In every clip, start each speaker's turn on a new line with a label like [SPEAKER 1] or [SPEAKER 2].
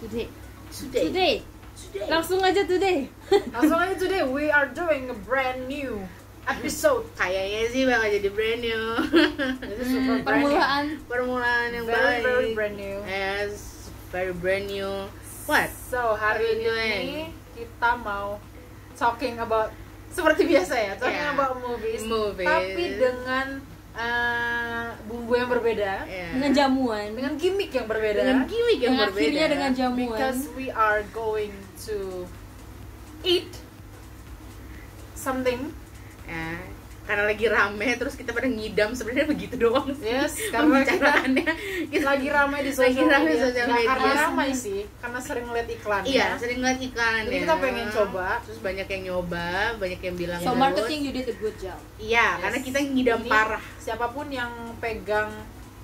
[SPEAKER 1] today
[SPEAKER 2] Today.
[SPEAKER 1] today
[SPEAKER 2] Today.
[SPEAKER 1] langsung aja today
[SPEAKER 2] Langsung aja today we are doing a brand new episode.
[SPEAKER 3] Kayaknya sih bakal jadi brand new.
[SPEAKER 2] This is super brand new.
[SPEAKER 1] permulaan
[SPEAKER 3] Mm, Permulaan yang
[SPEAKER 2] Very,
[SPEAKER 3] baik.
[SPEAKER 2] very brand new.
[SPEAKER 3] Yes, very brand new. What?
[SPEAKER 2] So hari
[SPEAKER 3] What are you
[SPEAKER 2] ini kita mau talking about seperti biasa ya, talking
[SPEAKER 3] Yeah.
[SPEAKER 2] about movies,
[SPEAKER 3] Movies.
[SPEAKER 2] tapi dengan eh, bumbu yang berbeda,
[SPEAKER 3] Yeah.
[SPEAKER 1] dengan jamuan
[SPEAKER 2] dengan gimmick yang berbeda.
[SPEAKER 3] dengan gimmick yang
[SPEAKER 1] mengakhirinya
[SPEAKER 3] berbeda.
[SPEAKER 1] dengan jamuan
[SPEAKER 2] Because we are going to eat something.
[SPEAKER 3] Ya, karena lagi rame terus kita pada ngidam sebenarnya begitu doang. sih
[SPEAKER 2] Yes, karena kita
[SPEAKER 3] Pembicaraannya. Kita-
[SPEAKER 2] lagi ramai di
[SPEAKER 3] Gitu. Lagi
[SPEAKER 2] sosial media.
[SPEAKER 3] ramai di sosial
[SPEAKER 2] Nggak
[SPEAKER 3] media.
[SPEAKER 2] karena ramai sih, karena sering lihat iklan.
[SPEAKER 3] Iya, sering ngeliat iklan
[SPEAKER 2] Jadi
[SPEAKER 3] ya.
[SPEAKER 2] kita pengen coba.
[SPEAKER 3] Terus banyak yang nyoba, banyak yang bilang
[SPEAKER 1] so
[SPEAKER 3] bagus.
[SPEAKER 1] marketing you did a good job
[SPEAKER 3] Iya, karena kita ngidam
[SPEAKER 2] Jadi,
[SPEAKER 3] parah.
[SPEAKER 2] Siapapun yang pegang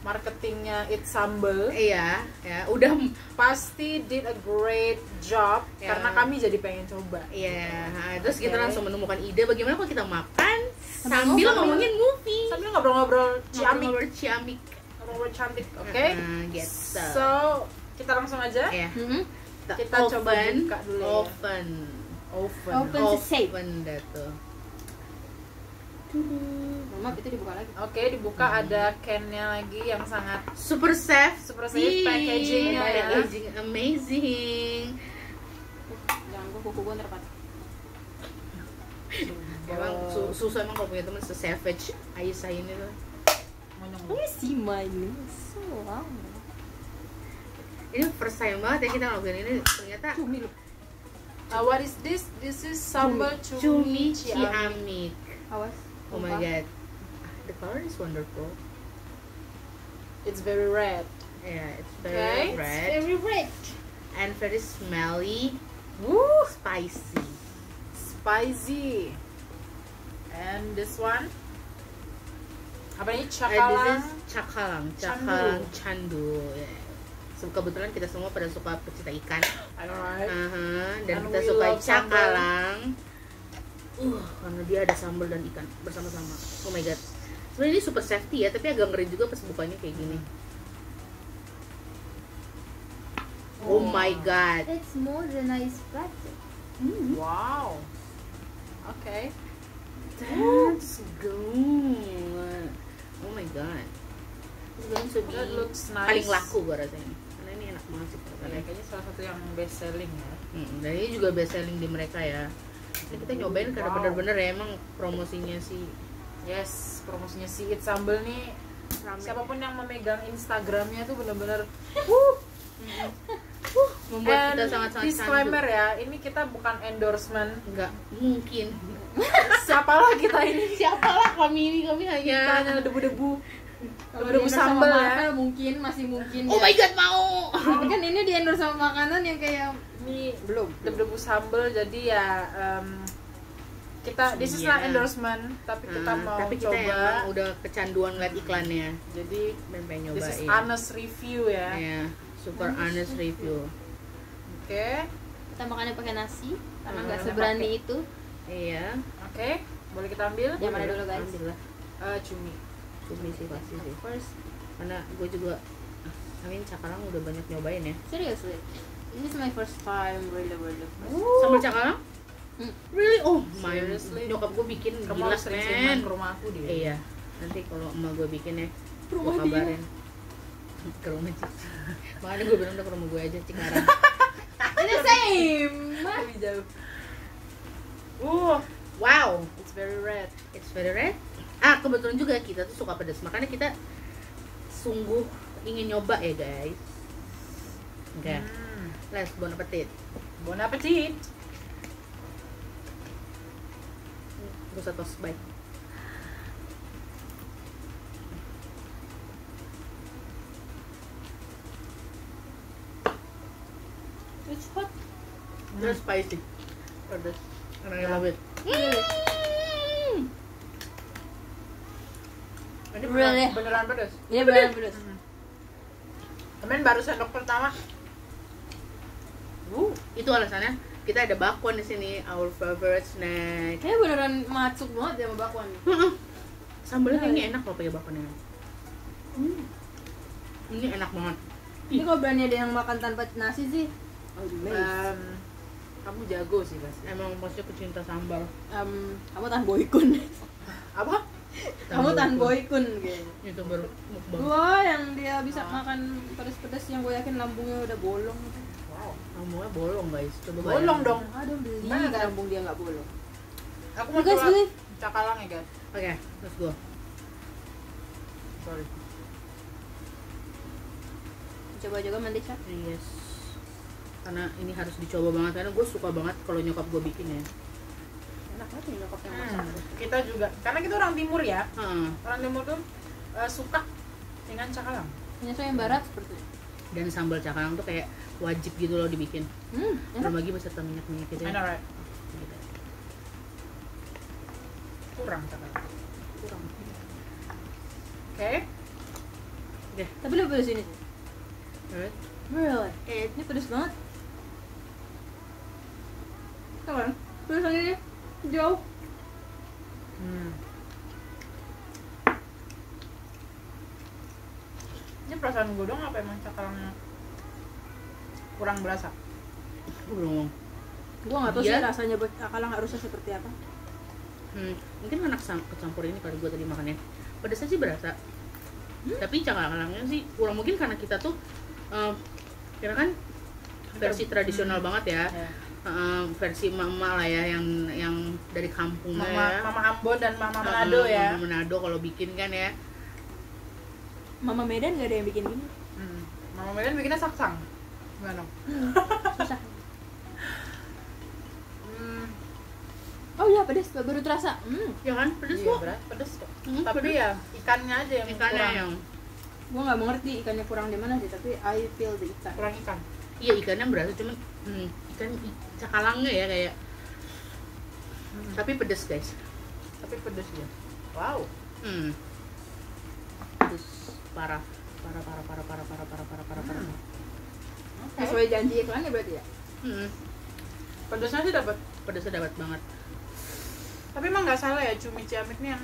[SPEAKER 2] marketingnya It's Sambal
[SPEAKER 3] Iya, ya, udah
[SPEAKER 2] pasti did a great job
[SPEAKER 3] Ya.
[SPEAKER 2] karena kami jadi pengen coba.
[SPEAKER 3] Iya, nah, terus kita
[SPEAKER 2] Oke.
[SPEAKER 3] langsung menemukan ide bagaimana kalau kita makan
[SPEAKER 1] ngobrol.
[SPEAKER 3] sambil ngomongin movie.
[SPEAKER 2] Sambil ngobrol-ngobrol ciamik,
[SPEAKER 3] Ngobrol ciamik.
[SPEAKER 2] ngobrol cantik, oke?
[SPEAKER 3] Heeh, gitu.
[SPEAKER 2] So, kita langsung aja.
[SPEAKER 3] ya,
[SPEAKER 1] Mm-mm.
[SPEAKER 2] kita coba buka dulu ya.
[SPEAKER 3] Open.
[SPEAKER 2] Oven.
[SPEAKER 1] Open.
[SPEAKER 2] Oke,
[SPEAKER 1] safe.
[SPEAKER 3] Open dah tuh.
[SPEAKER 1] mama itu dibuka lagi
[SPEAKER 2] dibuka ada can-nya lagi yang sangat
[SPEAKER 3] Super safe,
[SPEAKER 2] Super safe, packaging-nya ya.
[SPEAKER 3] packaging amazing.
[SPEAKER 1] jangan gue kuku gue ntar patah.
[SPEAKER 3] Emang su- susah emang kalau punya teman se-savage Aisyah ini tuh.
[SPEAKER 2] monyong.
[SPEAKER 1] Ini sih main so lama.
[SPEAKER 3] Ini first time banget ya kita ngelakuin ini ternyata
[SPEAKER 1] Cumi lu.
[SPEAKER 2] Uh, what is this? This is sambal
[SPEAKER 3] cumi
[SPEAKER 2] cumi, ciamik.
[SPEAKER 3] ciamik.
[SPEAKER 1] Awas.
[SPEAKER 3] Oh my god. The color is wonderful.
[SPEAKER 2] It's very red.
[SPEAKER 3] Yeah, it's
[SPEAKER 2] Okay.
[SPEAKER 3] very
[SPEAKER 2] It's
[SPEAKER 3] red.
[SPEAKER 1] Very red.
[SPEAKER 3] and very smelly,
[SPEAKER 2] Woo,
[SPEAKER 3] spicy.
[SPEAKER 2] spicy. And this one? Apa
[SPEAKER 3] And Uh,
[SPEAKER 2] ini?
[SPEAKER 3] this
[SPEAKER 2] Cakalang.
[SPEAKER 3] is cakalang,
[SPEAKER 2] Candu.
[SPEAKER 3] cakalang candu. Yeah. So, kebetulan kita semua pada suka pecinta ikan,
[SPEAKER 2] Alright.
[SPEAKER 3] Aha, dan
[SPEAKER 2] And
[SPEAKER 3] kita
[SPEAKER 2] we
[SPEAKER 3] suka
[SPEAKER 2] love sambal.
[SPEAKER 3] cakalang. Uh, karena dia ada sambal dan ikan bersama-sama. Oh my god. Sebenarnya ini super safety ya, tapi agak ngeri juga pas bukanya kayak gini. Oh,
[SPEAKER 2] Hmm.
[SPEAKER 3] my god.
[SPEAKER 4] It's more than I expected.
[SPEAKER 3] Hmm.
[SPEAKER 2] Wow. Okay.
[SPEAKER 3] That's good. Oh my god. It's going to
[SPEAKER 2] That
[SPEAKER 3] be
[SPEAKER 2] looks nice.
[SPEAKER 3] paling laku gue rasanya karena ini enak banget sih
[SPEAKER 2] Ya,
[SPEAKER 3] perasaannya
[SPEAKER 2] kayaknya salah satu yang best selling ya.
[SPEAKER 3] hmm, dan ini juga best selling di mereka ya ini kita nyobain karena
[SPEAKER 2] Wow.
[SPEAKER 3] bener-bener ya emang promosinya sih
[SPEAKER 2] Yes, promosinya si It Sambal nih.
[SPEAKER 3] rame
[SPEAKER 2] Siapapun yang memegang Instagramnya tuh bener-bener
[SPEAKER 3] membuat
[SPEAKER 2] And
[SPEAKER 3] kita sangat-sangat
[SPEAKER 2] disclaimer
[SPEAKER 3] candu
[SPEAKER 2] ya, ini kita bukan endorsement
[SPEAKER 3] nggak mungkin
[SPEAKER 2] Siapalah kita ini
[SPEAKER 3] siapalah kami ini kami hanya
[SPEAKER 2] Kita hanya debu-debu
[SPEAKER 1] Kalau
[SPEAKER 2] Udah
[SPEAKER 1] di endorse sama
[SPEAKER 2] sambal ya.
[SPEAKER 1] Marvel mungkin masih mungkin.
[SPEAKER 3] oh
[SPEAKER 1] ya.
[SPEAKER 3] my god mau
[SPEAKER 1] Tapi kan ini di endorse sama makanan yang kayak
[SPEAKER 2] Ini belum debu-debu sambal jadi ya em, kita this is not
[SPEAKER 3] Iya.
[SPEAKER 2] endorsement tapi kita
[SPEAKER 3] Nah,
[SPEAKER 2] mau
[SPEAKER 3] tapi kita
[SPEAKER 2] coba
[SPEAKER 3] emang udah kecanduan ngeliat iklannya
[SPEAKER 2] jadi
[SPEAKER 3] dan pengen
[SPEAKER 2] this
[SPEAKER 3] nyobain
[SPEAKER 2] is honest review ya
[SPEAKER 3] ya super honest review
[SPEAKER 2] oke
[SPEAKER 1] kita makannya pakai nasi karena
[SPEAKER 2] Hmm.
[SPEAKER 1] nggak seberani itu.
[SPEAKER 3] iya
[SPEAKER 2] oke boleh kita ambil
[SPEAKER 1] Yang mana dulu, guys?
[SPEAKER 3] Ambil lah.
[SPEAKER 2] Eh, cumi
[SPEAKER 3] cumi sih pasti sih
[SPEAKER 1] First,
[SPEAKER 3] karena gue juga Amin cakalang udah banyak nyobain ya
[SPEAKER 1] seriously, this is my first time really really first.
[SPEAKER 3] sambal cakalang
[SPEAKER 1] Hmm.
[SPEAKER 3] really oh my
[SPEAKER 2] Seriously?
[SPEAKER 3] nyokap gue bikin
[SPEAKER 2] kamu
[SPEAKER 3] gila
[SPEAKER 2] harus sering
[SPEAKER 3] men
[SPEAKER 2] ke rumah aku dia
[SPEAKER 3] iya nanti kalau emak gue bikin ya gue
[SPEAKER 1] Rumah dia.
[SPEAKER 3] kabarin ke rumah Cici makanya gue bilang udah ke rumah gue aja Cikarang
[SPEAKER 1] It's the same.
[SPEAKER 2] Lebih jauh uh
[SPEAKER 3] wow
[SPEAKER 2] it's very red
[SPEAKER 3] it's very red ah kebetulan juga kita tuh suka pedas makanya kita sungguh ingin nyoba ya guys oke
[SPEAKER 2] Hmm.
[SPEAKER 3] let's bon appetit
[SPEAKER 2] bon appetit
[SPEAKER 3] gue satu baik
[SPEAKER 1] It's hot.
[SPEAKER 3] terus spicy pedas karena
[SPEAKER 2] Ya.
[SPEAKER 3] yeah. love it Mm.
[SPEAKER 2] ini
[SPEAKER 1] Really?
[SPEAKER 2] beneran, beneran Hmm. pedas
[SPEAKER 1] Iya benar benar.
[SPEAKER 2] Kemarin baru sendok pertama.
[SPEAKER 3] Wuh, itu alasannya kita ada bakwan di sini our favorite snack
[SPEAKER 1] Kayaknya beneran masuk banget ya sama bakwan.
[SPEAKER 3] Heeh. sambalnya kayaknya enak loh pakai bakwannya ini enak banget
[SPEAKER 1] Ini kalau berani ada yang makan tanpa nasi sih, eh, Amazed.
[SPEAKER 2] Em, kamu jago sih pasti.
[SPEAKER 3] Emang maksudnya pecinta sambal.
[SPEAKER 1] Em, kamu tahan boykun.
[SPEAKER 2] Apa?
[SPEAKER 1] kamu tahan
[SPEAKER 3] boy.
[SPEAKER 1] boykun Ah. gitu.
[SPEAKER 3] Youtuber mukbang.
[SPEAKER 1] Gua yang dia bisa makan pedas-pedas yang gue yakin lambungnya udah bolong.
[SPEAKER 2] Wow.
[SPEAKER 3] Kamunya bolong guys. Coba
[SPEAKER 2] Bolong
[SPEAKER 3] bayangin.
[SPEAKER 2] dong.
[SPEAKER 1] Aduh beli
[SPEAKER 2] Banget.
[SPEAKER 1] lambung dia nggak bolong.
[SPEAKER 2] Aku mau
[SPEAKER 1] You guys
[SPEAKER 2] coba
[SPEAKER 1] believe?
[SPEAKER 2] cakalang ya guys.
[SPEAKER 3] Oke, terus gua.
[SPEAKER 2] Sorry.
[SPEAKER 1] Coba juga mandi cak.
[SPEAKER 3] Yes. Karena ini harus dicoba banget karena gue suka banget kalau nyokap gue bikin ya.
[SPEAKER 1] Enak banget nih nyokap yang masak.
[SPEAKER 2] Hmm, kita juga karena kita orang timur ya.
[SPEAKER 3] Heeh.
[SPEAKER 2] Orang timur tuh eh, suka dengan cakalang.
[SPEAKER 1] Ternyata yang barat seperti itu.
[SPEAKER 3] Dan sambal cakalang tuh kayak wajib gitu loh dibikin.
[SPEAKER 1] Hmm, enak.
[SPEAKER 3] Belum lagi beserta minyak-minyak gitu
[SPEAKER 2] I
[SPEAKER 3] ya.
[SPEAKER 2] know, right?
[SPEAKER 3] Gitu.
[SPEAKER 2] Kurang cakalang.
[SPEAKER 3] Kurang.
[SPEAKER 2] Oke.
[SPEAKER 1] Tapi lebih pedas ini. tuh.
[SPEAKER 3] Alright.
[SPEAKER 1] Really? Eh, ini pedas banget. Tahu kan? Pedasannya dia jauh.
[SPEAKER 2] Hmm. Ini perasaan gue doang apa emang cakalangnya kurang berasa?
[SPEAKER 3] Gua belum.
[SPEAKER 1] Gua nggak tahu sih
[SPEAKER 3] Dia-
[SPEAKER 1] rasanya buat akalang harusnya seperti apa.
[SPEAKER 3] Hmm, mungkin anak sam- kecampur ini kalau gue tadi makannya pedasnya sih berasa tapi cakalang-calangnya sih kurang mungkin karena kita tuh em, karena kan versi
[SPEAKER 2] Ter-
[SPEAKER 3] tradisional
[SPEAKER 2] hmm.
[SPEAKER 3] banget ya
[SPEAKER 2] Ya.
[SPEAKER 3] Em, versi mama lah ya yang yang dari kampung
[SPEAKER 2] Mama,
[SPEAKER 3] ya
[SPEAKER 2] Mama Ambon dan Mama
[SPEAKER 3] Em,
[SPEAKER 2] Manado ya.
[SPEAKER 3] Mama Manado kalau bikin kan ya
[SPEAKER 1] Mama Medan nggak ada yang bikin gini.
[SPEAKER 2] Hmm. Mama Medan bikinnya saksang. Gimana?
[SPEAKER 1] Susah.
[SPEAKER 2] Hmm.
[SPEAKER 1] Oh iya pedas baru terasa. Hmm,
[SPEAKER 3] ya kan pedas
[SPEAKER 2] Iya,
[SPEAKER 3] kok
[SPEAKER 2] berat, pedes kok.
[SPEAKER 3] Hmm,
[SPEAKER 2] Tapi
[SPEAKER 3] pedes.
[SPEAKER 2] ya ikannya aja yang
[SPEAKER 3] ikannya
[SPEAKER 2] kurang,
[SPEAKER 3] yang
[SPEAKER 1] gua nggak mengerti ikannya kurang di mana sih, tapi I feel the ikan.
[SPEAKER 2] kurang ikan.
[SPEAKER 3] iya ikannya berasa cuman hmm, ikan i- cakalangnya ya kayak
[SPEAKER 2] Hmm.
[SPEAKER 1] Hmm.
[SPEAKER 3] tapi pedas guys
[SPEAKER 2] Tapi pedes ya. Wow.
[SPEAKER 3] Hmm. Terus parah, parah, parah, parah, parah, parah, parah, parah, parah, parah.
[SPEAKER 2] Hmm. Oke.
[SPEAKER 1] Sesuai janji iklannya berarti ya?
[SPEAKER 3] Hmm.
[SPEAKER 2] Pedesnya sih dapat.
[SPEAKER 3] Pedasnya dapat banget.
[SPEAKER 2] Tapi emang nggak salah ya cumi ciamik nih yang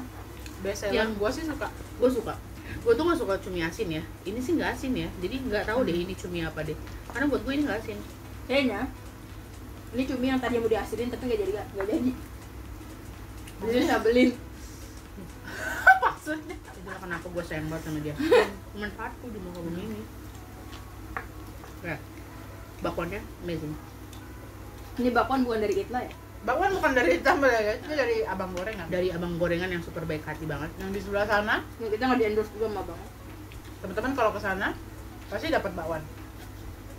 [SPEAKER 2] best
[SPEAKER 1] Iya.
[SPEAKER 2] seller.
[SPEAKER 3] Yang-
[SPEAKER 2] Gua sih suka.
[SPEAKER 3] Gue suka. Gue tuh gak suka cumi asin ya. Ini sih nggak asin ya. Jadi nggak tahu
[SPEAKER 2] Hmm.
[SPEAKER 3] deh ini cumi apa deh. Karena buat gue ini nggak asin.
[SPEAKER 1] Kayaknya ini cumi yang tadi mau diasirin tapi nggak jadi nggak jadi. Jadi saya beliin.
[SPEAKER 2] Maksudnya?
[SPEAKER 3] Itulah kenapa gue sayang banget sama dia. Manfaatku di muka bumi ini. Nah, bakwannya amazing.
[SPEAKER 1] Ini bakwan bukan dari Itla ya?
[SPEAKER 2] Bakwan bukan dari tambal ya, guys. Ini dari abang gorengan.
[SPEAKER 1] Iya.
[SPEAKER 3] Dari abang gorengan yang super baik hati banget.
[SPEAKER 2] Yang di sebelah sana,
[SPEAKER 1] Ya, kita nggak di endorse juga sama bang.
[SPEAKER 2] teman-teman kalau ke sana pasti dapat bakwan.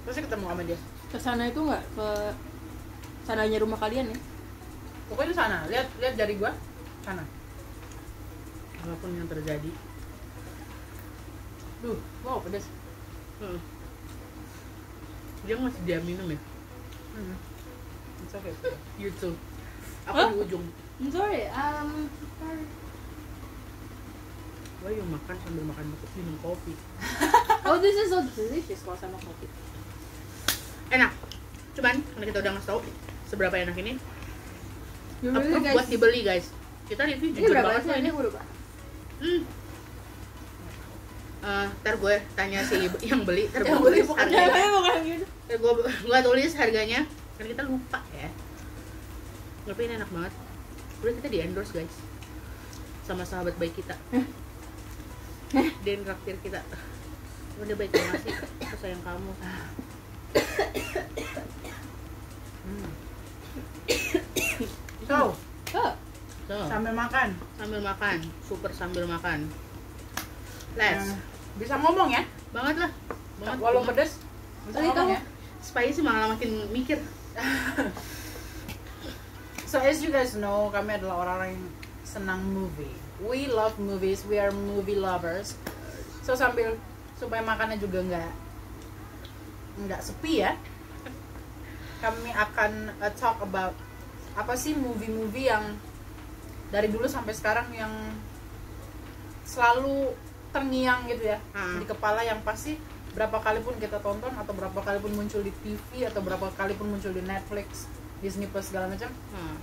[SPEAKER 2] Pasti ketemu sama dia.
[SPEAKER 1] Kesana itu nggak ke sananya rumah kalian ya?
[SPEAKER 2] Pokoknya di sana. Lihat lihat dari gua sana.
[SPEAKER 3] Apapun yang terjadi.
[SPEAKER 2] Duh, wow pedes.
[SPEAKER 3] Hmm. Dia masih dia minum ya.
[SPEAKER 2] Hmm. It's okay.
[SPEAKER 3] YouTube. Aku
[SPEAKER 1] Gitu. Hah?
[SPEAKER 3] di ujung.
[SPEAKER 1] I'm sorry. Um,
[SPEAKER 3] gue yang makan sambil makan makan minum kopi
[SPEAKER 1] oh this is so delicious kalau sama kopi.
[SPEAKER 3] enak cuman karena kita udah ngasih tau seberapa enak ini
[SPEAKER 1] You really
[SPEAKER 3] approve
[SPEAKER 1] Iya, guys-
[SPEAKER 3] buat dibeli guys kita review
[SPEAKER 1] Ini
[SPEAKER 3] jujur
[SPEAKER 1] berapa
[SPEAKER 3] banget
[SPEAKER 1] sih?
[SPEAKER 3] loh
[SPEAKER 1] Ini
[SPEAKER 3] ini
[SPEAKER 1] berapa?
[SPEAKER 3] hmm. Eh, ntar gue tanya si ibu- yang beli ntar gue
[SPEAKER 2] Yang beli
[SPEAKER 3] tulis
[SPEAKER 2] bukan
[SPEAKER 3] harganya
[SPEAKER 1] Ya, bukan gitu.
[SPEAKER 3] ntar gue gue tulis harganya karena kita lupa ya tapi ini enak banget udah kita di endorse guys sama sahabat baik kita
[SPEAKER 2] Eh.
[SPEAKER 3] dan raktir kita udah baik banget sih aku sayang kamu
[SPEAKER 2] Hmm. So,
[SPEAKER 1] Oh,
[SPEAKER 3] Tuh.
[SPEAKER 2] sambil makan.
[SPEAKER 3] sambil makan super sambil makan les
[SPEAKER 2] Yang Bisa ngomong ya.
[SPEAKER 3] banget lah banget
[SPEAKER 2] Nah. Walau
[SPEAKER 3] banget.
[SPEAKER 2] pedes. Bisa
[SPEAKER 1] Tadi
[SPEAKER 2] ngomong
[SPEAKER 1] kamu-
[SPEAKER 2] ya.
[SPEAKER 3] spicy malah makin mikir
[SPEAKER 2] So as you guys know, kami adalah orang-orang yang senang movie. We love movies, we are movie lovers. So sambil supaya makannya juga nggak nggak sepi ya, kami akan uh, talk about apa sih movie-movie yang dari dulu sampai sekarang yang selalu terngiang gitu ya
[SPEAKER 3] Hmm.
[SPEAKER 2] di kepala yang pasti berapa kali pun kita tonton atau berapa kali pun muncul di TV atau berapa kali pun muncul di Netflix, Disney Plus segala macam
[SPEAKER 3] hmm.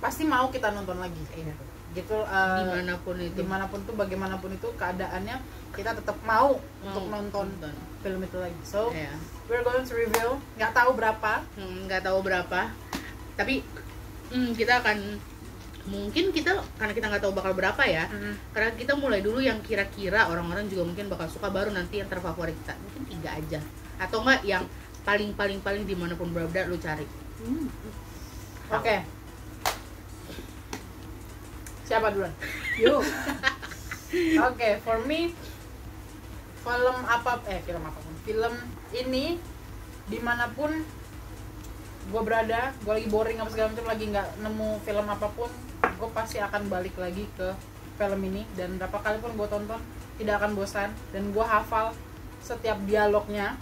[SPEAKER 2] pasti mau kita nonton lagi
[SPEAKER 3] Iya.
[SPEAKER 2] gitu eh,
[SPEAKER 3] dimanapun itu
[SPEAKER 2] dimanapun tuh bagaimanapun itu keadaannya kita tetap
[SPEAKER 3] Mau
[SPEAKER 2] mau, untuk nonton Iya. film itu lagi so
[SPEAKER 3] ya
[SPEAKER 2] we're going to review nggak tahu berapa
[SPEAKER 3] Hmm, nggak tahu berapa tapi hmm, kita akan mungkin kita karena kita nggak tahu bakal berapa ya karena kita mulai dulu yang kira-kira orang-orang juga mungkin bakal suka baru nanti yang terfavorit kita mungkin tiga aja atau enggak yang paling paling paling dimanapun berada lu cari
[SPEAKER 1] Hmm.
[SPEAKER 2] oke siapa duluan
[SPEAKER 1] Yuk.
[SPEAKER 2] oke for me film apa eh film apapun film ini dimanapun gue berada gue lagi boring apa segala macam lagi nggak nemu film apapun gue pasti akan balik lagi ke film ini dan berapa kali pun gue tonton tidak akan bosan dan gue hafal setiap dialognya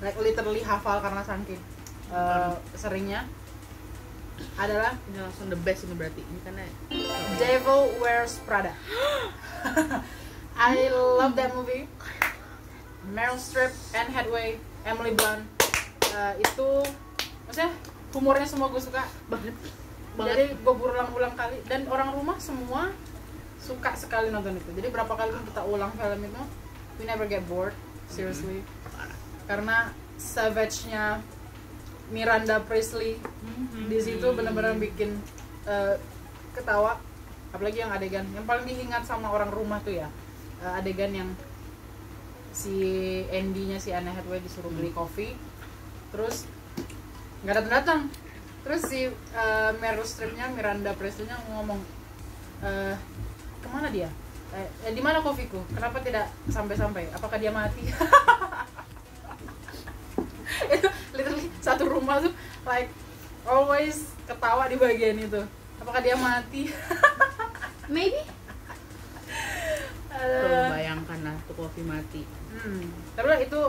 [SPEAKER 2] like literally hafal karena saking eh, seringnya adalah
[SPEAKER 3] ini langsung the best ini berarti ini kan ya. karena
[SPEAKER 2] Devil Wears Prada. I love that movie. Meryl Streep, Anne Hathaway, Emily Blunt. Uh, itu maksudnya humornya semua gue suka.
[SPEAKER 3] banget banget
[SPEAKER 2] Jadi gue berulang-ulang kali dan orang rumah semua suka sekali nonton itu. Jadi berapa kali pun kita ulang film itu, we never get bored. Seriously. Karena savage-nya Miranda Priestley di situ benar-benar bikin eh, ketawa apalagi yang adegan yang paling diingat sama orang rumah tuh ya eh, adegan yang si Andy-nya si Anne Hathaway disuruh beli kopi terus nggak datang datang terus si eh, Meryl Streep-nya Miranda Presley-nya ngomong eh kemana dia eh, eh, di mana kopiku kenapa tidak sampai-sampai apakah dia mati itu literally satu rumah tuh like always ketawa di bagian itu apakah dia mati
[SPEAKER 1] Maybe.
[SPEAKER 3] Tuh,
[SPEAKER 2] Eh,
[SPEAKER 3] bayangkan lah tuh kopi mati
[SPEAKER 2] hmm. tapi itu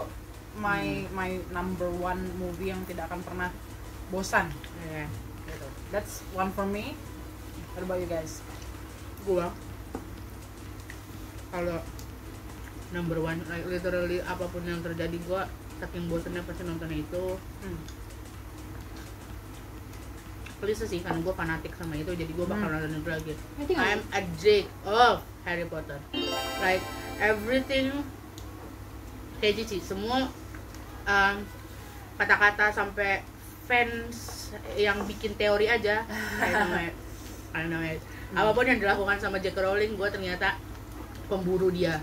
[SPEAKER 2] my
[SPEAKER 3] Hmm.
[SPEAKER 2] my number one movie yang tidak akan pernah bosan
[SPEAKER 3] Eh, gitu.
[SPEAKER 2] that's one for me what about you guys
[SPEAKER 3] gua kalau number one like literally apapun yang terjadi gua saking bosennya pasti nontonnya itu
[SPEAKER 2] Hmm.
[SPEAKER 3] Please sih karena gua fanatik sama itu jadi gua bakal
[SPEAKER 2] Hmm.
[SPEAKER 3] nonton itu lagi
[SPEAKER 1] I think
[SPEAKER 3] I'm
[SPEAKER 1] I'm
[SPEAKER 3] addict of Harry Potter. Like everything kayak Cici, semua um, kata-kata sampai fans yang bikin teori aja. I know it. I know it. Apapun yang dilakukan sama J.K. Rowling, gue ternyata pemburu dia.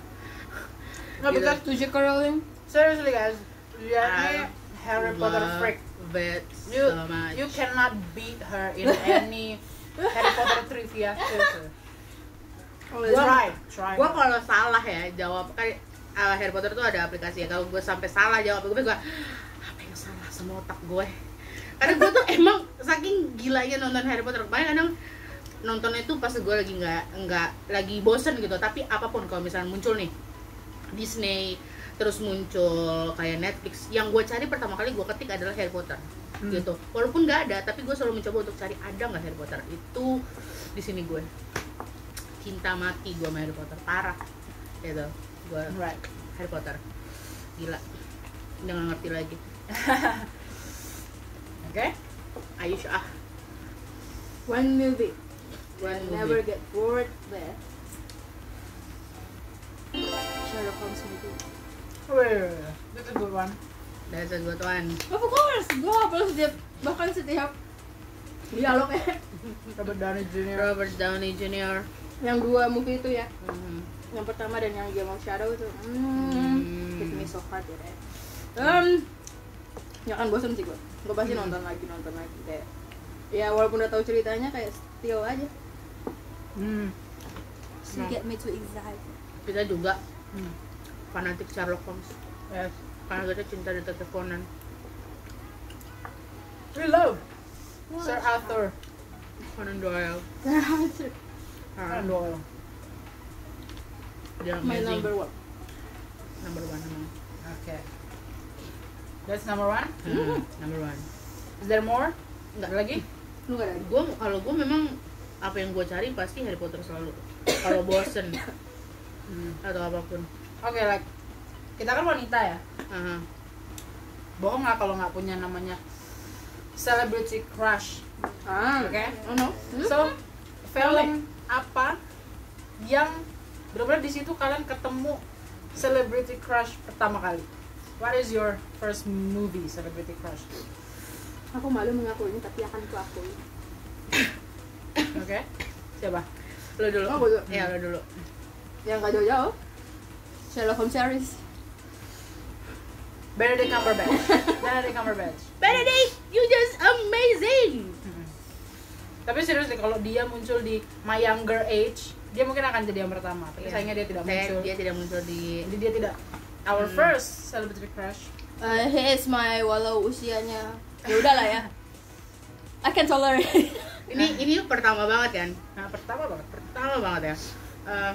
[SPEAKER 2] no because
[SPEAKER 1] to J.K. Rowling.
[SPEAKER 2] seriously guys you
[SPEAKER 3] I
[SPEAKER 2] are Harry Potter
[SPEAKER 3] love
[SPEAKER 2] freak
[SPEAKER 3] it
[SPEAKER 2] you
[SPEAKER 3] so much.
[SPEAKER 2] you cannot beat her in any Harry Potter trivia seriously. try try
[SPEAKER 3] gue kalau salah ya jawab kan uh, Harry Potter tuh ada aplikasi ya kalau gue sampai salah jawab gue gue apa yang salah sama otak gue karena gue tuh emang saking gilanya nonton Harry Potter banyak kadang nonton itu pas gue lagi nggak nggak lagi bosen gitu tapi apapun kalau misalnya muncul nih Disney terus muncul kayak Netflix yang gue cari pertama kali gue ketik adalah Harry Potter
[SPEAKER 2] Hmm.
[SPEAKER 3] gitu walaupun nggak ada tapi gue selalu mencoba untuk cari ada nggak Harry Potter itu di sini gue cinta mati gue sama Harry Potter parah gitu gue
[SPEAKER 2] right
[SPEAKER 3] Harry Potter gila udah gak ngerti lagi
[SPEAKER 2] okay
[SPEAKER 3] Ayu ah
[SPEAKER 1] One movie.
[SPEAKER 3] one
[SPEAKER 1] I'll never
[SPEAKER 3] movie
[SPEAKER 1] get bored with. Sherlock Holmes movie.
[SPEAKER 2] Wait, that's a good one.
[SPEAKER 3] that's a good one
[SPEAKER 1] Of course, gue hafal setiap bahkan setiap dialognya
[SPEAKER 2] Robert Downey Jr.
[SPEAKER 3] Robert Downey Jr.
[SPEAKER 1] yang dua movie itu ya
[SPEAKER 3] Mhm.
[SPEAKER 1] yang pertama dan yang Game of Shadow itu hmm,
[SPEAKER 3] Hmm.
[SPEAKER 1] hit me so hard ya Dad. um, nggak akan bosan sih gue gue pasti
[SPEAKER 3] Hmm.
[SPEAKER 1] nonton lagi nonton lagi kayak ya walaupun udah tahu ceritanya kayak still aja Hmm.
[SPEAKER 2] Hmm.
[SPEAKER 4] She
[SPEAKER 3] No.
[SPEAKER 4] get me too excited.
[SPEAKER 3] kita juga
[SPEAKER 2] Hmm.
[SPEAKER 3] fanatik Sherlock Holmes
[SPEAKER 2] Yes.
[SPEAKER 3] karena kita cinta detektif Conan
[SPEAKER 2] We love Sir Arthur
[SPEAKER 3] Conan Doyle
[SPEAKER 2] Conan
[SPEAKER 3] Ah,
[SPEAKER 2] Doyle.
[SPEAKER 3] dia
[SPEAKER 1] my
[SPEAKER 3] amazing.
[SPEAKER 1] number one
[SPEAKER 3] number one emang
[SPEAKER 2] Okay. That's number one.
[SPEAKER 1] Mm-hmm.
[SPEAKER 3] Hmm, number one
[SPEAKER 2] Is there more?
[SPEAKER 3] Nggak.
[SPEAKER 2] Ada lagi?
[SPEAKER 1] lu gak ada
[SPEAKER 3] gue kalau gue memang apa yang gue cari pasti Harry Potter selalu kalau bosen
[SPEAKER 2] Hmm.
[SPEAKER 3] atau apapun
[SPEAKER 2] Oke, like kita kan wanita ya.
[SPEAKER 3] Aha.
[SPEAKER 2] Bohong nggak kalau nggak punya namanya celebrity crush.
[SPEAKER 1] ah
[SPEAKER 2] Oke.
[SPEAKER 3] Hmm?
[SPEAKER 2] Hmm?
[SPEAKER 1] oh no
[SPEAKER 2] So film apa yang benar-benar di situ kalian ketemu celebrity crush pertama kali? What is your first movie celebrity crush?
[SPEAKER 1] Aku malu mengakuinya tapi akan kuakui.
[SPEAKER 2] Oke. Siapa?
[SPEAKER 3] Lo dulu.
[SPEAKER 1] Oh, gua dulu.
[SPEAKER 3] Iya, lo dulu.
[SPEAKER 1] Yang gak Ya, jauh-jauh. Sherlock Holmes series.
[SPEAKER 2] Benedict Cumberbatch. Benedict Cumberbatch.
[SPEAKER 3] Benedict, you just amazing.
[SPEAKER 2] Mm-mm. Tapi serius deh, kalau dia muncul di my younger age, dia mungkin akan jadi yang pertama. Tapi
[SPEAKER 3] Iya.
[SPEAKER 2] sayangnya dia tidak
[SPEAKER 3] Sayang
[SPEAKER 2] muncul.
[SPEAKER 3] Dia tidak muncul di
[SPEAKER 2] Jadi dia tidak our
[SPEAKER 3] Hmm.
[SPEAKER 2] first celebrity crush.
[SPEAKER 1] Uh, he is my walau usianya ya udahlah ya. I can tolerate.
[SPEAKER 3] ini ini pertama banget kan?
[SPEAKER 2] Nah, pertama banget.
[SPEAKER 3] Pertama banget ya. Eh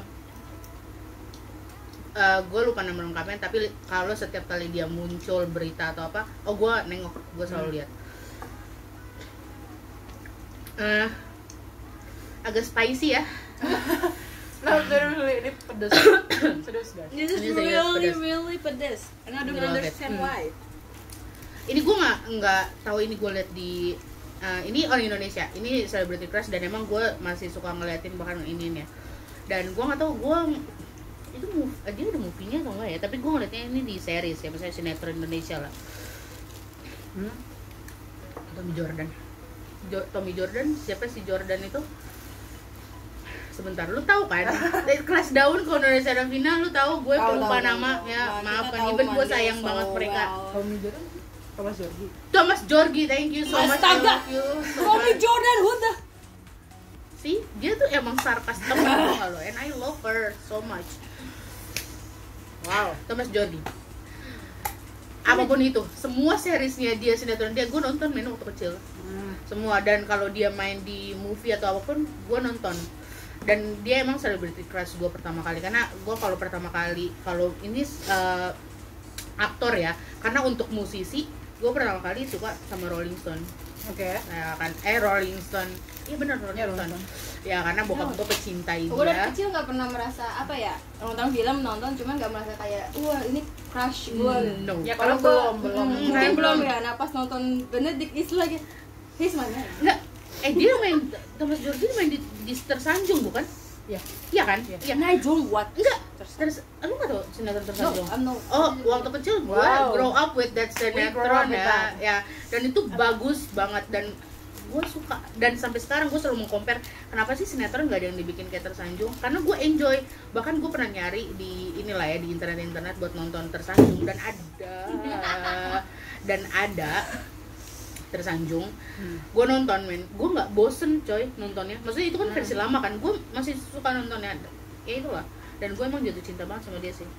[SPEAKER 3] eh, gue lupa nama lengkapnya tapi li- kalau setiap kali dia muncul berita atau apa oh gue nengok gue selalu lihat eh agak spicy ya
[SPEAKER 2] Nah, literally ini pedes. serius guys.
[SPEAKER 4] This is
[SPEAKER 3] is really,
[SPEAKER 4] really, really pedes. And I don't
[SPEAKER 3] Love it.
[SPEAKER 4] understand
[SPEAKER 3] Hmm.
[SPEAKER 4] why.
[SPEAKER 3] ini gue nggak nggak tahu ini gue liat di eh, ini orang Indonesia ini celebrity crush dan emang gue masih suka ngeliatin bahkan ini ya dan gue nggak tahu gue itu move, eh, dia udah movie-nya atau enggak ya tapi gue ngeliatnya ini di series ya misalnya sinetron Indonesia lah
[SPEAKER 2] Hmm?
[SPEAKER 3] Tommy Jordan Jo- Tommy Jordan siapa si Jordan itu sebentar lu tahu kan dari kelas daun kalau Indonesia Davina lu tahu gue
[SPEAKER 4] Tahu,
[SPEAKER 3] lupa
[SPEAKER 4] tahu,
[SPEAKER 3] nama
[SPEAKER 4] tahu.
[SPEAKER 3] ya
[SPEAKER 4] Nah, kita
[SPEAKER 3] maafkan
[SPEAKER 4] tahu
[SPEAKER 3] even gue
[SPEAKER 4] Mario
[SPEAKER 3] sayang
[SPEAKER 4] so
[SPEAKER 3] banget mereka
[SPEAKER 4] well.
[SPEAKER 2] Tommy Jordan? Thomas Jorgi.
[SPEAKER 3] Thomas Jorgi thank you so much I
[SPEAKER 4] Astaga.
[SPEAKER 3] love you so
[SPEAKER 4] Tommy
[SPEAKER 3] much.
[SPEAKER 4] Jordan, who the?
[SPEAKER 3] sih dia tuh emang sarkas temen tau gak lo and I love her so much
[SPEAKER 2] Wow.
[SPEAKER 3] Thomas Jordi apapun itu semua seriesnya dia sinetron dia gue nonton main waktu kecil
[SPEAKER 2] Hmm.
[SPEAKER 3] semua dan kalau dia main di movie atau apapun gue nonton dan dia emang celebrity crush gue pertama kali karena gue kalau pertama kali kalau ini eh, aktor ya karena untuk musisi gue pertama kali suka sama Rolling Stone
[SPEAKER 2] Oke.
[SPEAKER 3] ya kan eh Rolling Stone iya bener Rolling,
[SPEAKER 2] Ya, Rolling
[SPEAKER 3] Stone. ya karena bokap gue pecinta ya.
[SPEAKER 1] Gue
[SPEAKER 3] dia
[SPEAKER 1] dari kecil nggak pernah merasa apa ya nonton film nonton cuman nggak merasa kayak wah ini crush gue.
[SPEAKER 3] Hmm, no
[SPEAKER 2] Ya kalau
[SPEAKER 1] Kalau
[SPEAKER 2] belum,
[SPEAKER 1] gua-
[SPEAKER 2] belum.
[SPEAKER 1] Hmm,
[SPEAKER 3] Saya
[SPEAKER 1] mungkin
[SPEAKER 3] belum.
[SPEAKER 1] belum ya. Nah pas nonton Benedict is lagi, he's my man.
[SPEAKER 3] Nggak, eh dia main Thomas Jordan main di, di Tersanjung bukan
[SPEAKER 2] Ya.
[SPEAKER 3] iya kan
[SPEAKER 2] Iya.
[SPEAKER 3] iya
[SPEAKER 1] I don't what.
[SPEAKER 3] enggak terus lu nggak tau sinetron
[SPEAKER 1] No,
[SPEAKER 3] Tersanjung
[SPEAKER 1] I'm no.
[SPEAKER 3] Oh, waktu kecil gue
[SPEAKER 2] Wow.
[SPEAKER 3] grow up with that
[SPEAKER 2] We grow
[SPEAKER 3] sinetron
[SPEAKER 2] up with
[SPEAKER 3] ya,
[SPEAKER 2] that.
[SPEAKER 3] ya. Dan itu bagus banget dan gue suka dan sampai sekarang gue selalu mengcompare kenapa sih sinetron gak ada yang dibikin kayak tersanjung karena gue enjoy bahkan gue pernah nyari di inilah ya di internet internet buat nonton tersanjung dan ada dan ada tersanjung
[SPEAKER 2] Hmm.
[SPEAKER 3] gue nonton men gue nggak bosen coy nontonnya maksudnya itu kan
[SPEAKER 1] Hmm.
[SPEAKER 3] versi lama kan gue masih suka nontonnya ya itulah dan gue emang jatuh cinta banget sama dia sih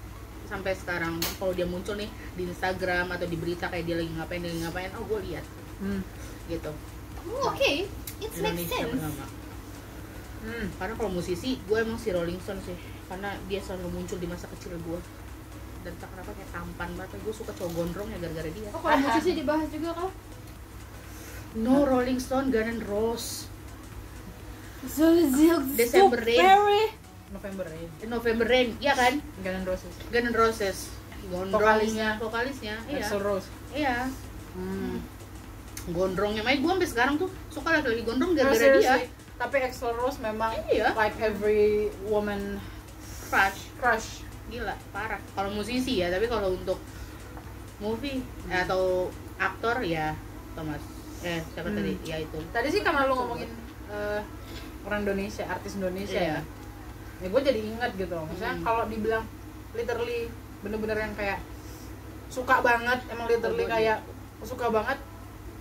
[SPEAKER 3] sampai sekarang kalau dia muncul nih di Instagram atau di berita kayak dia lagi ngapain dia lagi ngapain oh gue lihat
[SPEAKER 2] Hmm.
[SPEAKER 3] gitu
[SPEAKER 1] Oh, okay, it makes
[SPEAKER 3] Indonesia
[SPEAKER 1] sense.
[SPEAKER 3] pertama
[SPEAKER 2] Hmm.
[SPEAKER 3] karena kalau musisi gue emang si Rolling Stone sih karena dia selalu muncul di masa kecil gue dan tak kenapa kayak tampan banget gue suka cowok gondrong ya gara-gara dia
[SPEAKER 1] Oh kalau musisi dibahas juga kah? iya.
[SPEAKER 3] no Rolling Stone Guns N' Roses Desember
[SPEAKER 1] Desember
[SPEAKER 3] Rain.
[SPEAKER 2] November Rain.
[SPEAKER 3] November Rain iya kan
[SPEAKER 2] Guns N' Roses.
[SPEAKER 3] Guns N' Roses gondrong
[SPEAKER 2] Vokalisnya.
[SPEAKER 3] vokalisnya iya
[SPEAKER 2] Axl Rose.
[SPEAKER 3] iya
[SPEAKER 2] Hmm.
[SPEAKER 3] gondrongnya main gue sampai sekarang tuh suka lagi-lagi gondrong
[SPEAKER 2] No,
[SPEAKER 3] gara-gara dia
[SPEAKER 1] iya.
[SPEAKER 2] seriously. Nah, Tapi Axl Rose memang
[SPEAKER 3] Iya.
[SPEAKER 2] like every woman
[SPEAKER 3] crush
[SPEAKER 2] crush.
[SPEAKER 3] gila parah kalau musisi ya tapi kalau untuk movie atau aktor ya Thomas eh siapa
[SPEAKER 2] Hmm.
[SPEAKER 3] tadi ya itu
[SPEAKER 2] Tadi sih karena lu ngomongin eh, orang Indonesia, artis Indonesia
[SPEAKER 3] Iya.
[SPEAKER 2] ya. Ya gue jadi ingat gitu. Misalnya
[SPEAKER 3] Hmm.
[SPEAKER 2] kalau dibilang literally bener-bener yang kayak suka banget, emang literally
[SPEAKER 3] Oh, gue
[SPEAKER 2] kayak suka banget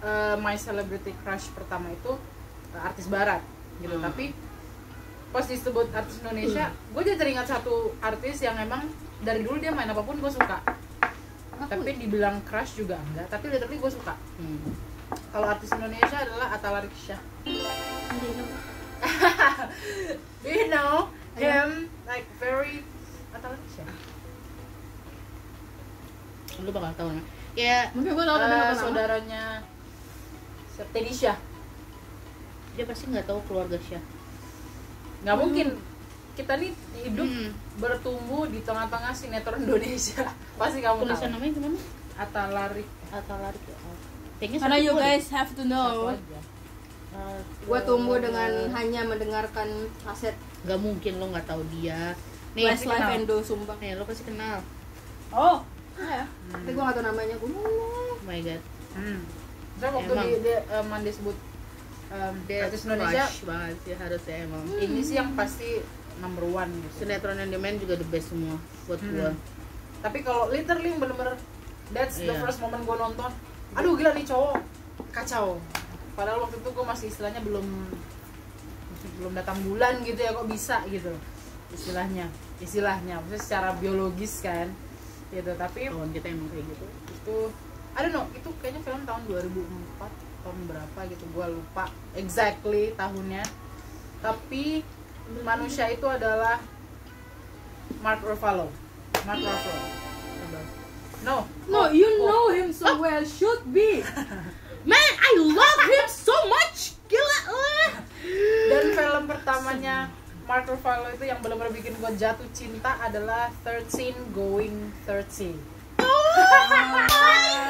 [SPEAKER 2] eh, my celebrity crush pertama itu eh, artis barat gitu.
[SPEAKER 3] Hmm.
[SPEAKER 2] Tapi pas disebut artis Indonesia, gue jadi teringat satu artis yang emang dari dulu dia main apapun gue suka. Tapi dibilang crush juga enggak, tapi literally gue suka.
[SPEAKER 3] Hmm.
[SPEAKER 2] Kalau artis Indonesia adalah Atala Riksya. Do you know him like very uh, atau Indonesia?
[SPEAKER 3] lu bakal tahu namanya. ya
[SPEAKER 1] Mungkin gue tau tapi
[SPEAKER 2] Eh,
[SPEAKER 1] nggak pernah.
[SPEAKER 2] saudaranya Tedisha.
[SPEAKER 3] dia pasti nggak tahu keluarga Syah
[SPEAKER 2] Nggak mungkin kita nih hidup
[SPEAKER 3] Hmm.
[SPEAKER 2] bertumbuh di tengah-tengah sinetron Indonesia. Pasti kamu
[SPEAKER 3] tulisan
[SPEAKER 2] tahu.
[SPEAKER 3] namanya gimana
[SPEAKER 2] Atalarik
[SPEAKER 3] atau lari ke oh. Kayaknya
[SPEAKER 1] Karena
[SPEAKER 3] satu
[SPEAKER 1] you
[SPEAKER 3] doang deh. Eh,
[SPEAKER 1] guys have
[SPEAKER 2] satu
[SPEAKER 1] to know.
[SPEAKER 2] aja.
[SPEAKER 1] Gua tumbuh dengan hanya mendengarkan kaset
[SPEAKER 3] Gak mungkin lo nggak tahu dia. Nih,
[SPEAKER 1] Westlife
[SPEAKER 3] kenal.
[SPEAKER 1] and Do Sumbang.
[SPEAKER 3] Nih, lo pasti kenal.
[SPEAKER 2] Oh.
[SPEAKER 1] Iya. Tapi gua nggak tahu namanya. Gua
[SPEAKER 3] Oh my god.
[SPEAKER 2] Hmm. Saya waktu
[SPEAKER 3] Emang.
[SPEAKER 2] di, di um, em, disebut em,
[SPEAKER 3] Dia
[SPEAKER 2] artis um, Indonesia
[SPEAKER 3] crush banget sih harusnya emang.
[SPEAKER 2] ini sih yang pasti number one gitu.
[SPEAKER 3] Sinetron yang dia main juga the best semua buat
[SPEAKER 2] Hmm.
[SPEAKER 3] gua.
[SPEAKER 2] Tapi kalau literally yang bener-bener that's the
[SPEAKER 3] Iya.
[SPEAKER 2] first moment gue nonton. Aduh gila nih cowok kacau. Padahal waktu itu gue masih istilahnya belum belum datang bulan gitu ya kok bisa gitu istilahnya istilahnya maksudnya secara biologis kan gitu tapi
[SPEAKER 3] Kawan kita emang kayak gitu.
[SPEAKER 2] itu I don't know itu kayaknya film tahun 2004 tahun berapa gitu gua lupa exactly tahunnya tapi manusia itu adalah Mark Ruffalo Mark Ruffalo no Oh,
[SPEAKER 1] No, you know him so well. Should be.
[SPEAKER 3] Man, I love him so much. Gila lah.
[SPEAKER 2] dan film pertamanya Mark Ruffalo itu yang benar-benar bikin gua jatuh cinta adalah 13 Going 30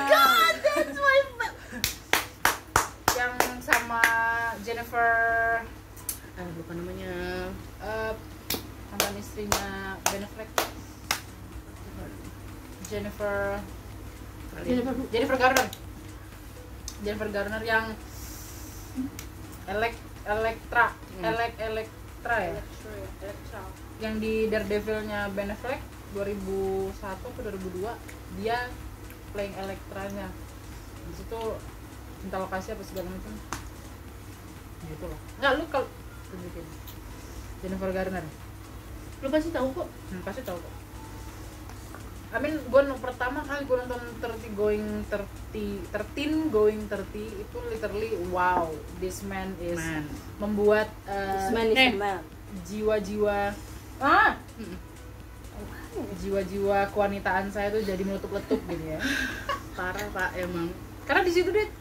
[SPEAKER 3] God, that's my fa-
[SPEAKER 2] yang sama Jennifer
[SPEAKER 3] Ah, lupa namanya.
[SPEAKER 2] eh mantan istrinya Ben Affleck Jennifer
[SPEAKER 3] Kali.
[SPEAKER 1] Jennifer
[SPEAKER 2] Jennifer Garner Jennifer Garner yang elek Elektra
[SPEAKER 3] Hmm.
[SPEAKER 2] elek Elektra ya yang di Daredevilnya Ben Affleck 2001 ke 2002 dia playing Elektranya di situ cinta lokasi apa segala macam gitu loh nggak lu kalau tunjukin Jennifer Garner
[SPEAKER 3] Lo pasti tahu kok.
[SPEAKER 2] Hmm, pasti tahu kok. I mean, gue pertama kali gue nonton 30 going 30, 13 going 30 itu literally wow, this man is
[SPEAKER 3] Man.
[SPEAKER 2] membuat uh,
[SPEAKER 1] This man is
[SPEAKER 3] Eh.
[SPEAKER 1] a man.
[SPEAKER 2] jiwa-jiwa ah jiwa-jiwa kewanitaan saya tuh jadi meletup-letup gitu ya.
[SPEAKER 3] Parah pak emang.
[SPEAKER 2] Karena di situ dia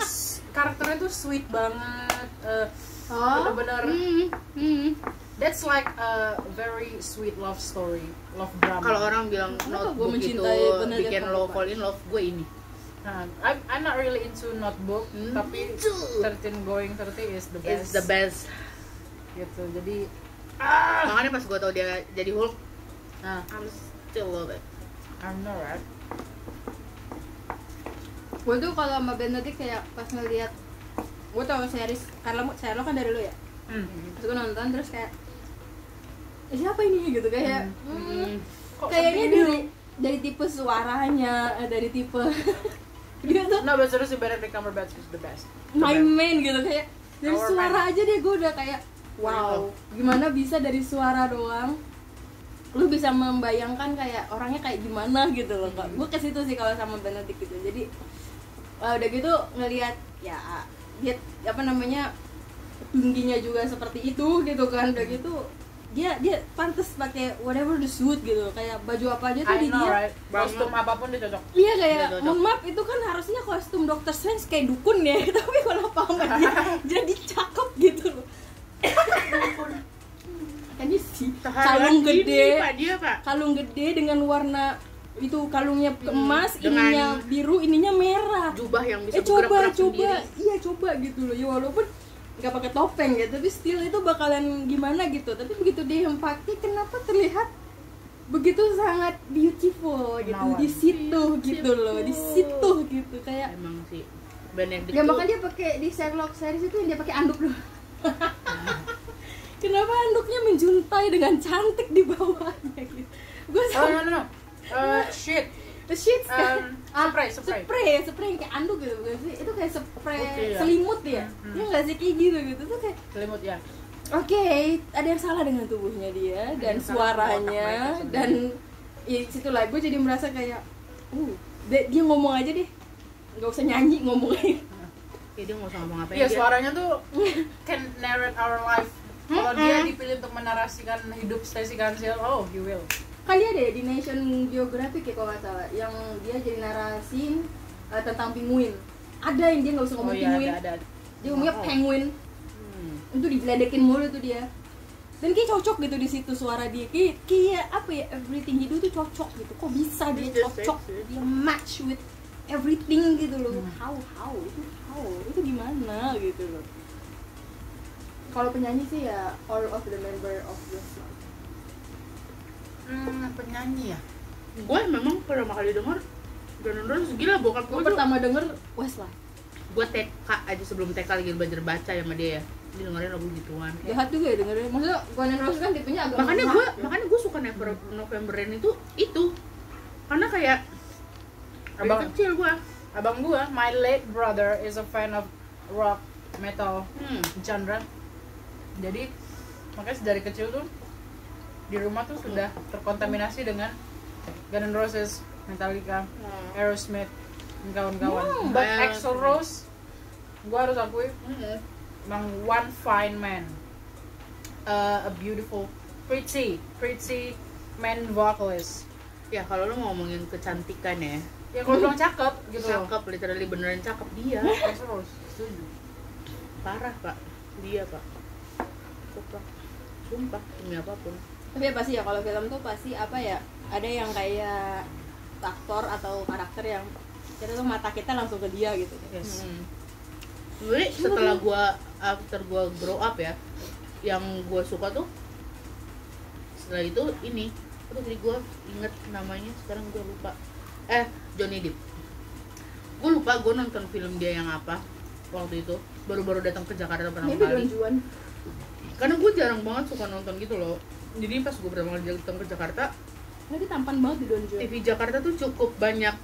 [SPEAKER 2] s- karakternya tuh sweet banget, eh,
[SPEAKER 1] Oh,
[SPEAKER 2] bener-bener
[SPEAKER 3] Hmm. Hmm.
[SPEAKER 2] that's like a very sweet love story, love drama.
[SPEAKER 3] Kalau orang bilang
[SPEAKER 1] Kenapa gua
[SPEAKER 3] notebook itu
[SPEAKER 1] mencintai penelitian
[SPEAKER 3] bikin lo
[SPEAKER 1] perempuan?
[SPEAKER 3] fall in love, gue ini.
[SPEAKER 2] Nah, I'm, I'm not really into notebook,
[SPEAKER 3] Hmm.
[SPEAKER 2] tapi
[SPEAKER 3] Itu.
[SPEAKER 2] 13 going 30 is the best.
[SPEAKER 3] It's the best.
[SPEAKER 2] Gitu. Jadi
[SPEAKER 3] Makanya pas gue tau dia jadi Hulk,
[SPEAKER 2] nah,
[SPEAKER 3] I'm still love it.
[SPEAKER 2] I'm not right.
[SPEAKER 1] gue tuh kalau sama Benedict kayak pas ngeliat gue tau series Carla Sherlock kan dari lo ya.
[SPEAKER 2] Hmm.
[SPEAKER 1] Terus gue nonton terus kayak "Eh, siapa ini gitu kayak "Hmm,
[SPEAKER 3] Hmm.
[SPEAKER 2] Kok
[SPEAKER 1] kayaknya
[SPEAKER 2] sampai
[SPEAKER 1] dari
[SPEAKER 2] gini?
[SPEAKER 1] dari tipe suaranya eh, dari tipe dia tuh
[SPEAKER 2] No, but seriously, Benedict Cumberbatch is the best.
[SPEAKER 1] my man gitu kayak dari
[SPEAKER 2] Our
[SPEAKER 1] suara
[SPEAKER 2] man.
[SPEAKER 1] aja dia gue udah kayak wow gimana bisa dari suara doang lu bisa membayangkan kayak orangnya kayak gimana gitu loh kak gue ke situ sih kalau sama Benedict gitu jadi eh, udah gitu ngelihat ya dia apa namanya tingginya juga seperti itu gitu
[SPEAKER 2] Hmm.
[SPEAKER 1] kan udah gitu dia dia pantas pakai whatever the suit gitu kayak baju apa aja tuh
[SPEAKER 2] I
[SPEAKER 1] di
[SPEAKER 2] know,
[SPEAKER 1] dia
[SPEAKER 2] right? Kostum apapun dia cocok.
[SPEAKER 1] Iya
[SPEAKER 3] Udah
[SPEAKER 1] kayak
[SPEAKER 3] cocok.
[SPEAKER 1] mohon maaf itu kan harusnya kostum Dr. Strange kayak dukun ya tapi kenapa sama dia jadi cakep gitu loh ini sih kalung
[SPEAKER 3] Ini,
[SPEAKER 1] gede
[SPEAKER 3] Pak dia pak.
[SPEAKER 1] kalung gede dengan warna itu kalungnya ke emas
[SPEAKER 3] Hmm, Dengan-
[SPEAKER 1] ininya biru ininya merah
[SPEAKER 3] Jubah yang bisa
[SPEAKER 1] eh coba
[SPEAKER 3] bergerak-gerak
[SPEAKER 1] coba
[SPEAKER 3] sendiri.
[SPEAKER 1] iya coba gitu loh ya walaupun nggak pakai topeng ya tapi still itu bakalan gimana gitu tapi begitu dia yang pakai kenapa terlihat begitu sangat beautiful gitu
[SPEAKER 2] Menawan.
[SPEAKER 1] di situ gitu loh di situ gitu kayak
[SPEAKER 3] Emang sih. Benedict
[SPEAKER 1] ya
[SPEAKER 3] tuh-
[SPEAKER 1] makanya dia pakai di Sherlock series itu yang dia pakai anduk dulu kenapa anduknya menjuntai dengan cantik di bawahnya gitu gue
[SPEAKER 2] Oh,
[SPEAKER 1] sama
[SPEAKER 2] no, no, no. Uh, shit.
[SPEAKER 1] the shit kan
[SPEAKER 2] Um,
[SPEAKER 1] Ah,
[SPEAKER 2] spray, spray.
[SPEAKER 1] spray spray yang kayak anduk gitu bukan sih itu kayak spray
[SPEAKER 2] Oke, ya.
[SPEAKER 1] selimut ya
[SPEAKER 2] Mhm.
[SPEAKER 1] dia nggak sih kayak gitu gitu tuh kayak
[SPEAKER 2] Selimut ya.
[SPEAKER 1] oke ada yang salah dengan tubuhnya dia dan
[SPEAKER 2] yang salah dengan otak Hmm, mereka
[SPEAKER 1] suaranya
[SPEAKER 2] sendiri.
[SPEAKER 1] dan ya, situ lah gue jadi merasa kayak uh dia, dia ngomong aja deh nggak usah nyanyi ngomong aja
[SPEAKER 3] Ya, dia nggak usah ngomong apa
[SPEAKER 2] Iya, suaranya tuh can narrate our life. Kalau dia dipilih untuk menarasikan hidup Stacey Gansel, oh, he will.
[SPEAKER 1] kali ada ya di Nation Geographic ya kalau nggak salah yang dia jadi narasin eh, tentang pinguin ada yang dia nggak usah
[SPEAKER 2] Oh
[SPEAKER 1] ngomong
[SPEAKER 2] iya,
[SPEAKER 1] pinguin
[SPEAKER 2] ada, ada.
[SPEAKER 1] dia ngomongnya
[SPEAKER 3] Oh.
[SPEAKER 1] penguin
[SPEAKER 3] Hmm.
[SPEAKER 1] itu digeledekin mulu tuh dia dan kayak cocok gitu di situ suara dia kayak, kayak apa ya everything hidup tuh cocok gitu kok bisa dia
[SPEAKER 3] It's just
[SPEAKER 1] cocok
[SPEAKER 3] sexy.
[SPEAKER 1] dia match with everything gitu loh how how itu how itu gimana gitu loh kalau penyanyi sih ya all of the member of the flock.
[SPEAKER 2] Hmm, penyanyi ya?
[SPEAKER 3] gue memang pertama kali denger Jonan Brothers gila bokap
[SPEAKER 1] Gue
[SPEAKER 3] gue
[SPEAKER 1] pertama denger Westlife.
[SPEAKER 3] gue TK aja sebelum TK lagi belajar baca ya sama dia ya dia dengerin lagu gituan
[SPEAKER 1] Jahat juga ya dengerin. Maksudnya Guns N' Roses kan tipenya agak
[SPEAKER 3] makanya
[SPEAKER 1] memak
[SPEAKER 3] gue
[SPEAKER 1] ya.
[SPEAKER 3] makanya gue suka Never November Rain itu itu karena kayak dari
[SPEAKER 2] Abang.
[SPEAKER 3] kecil gue
[SPEAKER 2] Abang gua, my late brother is a fan of rock metal
[SPEAKER 3] hmm.
[SPEAKER 2] genre. Jadi makanya dari kecil tuh di rumah tuh sudah terkontaminasi dengan Guns N' Roses, Metallica, Aerosmith, dan kawan-kawan.
[SPEAKER 3] Hmm,
[SPEAKER 2] But
[SPEAKER 3] banyak.
[SPEAKER 2] Axl Rose, gua harus akui emang one fine man, Uh, a beautiful, pretty, pretty man vocalist.
[SPEAKER 3] ya kalau lo ngomongin kecantikan ya
[SPEAKER 2] Ya kalau bilang cakep gitu. loh.
[SPEAKER 3] cakep literally beneran cakep dia
[SPEAKER 2] Axl Rose, setuju.
[SPEAKER 3] parah pak dia pak sumpah sumpah demi apapun
[SPEAKER 1] Tapi ya pasti ya kalau film tuh pasti apa ya ada yang kayak aktor atau karakter yang kita tuh mata kita langsung ke dia gitu.
[SPEAKER 2] Yes.
[SPEAKER 3] Hmm. Sebenernya setelah gua after gua grow up ya, yang gua suka tuh setelah itu ini, aduh jadi gua inget namanya sekarang gua lupa. Eh Johnny Depp. Gua lupa gua nonton film dia yang apa waktu itu baru-baru datang ke Jakarta pertama
[SPEAKER 1] Maybe Don
[SPEAKER 3] kali.
[SPEAKER 1] Juan.
[SPEAKER 3] Karena gua jarang banget suka nonton gitu loh. Jadi pas gua pertama kali datang ke Jakarta,
[SPEAKER 1] Tapi tampan banget di Don Juan.
[SPEAKER 3] TV Jakarta tuh cukup banyak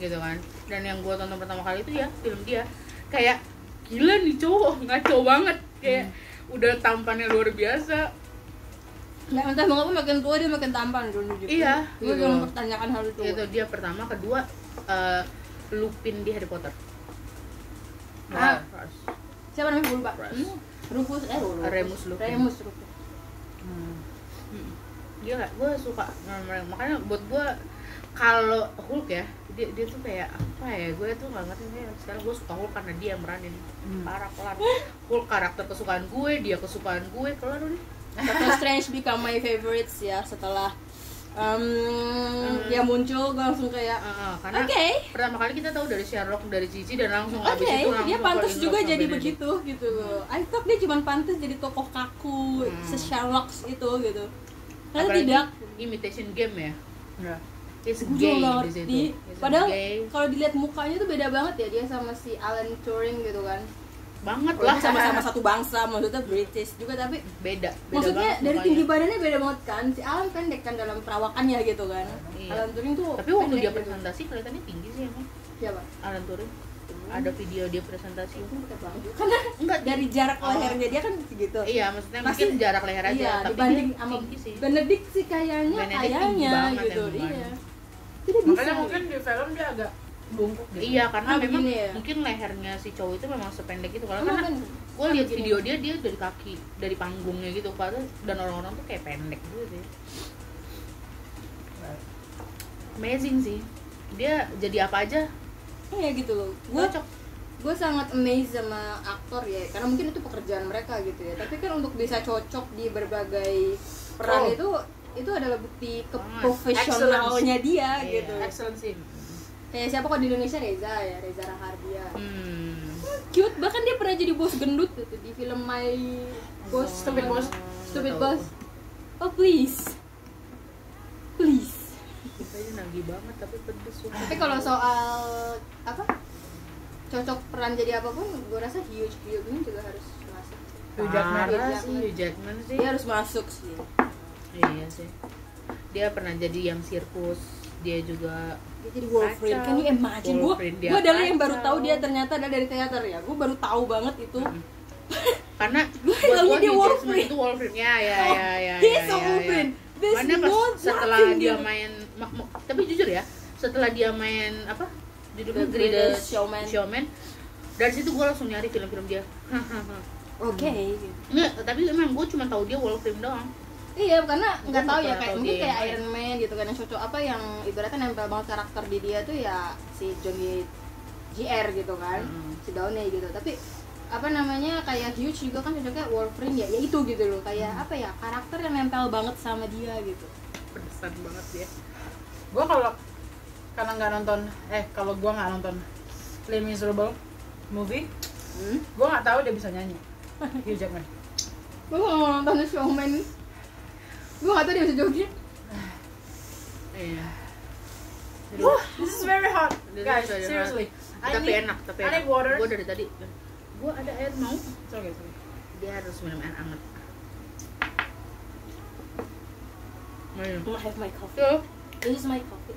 [SPEAKER 3] gitu kan dan yang gue tonton pertama kali itu ya film dia kayak gila nih cowok ngaco banget kayak udah tampannya luar biasa
[SPEAKER 1] Nah, entah mengapa makin tua dia makin tampan Don Juan.
[SPEAKER 3] Iya,
[SPEAKER 1] Gue
[SPEAKER 3] gitu.
[SPEAKER 1] juga mempertanyakan hal itu.
[SPEAKER 3] itu Gitu, dia pertama kedua eh, Lupin di Harry Potter
[SPEAKER 1] Ah.
[SPEAKER 3] Rufus.
[SPEAKER 1] Siapa namanya gue lupa?
[SPEAKER 3] Rufus.
[SPEAKER 1] Hmm? Rufus eh Rufus.
[SPEAKER 3] Remus Lupin.
[SPEAKER 1] Remus Lupin.
[SPEAKER 2] Hmm.
[SPEAKER 3] Mm. gila gue suka sama mereka. makanya buat gue kalau Hulk ya dia, dia tuh kayak apa ya gue tuh nggak ngerti nih sekarang gue suka Hulk karena dia yang meranin
[SPEAKER 2] Hmm.
[SPEAKER 3] parah kelar Hulk karakter kesukaan gue dia kesukaan gue kelar udah
[SPEAKER 1] Doctor Strange become my favorites ya setelah um, dia muncul gue langsung kayak
[SPEAKER 3] Ah, ah, Hmm. karena
[SPEAKER 1] oke
[SPEAKER 3] pertama kali kita tahu dari Sherlock dari Cici dan langsung
[SPEAKER 1] oke
[SPEAKER 3] habis itu langsung
[SPEAKER 1] dia
[SPEAKER 3] fall
[SPEAKER 1] pantas
[SPEAKER 3] in love
[SPEAKER 1] juga
[SPEAKER 3] sama
[SPEAKER 1] jadi
[SPEAKER 3] Benedict.
[SPEAKER 1] begitu gitu loh I thought dia cuma pantas jadi tokoh kaku
[SPEAKER 3] Hmm.
[SPEAKER 1] se Sherlock itu gitu ternyata
[SPEAKER 3] Apalagi
[SPEAKER 1] tidak
[SPEAKER 3] imitation game ya
[SPEAKER 2] Ya.
[SPEAKER 3] it's
[SPEAKER 1] gue
[SPEAKER 3] gay
[SPEAKER 1] juga nggak
[SPEAKER 3] di situ
[SPEAKER 1] ngerti
[SPEAKER 3] It's
[SPEAKER 1] padahal
[SPEAKER 3] gay
[SPEAKER 1] kalau dilihat mukanya tuh beda banget ya dia sama si Alan Turing gitu kan
[SPEAKER 3] banget lah
[SPEAKER 1] Walaupun sama-sama satu bangsa maksudnya British juga tapi
[SPEAKER 3] beda, beda
[SPEAKER 1] maksudnya
[SPEAKER 3] banget
[SPEAKER 1] dari
[SPEAKER 3] mukanya.
[SPEAKER 1] tinggi badannya beda banget kan si Alan pendek kan dalam perawakannya gitu kan
[SPEAKER 3] Iya.
[SPEAKER 1] Alan Turing tuh
[SPEAKER 3] tapi waktu
[SPEAKER 1] pendek
[SPEAKER 3] dia
[SPEAKER 1] gitu.
[SPEAKER 3] presentasi kelihatannya tinggi sih emang
[SPEAKER 1] Iya, Pak.
[SPEAKER 3] Alan Turing ada video dia presentasi
[SPEAKER 1] Itu bukan bangku. Karena
[SPEAKER 3] enggak
[SPEAKER 1] dari jarak
[SPEAKER 3] Oh.
[SPEAKER 1] lehernya dia kan segitu.
[SPEAKER 3] iya maksudnya
[SPEAKER 1] Masih-
[SPEAKER 3] mungkin jarak leher aja
[SPEAKER 1] iya,
[SPEAKER 3] tapi
[SPEAKER 1] dibanding
[SPEAKER 3] dia
[SPEAKER 1] sama
[SPEAKER 3] tinggi sih
[SPEAKER 1] Benedict sih kayaknya
[SPEAKER 3] Benedict tinggi
[SPEAKER 1] kayaknya
[SPEAKER 3] banget
[SPEAKER 1] gitu.
[SPEAKER 3] emang.
[SPEAKER 1] Iya. Jadi bisa.
[SPEAKER 2] Makanya mungkin di film dia agak bungkuk gitu.
[SPEAKER 3] Iya karena
[SPEAKER 1] Ah,
[SPEAKER 3] memang
[SPEAKER 1] begini ya?
[SPEAKER 3] mungkin lehernya si cowok itu memang sependek itu kalau
[SPEAKER 1] Emang
[SPEAKER 3] karena
[SPEAKER 1] kan
[SPEAKER 3] gue lihat video dia dia dari kaki dari panggungnya gitu padahal dan orang-orang tuh kayak pendek gitu sih amazing sih dia jadi apa aja
[SPEAKER 1] iya gitu loh. Gue
[SPEAKER 3] cocok
[SPEAKER 1] gue sangat amazed sama aktor ya karena mungkin itu pekerjaan mereka gitu ya tapi kan untuk bisa cocok di berbagai
[SPEAKER 2] Oh.
[SPEAKER 1] peran itu itu adalah bukti
[SPEAKER 3] Banget.
[SPEAKER 1] keprofesionalnya dia
[SPEAKER 3] Iya.
[SPEAKER 1] gitu
[SPEAKER 2] Excellent sih.
[SPEAKER 1] kayak siapa kok di Indonesia Reza ya Reza Rahardian
[SPEAKER 3] hmm.
[SPEAKER 1] cute bahkan dia pernah jadi bos gendut gitu di film My Boss
[SPEAKER 2] Stupid Boss.
[SPEAKER 1] Stupid
[SPEAKER 3] Tahu.
[SPEAKER 1] Boss oh please please
[SPEAKER 3] Mukanya nagih banget tapi pedes suka
[SPEAKER 1] tapi kalau soal apa cocok peran jadi apapun gue rasa huge huge ini juga harus masuk
[SPEAKER 2] Hugh Jackman.
[SPEAKER 3] parah sih Hugh Jackman sih
[SPEAKER 1] dia harus masuk sih
[SPEAKER 3] iya sih dia pernah jadi yang sirkus dia juga
[SPEAKER 1] dia jadi Wolverine
[SPEAKER 3] Kacau.
[SPEAKER 1] kan you imagine gue
[SPEAKER 3] Wolverine dia
[SPEAKER 1] gue adalah yang baru
[SPEAKER 3] kacau.
[SPEAKER 1] tahu dia ternyata ada dari teater ya gue baru tahu banget itu
[SPEAKER 3] karena
[SPEAKER 1] Gua
[SPEAKER 3] buat
[SPEAKER 1] taunya
[SPEAKER 3] gua
[SPEAKER 1] dia
[SPEAKER 3] Hugh Jackman
[SPEAKER 1] Wolverine.
[SPEAKER 3] itu Wolverine ya ya
[SPEAKER 1] Oh,
[SPEAKER 3] ya ya ya,
[SPEAKER 1] he's a
[SPEAKER 3] ya,
[SPEAKER 1] Wolverine.
[SPEAKER 3] ya.
[SPEAKER 1] There's
[SPEAKER 3] Karena pas
[SPEAKER 1] no
[SPEAKER 3] setelah
[SPEAKER 1] nothing
[SPEAKER 3] dia
[SPEAKER 1] dia.
[SPEAKER 3] main mak- mak- tapi jujur ya setelah dia main apa judulnya
[SPEAKER 2] Hmm,
[SPEAKER 1] The Greatest
[SPEAKER 3] Greatest
[SPEAKER 1] Showman.
[SPEAKER 3] Showman dari situ gue langsung nyari film-film dia
[SPEAKER 1] oke
[SPEAKER 3] Nggak, tapi emang gue cuma tahu dia Wolverine doang
[SPEAKER 1] Iya, karena nggak tahu ya
[SPEAKER 3] nggak
[SPEAKER 1] kayak
[SPEAKER 3] tahu
[SPEAKER 1] mungkin
[SPEAKER 3] dia
[SPEAKER 1] kayak
[SPEAKER 3] yang
[SPEAKER 1] Iron Man gitu kan yang cocok apa yang ibaratnya nempel banget karakter di dia tuh ya si Johnny JR gitu kan,
[SPEAKER 3] Mm.
[SPEAKER 1] si Downey gitu. Tapi apa namanya kayak huge juga kan cocoknya Wolverine ya, ya itu gitu loh kayak apa ya karakter yang nempel banget sama dia gitu.
[SPEAKER 3] pedesan banget dia
[SPEAKER 2] Gua kalau karena nggak nonton eh kalau gua nggak nonton Les Miserable movie,
[SPEAKER 1] Hmm?
[SPEAKER 2] gua nggak tahu dia bisa nyanyi. Hugh Jackman.
[SPEAKER 1] gue gak mau nonton The Showman gue gak tau dia bisa joget
[SPEAKER 3] Iya.
[SPEAKER 2] Wah, this is very hot,
[SPEAKER 3] This is
[SPEAKER 2] guys.
[SPEAKER 3] very hot.
[SPEAKER 2] Seriously, I
[SPEAKER 3] tapi
[SPEAKER 2] need-
[SPEAKER 3] enak, tapi
[SPEAKER 2] I
[SPEAKER 3] enak.
[SPEAKER 2] need water.
[SPEAKER 3] Gue dari tadi, gue ada air mau,
[SPEAKER 2] It's okay, it's okay.
[SPEAKER 3] dia harus minum air hangat.
[SPEAKER 1] I'm gonna have my coffee
[SPEAKER 3] Tuh,
[SPEAKER 1] this is my coffee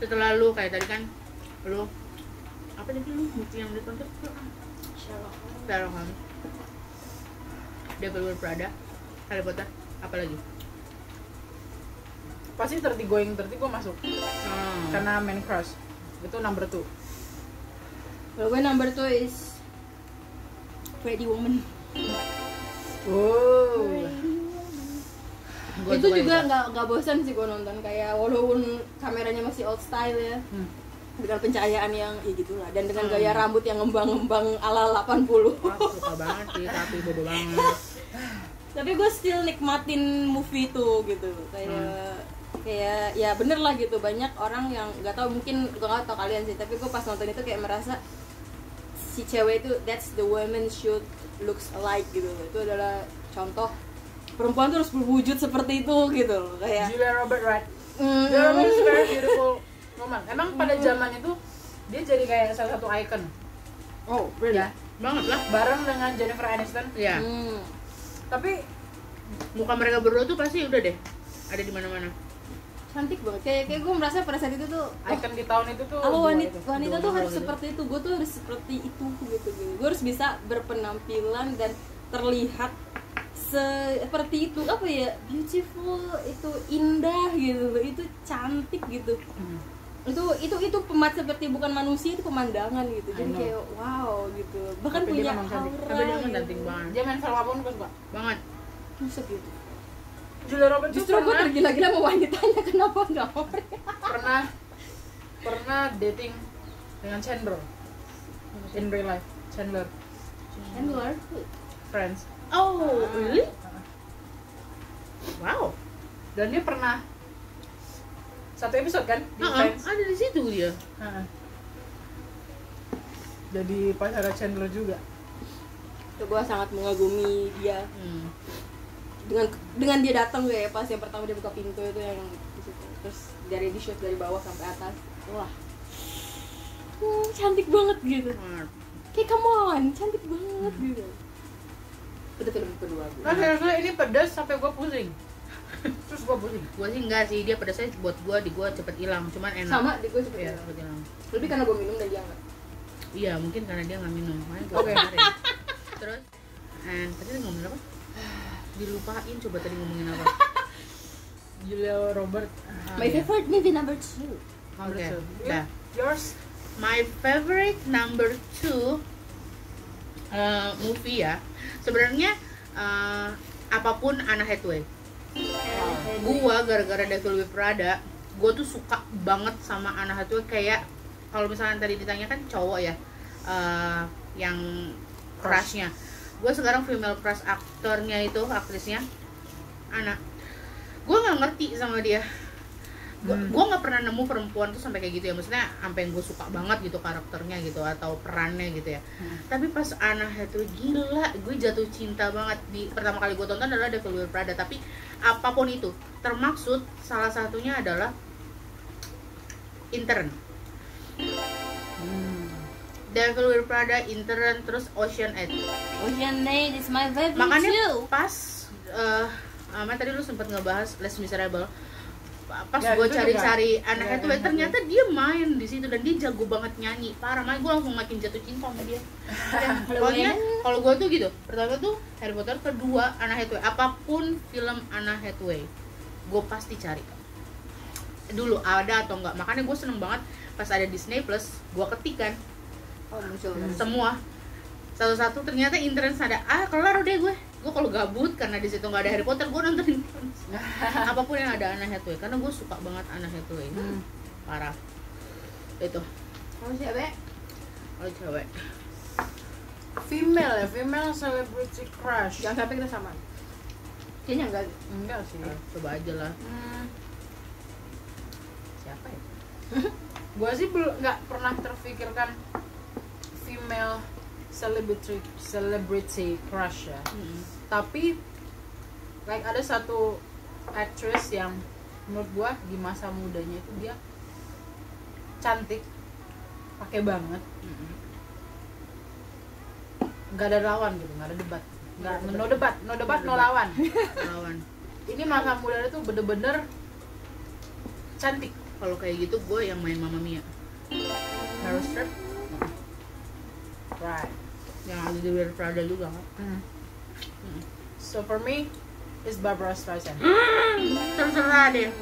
[SPEAKER 3] setelah lu kayak tadi kan, lu apa tadi lu mesti yang ditonton tuh
[SPEAKER 1] Sherlock Holmes.
[SPEAKER 3] Taruh kan. Devil Wears Prada, Harry Potter, apa lagi?
[SPEAKER 2] Pasti 30 going 30 gue masuk
[SPEAKER 3] Hmm.
[SPEAKER 2] karena main crush. Itu number two.
[SPEAKER 1] kalau gue number two is Pretty Woman
[SPEAKER 2] Oh.
[SPEAKER 3] Gua
[SPEAKER 1] itu juga
[SPEAKER 3] itu.
[SPEAKER 1] nggak nggak bosan sih gue nonton kayak walaupun kameranya masih old style ya
[SPEAKER 2] Hmm.
[SPEAKER 1] dengan pencahayaan yang ya gitulah dan dengan
[SPEAKER 3] Hmm.
[SPEAKER 1] gaya rambut yang ngembang-ngembang ala 80
[SPEAKER 3] Wah, suka banget sih, tapi bodoh banget.
[SPEAKER 1] tapi gue still nikmatin movie itu gitu kayak kayak ya bener lah gitu banyak orang yang nggak tahu mungkin gue nggak tahu kalian sih tapi gue pas nonton itu kayak merasa si cewek itu that's the woman should looks alike gitu loh. itu adalah contoh perempuan tuh harus berwujud seperti itu gitu loh
[SPEAKER 3] Oh, ya.
[SPEAKER 1] kayak
[SPEAKER 2] Julia Robert Wright.
[SPEAKER 1] mm,
[SPEAKER 2] Julia Robert is a very beautiful woman. Emang pada zaman itu dia jadi kayak salah satu icon.
[SPEAKER 1] oh really
[SPEAKER 2] Ya.
[SPEAKER 3] Banget lah.
[SPEAKER 2] Bareng dengan Jennifer Aniston.
[SPEAKER 3] Iya.
[SPEAKER 1] Hmm.
[SPEAKER 2] Tapi
[SPEAKER 3] Muka mereka berdua tuh pasti udah deh. Ada di mana-mana.
[SPEAKER 1] cantik banget kayak kayak gue merasa pada saat itu tuh wah,
[SPEAKER 2] icon di tahun itu tuh
[SPEAKER 1] Kalau
[SPEAKER 2] dua
[SPEAKER 1] wanita
[SPEAKER 2] itu.
[SPEAKER 1] wanita tuh
[SPEAKER 3] Dua
[SPEAKER 1] harus
[SPEAKER 3] gitu.
[SPEAKER 1] seperti itu, gue tuh harus seperti itu gitu gitu. Gue harus bisa berpenampilan dan terlihat seperti itu apa ya beautiful itu indah gitu loh, itu cantik gitu
[SPEAKER 2] Hmm.
[SPEAKER 1] itu itu itu pemat seperti bukan manusia itu pemandangan gitu
[SPEAKER 2] I
[SPEAKER 1] jadi
[SPEAKER 2] know.
[SPEAKER 1] kayak wow gitu bahkan
[SPEAKER 2] Tapi
[SPEAKER 1] punya
[SPEAKER 2] dia memang cantik.
[SPEAKER 1] aura
[SPEAKER 3] Tapi dia kan
[SPEAKER 1] gitu.
[SPEAKER 3] cantik banget.
[SPEAKER 2] Dia main film apa pun gue suka.
[SPEAKER 3] Banget.
[SPEAKER 1] Tuh, segitu.
[SPEAKER 2] Julia Roberts tuh
[SPEAKER 1] justru gue
[SPEAKER 2] pernah-
[SPEAKER 1] tergila-gila sama wanitanya kenapa nggak mau
[SPEAKER 2] pernah pernah dating dengan Chandler in real life Chandler
[SPEAKER 1] Chandler
[SPEAKER 2] Friends
[SPEAKER 3] Oh, really? Wow.
[SPEAKER 2] dan dia pernah satu episode kan di
[SPEAKER 3] Heeh,
[SPEAKER 2] Friends
[SPEAKER 3] ada di situ dia.
[SPEAKER 2] Ha-ha. jadi pacar Chandler juga
[SPEAKER 1] gue sangat mengagumi dia
[SPEAKER 3] Hmm.
[SPEAKER 1] dengan dengan dia datang gue ya pas yang pertama dia buka pintu itu yang di situ. terus dari di shoot dari bawah sampai atas wah hmm, cantik banget gitu
[SPEAKER 3] Smart.
[SPEAKER 1] kayak come on cantik banget gitu itu film kedua gue
[SPEAKER 2] nah seriusnya ini pedas sampai gue pusing terus gue pusing
[SPEAKER 3] Gua sih enggak sih, dia pedasnya buat gua di gua cepet hilang, cuman enak.
[SPEAKER 1] sama di gue seperti
[SPEAKER 3] Iya,
[SPEAKER 1] itu.
[SPEAKER 3] cepet hilang.
[SPEAKER 1] lebih karena gue minum dan dia enggak
[SPEAKER 3] Iya, mungkin karena dia nggak minum. Makanya gua
[SPEAKER 2] Oke.
[SPEAKER 3] kemarin. Terus, and tadi ngomongin apa? Dilupain coba tadi ngomongin apa?
[SPEAKER 2] Julia Robert
[SPEAKER 3] Ah,
[SPEAKER 1] my
[SPEAKER 3] iya.
[SPEAKER 1] favorite movie number two
[SPEAKER 2] Number
[SPEAKER 3] Oke,
[SPEAKER 2] two.
[SPEAKER 3] dah.
[SPEAKER 2] yours
[SPEAKER 3] Nah, My favorite number two uh, movie ya. Sebenarnya uh, apapun Anna Hathaway. Gua gara-gara Devil Wears Prada, gua tuh suka banget sama Anna Hathaway kayak kalau misalnya tadi ditanya kan cowok ya uh, yang
[SPEAKER 2] Crush.
[SPEAKER 3] crushnya. Gue sekarang female crush aktornya itu aktrisnya Anna. Gue nggak ngerti sama dia. Gue
[SPEAKER 2] Hmm.
[SPEAKER 3] gua nggak pernah nemu perempuan tuh sampai kayak gitu ya maksudnya sampai yang gue suka banget gitu karakternya gitu atau perannya gitu ya tapi pas Anna Hathaway gila gue jatuh cinta banget di pertama kali gue tonton adalah Devil Wears Prada tapi apapun itu termaksud salah satunya adalah intern
[SPEAKER 2] hmm.
[SPEAKER 3] Devil Wears Prada intern terus Ocean Eight
[SPEAKER 1] Oh,
[SPEAKER 4] Ocean Eight is my favorite
[SPEAKER 3] makanya
[SPEAKER 4] too.
[SPEAKER 3] pas eh Ama tadi lu sempat ngebahas Les Miserable pas
[SPEAKER 2] Ya,
[SPEAKER 3] gue
[SPEAKER 2] itu
[SPEAKER 3] cari-cari
[SPEAKER 2] Ya,
[SPEAKER 3] anaknya tuh
[SPEAKER 2] enak
[SPEAKER 3] ternyata dia main di situ dan dia jago banget nyanyi parah makanya gue langsung makin jatuh cinta sama dia Ya, pokoknya kalau gue tuh gitu pertama tuh Harry Potter kedua Anna Hathaway apapun film Anna Hathaway gue pasti cari dulu ada atau enggak makanya gue seneng banget pas ada Disney Plus gue ketikan
[SPEAKER 1] oh muncul
[SPEAKER 3] semua satu-satu ternyata interest ada ah kelar deh gue gue kalau gabut karena di situ nggak ada Harry Potter gue nonton Interns. apapun yang ada Anna Hathaway karena gue suka banget Anna Hathaway
[SPEAKER 2] Hmm.
[SPEAKER 3] parah itu
[SPEAKER 1] kamu siapa
[SPEAKER 3] kalau cewek
[SPEAKER 2] female ya female celebrity crush
[SPEAKER 1] jangan sampai kita sama kayaknya enggak
[SPEAKER 2] Ya. enggak sih
[SPEAKER 3] ah, coba aja lah
[SPEAKER 2] hmm.
[SPEAKER 3] siapa ya
[SPEAKER 2] gue sih belum nggak pernah terfikirkan female celebrity celebrity crush ya. Tapi like ada satu actress yang menurut gua di masa mudanya itu dia cantik, pakai banget, nggak ada lawan gitu, nggak ada debat, nggak no debat, no debat, no lawan.
[SPEAKER 3] lawan
[SPEAKER 2] Ini masa mudanya tuh bener-bener cantik.
[SPEAKER 3] kalau kayak gitu gue yang main Mamma Mia
[SPEAKER 2] Meryl Streep. Right.
[SPEAKER 3] yang ada di Weird Prada juga kan
[SPEAKER 2] So for me, it's Barbara Streisand.
[SPEAKER 3] terserah deh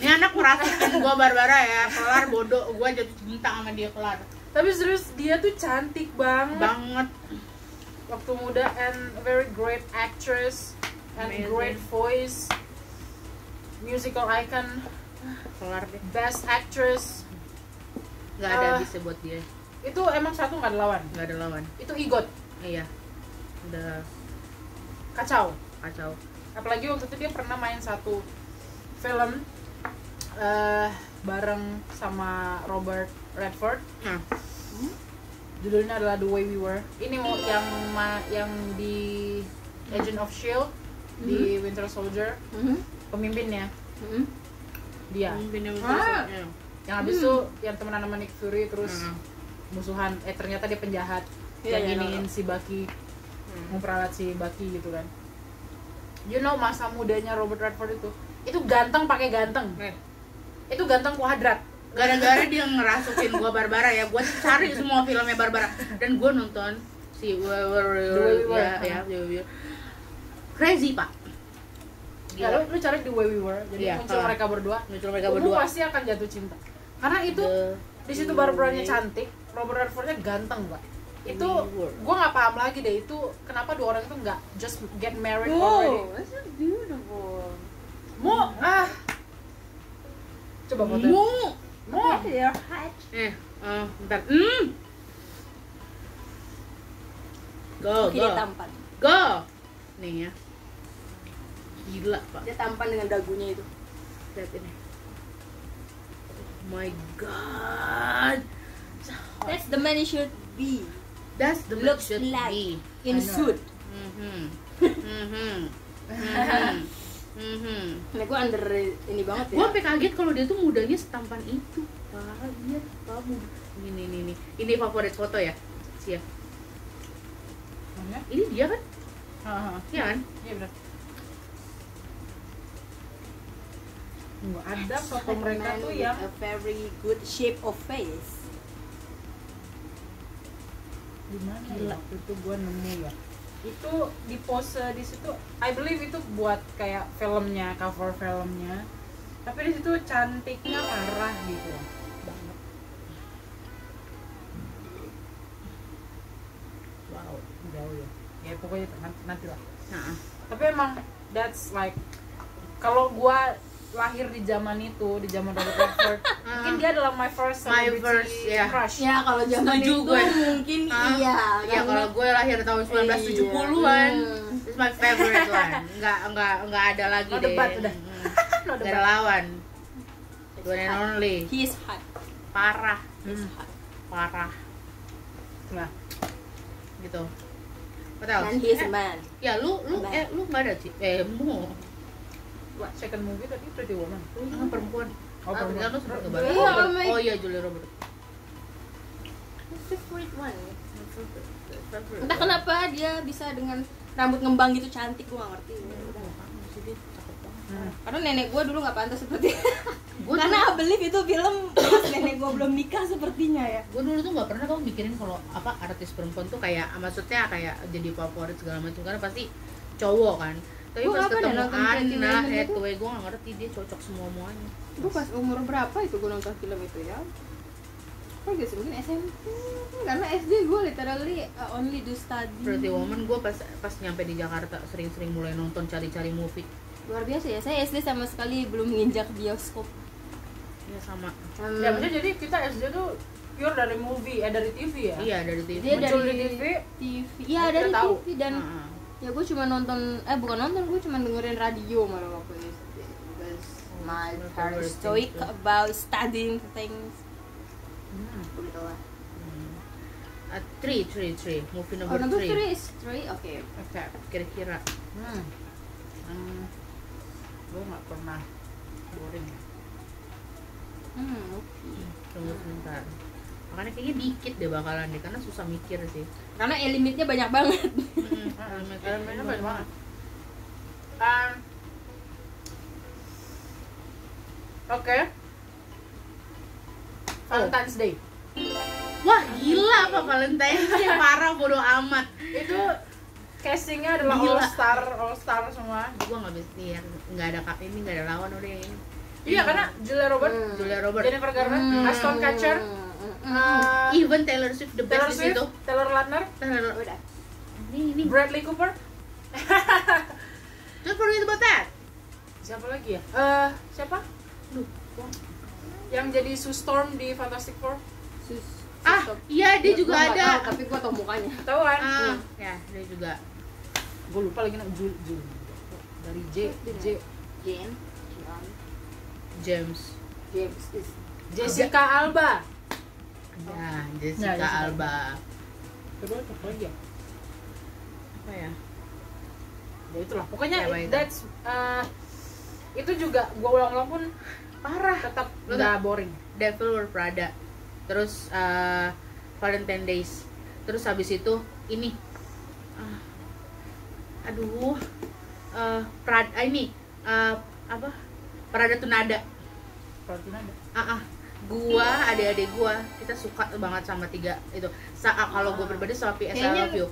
[SPEAKER 3] ini anak merasukin gue Barbara ya kelar bodoh gue jatuh cinta sama dia kelar
[SPEAKER 2] Tapi serius dia tuh cantik banget.
[SPEAKER 3] banget
[SPEAKER 2] Waktu muda and very great actress and
[SPEAKER 3] Amazing.
[SPEAKER 2] great voice. Musical icon,
[SPEAKER 3] kelar deh
[SPEAKER 2] best actress.
[SPEAKER 3] nggak ada
[SPEAKER 2] Ah.
[SPEAKER 3] bisa buat dia
[SPEAKER 2] Itu emang satu nggak ada lawan.
[SPEAKER 3] nggak ada lawan
[SPEAKER 2] Itu igot,
[SPEAKER 3] iya udah
[SPEAKER 2] kacau.
[SPEAKER 3] kacau
[SPEAKER 2] Apalagi waktu itu dia pernah main satu film eh bareng sama Robert Redford.
[SPEAKER 3] nah
[SPEAKER 2] judulnya adalah The Way We Were. Ini mau yang ma- yang di Agent of Shield E di Winter Soldier
[SPEAKER 1] Mhm,
[SPEAKER 2] pemimpinnya
[SPEAKER 1] mhm.
[SPEAKER 2] dia.
[SPEAKER 3] mungkin yang
[SPEAKER 1] Ah.
[SPEAKER 2] Hmm. Yang habis itu yang temenan sama Nick Fury terus
[SPEAKER 3] Hmm.
[SPEAKER 2] musuhan eh ternyata dia penjahat
[SPEAKER 1] Mhm. Iya, iya,
[SPEAKER 2] yang iniin
[SPEAKER 1] tau,
[SPEAKER 2] si Bucky memperalat si Bucky gitu kan. You know masa mudanya Robert Redford itu itu ganteng pakai ganteng.
[SPEAKER 1] Iya.
[SPEAKER 2] Itu ganteng kuadrat.
[SPEAKER 3] Eh, gara-gara dia ngerasukin gua Barbara ya gua cari semua filmnya Barbara dan gua nonton si Were- Were-
[SPEAKER 2] The Way We Were.
[SPEAKER 3] ya, ya, The Way We Were. crazy pak
[SPEAKER 2] Ya,
[SPEAKER 3] gila
[SPEAKER 2] lu, lu cari The Way We Were. Jadi
[SPEAKER 3] Iya,
[SPEAKER 2] muncul
[SPEAKER 3] ah.
[SPEAKER 2] mereka berdua.
[SPEAKER 3] muncul mereka
[SPEAKER 2] Lu
[SPEAKER 3] berdua Iya.
[SPEAKER 2] pasti akan jatuh cinta. Karena itu
[SPEAKER 3] The-
[SPEAKER 2] di situ Barbara-nya cantik, Robert Redford-nya ganteng, Pak. Itu
[SPEAKER 3] Iya,
[SPEAKER 2] gua nggak paham lagi deh itu kenapa dua orang itu nggak just get married already.
[SPEAKER 1] Wow, that's so beautiful.
[SPEAKER 2] Mo, ah. Coba foto.
[SPEAKER 1] Mu,
[SPEAKER 2] Mo.
[SPEAKER 1] your heart.
[SPEAKER 3] eh eh, bentar hmm go
[SPEAKER 1] Oke,
[SPEAKER 3] go
[SPEAKER 1] dia tampan.
[SPEAKER 3] go nih ya gila pak
[SPEAKER 1] Dia tampan dengan dagunya itu.
[SPEAKER 3] lihat ini oh my god
[SPEAKER 4] That's the man you should be.
[SPEAKER 3] that's the look
[SPEAKER 4] Looks
[SPEAKER 3] should
[SPEAKER 4] like
[SPEAKER 3] be.
[SPEAKER 4] in
[SPEAKER 2] I know.
[SPEAKER 4] suit.
[SPEAKER 3] Mhm. Mhm. Mhm. Mhm.
[SPEAKER 1] Nah, gue under ini banget
[SPEAKER 3] Gua
[SPEAKER 1] ya.
[SPEAKER 3] sampai kaget kalau dia tuh mudanya setampan itu. Parah iya kamu. Ini ini ini. Ini favorit foto ya. Siap.
[SPEAKER 2] Mana?
[SPEAKER 3] Ini dia kan?
[SPEAKER 2] Haha.
[SPEAKER 3] Iya kan?
[SPEAKER 2] Iya benar. Nggak ada foto mereka
[SPEAKER 1] Man
[SPEAKER 2] tuh
[SPEAKER 1] with
[SPEAKER 2] yang
[SPEAKER 1] a very good shape of face.
[SPEAKER 2] di mana
[SPEAKER 3] Gila.
[SPEAKER 2] ya? waktu itu gua nemu ya. Itu di pose di situ I believe itu buat kayak filmnya, cover filmnya. Tapi di situ cantiknya parah gitu.
[SPEAKER 3] Banget. Wow.
[SPEAKER 2] jauh ya ya pokoknya nanti, nanti lah
[SPEAKER 3] Nah,
[SPEAKER 2] tapi emang that's like kalau gua lahir di zaman itu di zaman Robert Redford mungkin dia adalah my first
[SPEAKER 3] Uh-huh. My
[SPEAKER 2] celebrity
[SPEAKER 3] first, yeah.
[SPEAKER 2] crush
[SPEAKER 1] Ya kalau zaman
[SPEAKER 3] Setuju
[SPEAKER 1] itu
[SPEAKER 3] gue.
[SPEAKER 1] mungkin
[SPEAKER 3] Ah,
[SPEAKER 1] iya.
[SPEAKER 3] ya
[SPEAKER 1] karena-
[SPEAKER 3] kalau gue lahir tahun 1970-an.
[SPEAKER 1] Iya.
[SPEAKER 3] It's my favorite one. Enggak enggak enggak ada lagi
[SPEAKER 2] No
[SPEAKER 3] deh.
[SPEAKER 2] debat, udah.
[SPEAKER 3] Mm.
[SPEAKER 2] No
[SPEAKER 3] Nggak ada
[SPEAKER 2] debat.
[SPEAKER 3] lawan. Gue and only.
[SPEAKER 1] He is hot.
[SPEAKER 3] Parah,
[SPEAKER 2] Hmm,
[SPEAKER 3] parah
[SPEAKER 2] nah
[SPEAKER 3] gitu. What else?
[SPEAKER 1] And he is
[SPEAKER 3] Eh,
[SPEAKER 1] a man.
[SPEAKER 3] Ya lu lu
[SPEAKER 1] Mbak.
[SPEAKER 3] eh lu nggak ada sih. Eh mu.
[SPEAKER 2] what second movie tadi Pretty Woman
[SPEAKER 3] Lu kan perempuan.
[SPEAKER 2] Oh,
[SPEAKER 3] Ah,
[SPEAKER 2] perempuan.
[SPEAKER 3] kan lu sempet ngebahas.
[SPEAKER 1] Iya,
[SPEAKER 3] Robert.
[SPEAKER 1] Mei.
[SPEAKER 3] Oh iya Julia Robert.
[SPEAKER 1] Favorite one. Entah kenapa dia bisa dengan rambut ngembang gitu cantik gue ngerti.
[SPEAKER 2] Hmm.
[SPEAKER 1] Karena nenek gue dulu nggak pantas seperti
[SPEAKER 3] Gue
[SPEAKER 1] Karena I believe itu film pas nenek gue belum nikah sepertinya ya.
[SPEAKER 3] gue dulu tuh nggak pernah tau mikirin kalau apa artis perempuan tuh kayak ah, maksudnya kayak jadi favorit segala macam karena pasti cowok kan tapi
[SPEAKER 1] Gua
[SPEAKER 3] pas nah,
[SPEAKER 1] kapan ya
[SPEAKER 3] ketemu
[SPEAKER 1] nonton Pretty
[SPEAKER 3] Anna
[SPEAKER 1] Woman gitu. Hmm. itu?
[SPEAKER 3] Hathaway gue gak ngerti dia cocok semua muanya
[SPEAKER 1] Gue pas umur berapa itu gue nonton film itu ya? Apa gitu mungkin SMP karena SD gue literally uh, only do study.
[SPEAKER 3] Pretty Woman gue pas pas nyampe di Jakarta sering-sering mulai nonton cari-cari movie
[SPEAKER 1] Luar biasa ya. Saya SD sama sekali belum nginjak bioskop.
[SPEAKER 3] ya sama
[SPEAKER 1] Hmm.
[SPEAKER 2] ya maksudnya jadi kita SD tuh pure dari movie eh dari TV ya
[SPEAKER 3] iya dari TV
[SPEAKER 1] dia
[SPEAKER 2] Muncul
[SPEAKER 1] dari
[SPEAKER 2] di TV,
[SPEAKER 1] TV. Iya
[SPEAKER 2] kita
[SPEAKER 1] dari
[SPEAKER 2] tahu.
[SPEAKER 1] TV dan
[SPEAKER 3] Heeh.
[SPEAKER 1] ya gue cuma nonton eh bukan nonton gue cuma dengerin radio malah waktu itu. Because
[SPEAKER 2] Hmm.
[SPEAKER 1] my
[SPEAKER 3] Oh,
[SPEAKER 1] parents
[SPEAKER 3] nonton
[SPEAKER 1] stoic
[SPEAKER 3] radio.
[SPEAKER 1] about studying things
[SPEAKER 2] Hmm.
[SPEAKER 1] gitu lah.
[SPEAKER 3] Hmm. Uh, three, three, three. Movie
[SPEAKER 4] Oh,
[SPEAKER 3] number,
[SPEAKER 4] number
[SPEAKER 3] three.
[SPEAKER 4] three is three. Okay.
[SPEAKER 2] Oke.
[SPEAKER 3] Kira-kira.
[SPEAKER 2] Hmm. Hmm. Gue nggak pernah boring.
[SPEAKER 4] Hmm. okay.
[SPEAKER 3] Tunggu sebentar. Makanya kayaknya dikit deh bakalan deh, karena susah mikir sih.
[SPEAKER 4] Karena eh, limitnya banyak banget.
[SPEAKER 1] Hmm,
[SPEAKER 3] Mm-mm, elementnya-
[SPEAKER 2] Elemennya
[SPEAKER 1] ya,
[SPEAKER 2] banyak banget. Um,
[SPEAKER 1] Ah,
[SPEAKER 2] Oke. Oh. Valentine's Day.
[SPEAKER 3] Wah gila apa Valentine's Day parah bodo amat.
[SPEAKER 2] Itu castingnya adalah
[SPEAKER 3] Gila.
[SPEAKER 2] all star, all star semua.
[SPEAKER 3] Gua nggak bisa nih yang nggak ada kak ini nggak ada lawan udah yang ini.
[SPEAKER 2] Iya karena Julia Robert,
[SPEAKER 4] Hmm.
[SPEAKER 3] Julia Roberts.
[SPEAKER 2] Jennifer Garner,
[SPEAKER 3] Hmm.
[SPEAKER 2] Ashton Kutcher,
[SPEAKER 1] Hmm.
[SPEAKER 3] Ah.
[SPEAKER 2] uh,
[SPEAKER 3] Even Taylor Swift the best
[SPEAKER 2] Taylor
[SPEAKER 3] di
[SPEAKER 2] Swift,
[SPEAKER 3] situ.
[SPEAKER 2] Taylor Lautner,
[SPEAKER 1] Ya
[SPEAKER 3] Taylor
[SPEAKER 4] Udah.
[SPEAKER 3] ini ini.
[SPEAKER 2] Bradley Cooper.
[SPEAKER 3] Don't forget about that.
[SPEAKER 2] Siapa lagi ya? Eh siapa?
[SPEAKER 3] Duh.
[SPEAKER 2] Yang jadi Sue Storm di Fantastic Four.
[SPEAKER 1] Sus.
[SPEAKER 3] Ah iya dia juga
[SPEAKER 1] Gua nggak
[SPEAKER 3] ada.
[SPEAKER 1] tahu, tapi gua tau mukanya
[SPEAKER 2] Tahu kan?
[SPEAKER 3] Ah ya dia juga.
[SPEAKER 2] Gue lupa lagi nama Jul, Jul. Dari J, J,
[SPEAKER 1] Jane John
[SPEAKER 3] James.
[SPEAKER 1] James is
[SPEAKER 2] Jessica Alba.
[SPEAKER 3] Ya Jessica
[SPEAKER 2] Jessica
[SPEAKER 3] Alba.
[SPEAKER 2] Terus apa lagi ya?
[SPEAKER 3] Apa ya?
[SPEAKER 2] Ya itulah. Pokoknya
[SPEAKER 3] Ya, baik.
[SPEAKER 2] that's eh, itu juga gue ulang-ulang pun
[SPEAKER 3] Parah.
[SPEAKER 2] tetap
[SPEAKER 3] Lu
[SPEAKER 2] nggak boring.
[SPEAKER 3] Devil Wear Prada. Terus eh, Valentine Days. Terus habis itu ini. Ah, aduh. Eh, Prada ah, ini eh, apa? Prada Tunada.
[SPEAKER 2] Perhatian ada.
[SPEAKER 3] Ah, ah. gua adik-adik gua kita suka banget sama tiga itu saat kalau gua pribadi sama PS I Love You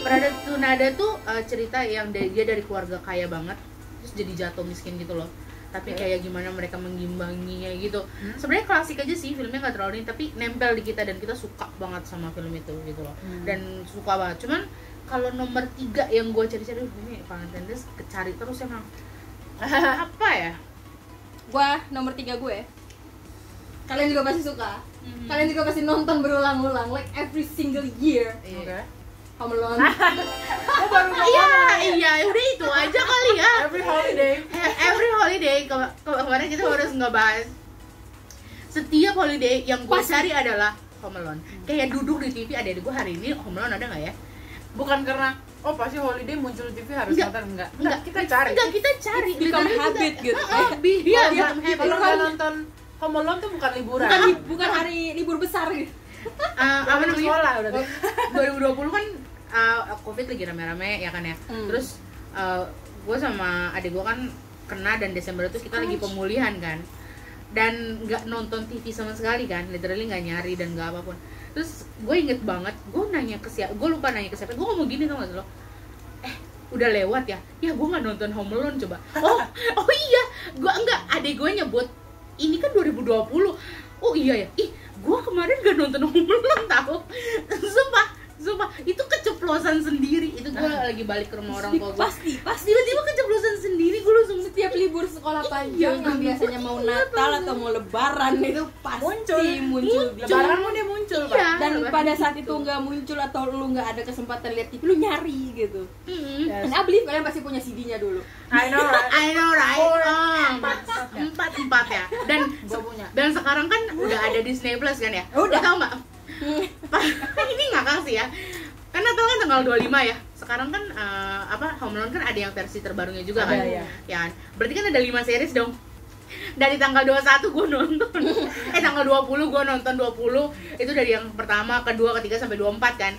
[SPEAKER 3] Prada Tunada tuh eh, cerita yang dari, dia dari keluarga kaya banget terus jadi jatuh miskin gitu loh tapi
[SPEAKER 2] Oke. Hmm?
[SPEAKER 3] kayak gimana mereka mengimbanginya gitu sebenarnya klasik aja sih filmnya nggak terlalu ini tapi nempel di kita dan kita suka banget sama film itu gitu loh
[SPEAKER 2] Hmm.
[SPEAKER 3] dan suka banget cuman kalau nomor tiga yang gua cari-cari ini Valentine Days kecari terus emang apa ya
[SPEAKER 1] gua nomor tiga gue kalian juga pasti suka
[SPEAKER 3] Hmm.
[SPEAKER 2] Hmm.
[SPEAKER 1] kalian juga pasti nonton berulang-ulang like every single year
[SPEAKER 3] Iya.
[SPEAKER 2] Oke.
[SPEAKER 1] Home Alone
[SPEAKER 3] Ah.
[SPEAKER 2] Oh baru mau
[SPEAKER 3] Iya, iya, udah itu aja kali ya. Eh,
[SPEAKER 2] every holiday.
[SPEAKER 3] Every holiday ke ke- kemarin kita harus ngebahas. Setiap holiday yang gue cari adalah Home Alone. Kayak duduk di TV ada di gue hari ini Home Alone ada nggak ya?
[SPEAKER 2] Bukan karena oh pasti holiday muncul di TV harus
[SPEAKER 3] Enggak.
[SPEAKER 2] nonton enggak.
[SPEAKER 3] Enggak.
[SPEAKER 2] kita cari.
[SPEAKER 3] Enggak kita cari.
[SPEAKER 1] It's become
[SPEAKER 3] Literally
[SPEAKER 1] habit
[SPEAKER 3] kita-
[SPEAKER 1] gitu.
[SPEAKER 3] Heeh, bi- Iya,
[SPEAKER 2] Kalau
[SPEAKER 3] become
[SPEAKER 2] nggak-
[SPEAKER 3] habit.
[SPEAKER 2] Kalau nggak nonton Home Alone tuh bukan liburan.
[SPEAKER 1] bukan li- bukan hari libur besar gitu
[SPEAKER 3] Eh, apa
[SPEAKER 2] Bukan
[SPEAKER 3] namanya?
[SPEAKER 2] sekolah udah. tuh.
[SPEAKER 3] 2020 kan uh, covid lagi rame-rame ya kan ya
[SPEAKER 1] Hmm.
[SPEAKER 3] terus gue sama adik gue kan kena dan Desember itu kita lagi pemulihan kan dan nggak nonton TV sama sekali kan literally nggak nyari dan nggak apapun terus gue inget banget gue nanya ke siapa gue lupa nanya ke siapa gue ngomong gini tau gak sih lo eh udah lewat ya ya gue nggak nonton Home Alone coba oh oh iya gue enggak adik gue nyebut ini kan 2020 oh iya ya ih gue kemarin gak nonton Home Alone tau sumpah sumpah itu keceplosan sendiri itu gue lagi balik ke rumah orang tua gue
[SPEAKER 1] pasti pasti
[SPEAKER 3] tiba-tiba keceplosan sendiri gue langsung
[SPEAKER 1] setiap libur sekolah panjang
[SPEAKER 3] Iya,
[SPEAKER 1] yang biasanya mau Natal atau mau Lebaran itu pasti
[SPEAKER 2] Muncul.
[SPEAKER 1] muncul,
[SPEAKER 2] Lebaran pun dia muncul, Pak.
[SPEAKER 3] Iya.
[SPEAKER 1] dan
[SPEAKER 3] Lebaran
[SPEAKER 1] pada saat
[SPEAKER 3] gitu.
[SPEAKER 1] itu nggak muncul atau lu nggak ada kesempatan lihat TV lu nyari gitu
[SPEAKER 3] Mm-mm.
[SPEAKER 2] Yes.
[SPEAKER 1] dan I believe kalian pasti punya CD-nya dulu
[SPEAKER 2] I know right.
[SPEAKER 3] I know right
[SPEAKER 2] Four,
[SPEAKER 3] Oh,
[SPEAKER 2] empat, ya.
[SPEAKER 3] empat empat ya dan
[SPEAKER 2] Gua punya.
[SPEAKER 3] dan sekarang kan udah ada Disney Plus kan ya
[SPEAKER 2] Oh,
[SPEAKER 3] Lo
[SPEAKER 1] Udah.
[SPEAKER 3] tau nggak Pa- ini ngakak sih ya kan Natal kan tanggal 25 ya sekarang kan eh, apa Home Alone kan ada yang versi terbarunya juga
[SPEAKER 2] Ada,
[SPEAKER 3] kan
[SPEAKER 2] iya.
[SPEAKER 3] ya kan? berarti kan ada 5 series dong dari tanggal 21 gue nonton eh tanggal 20 gue nonton 20 itu dari yang pertama kedua ketiga sampai 24 kan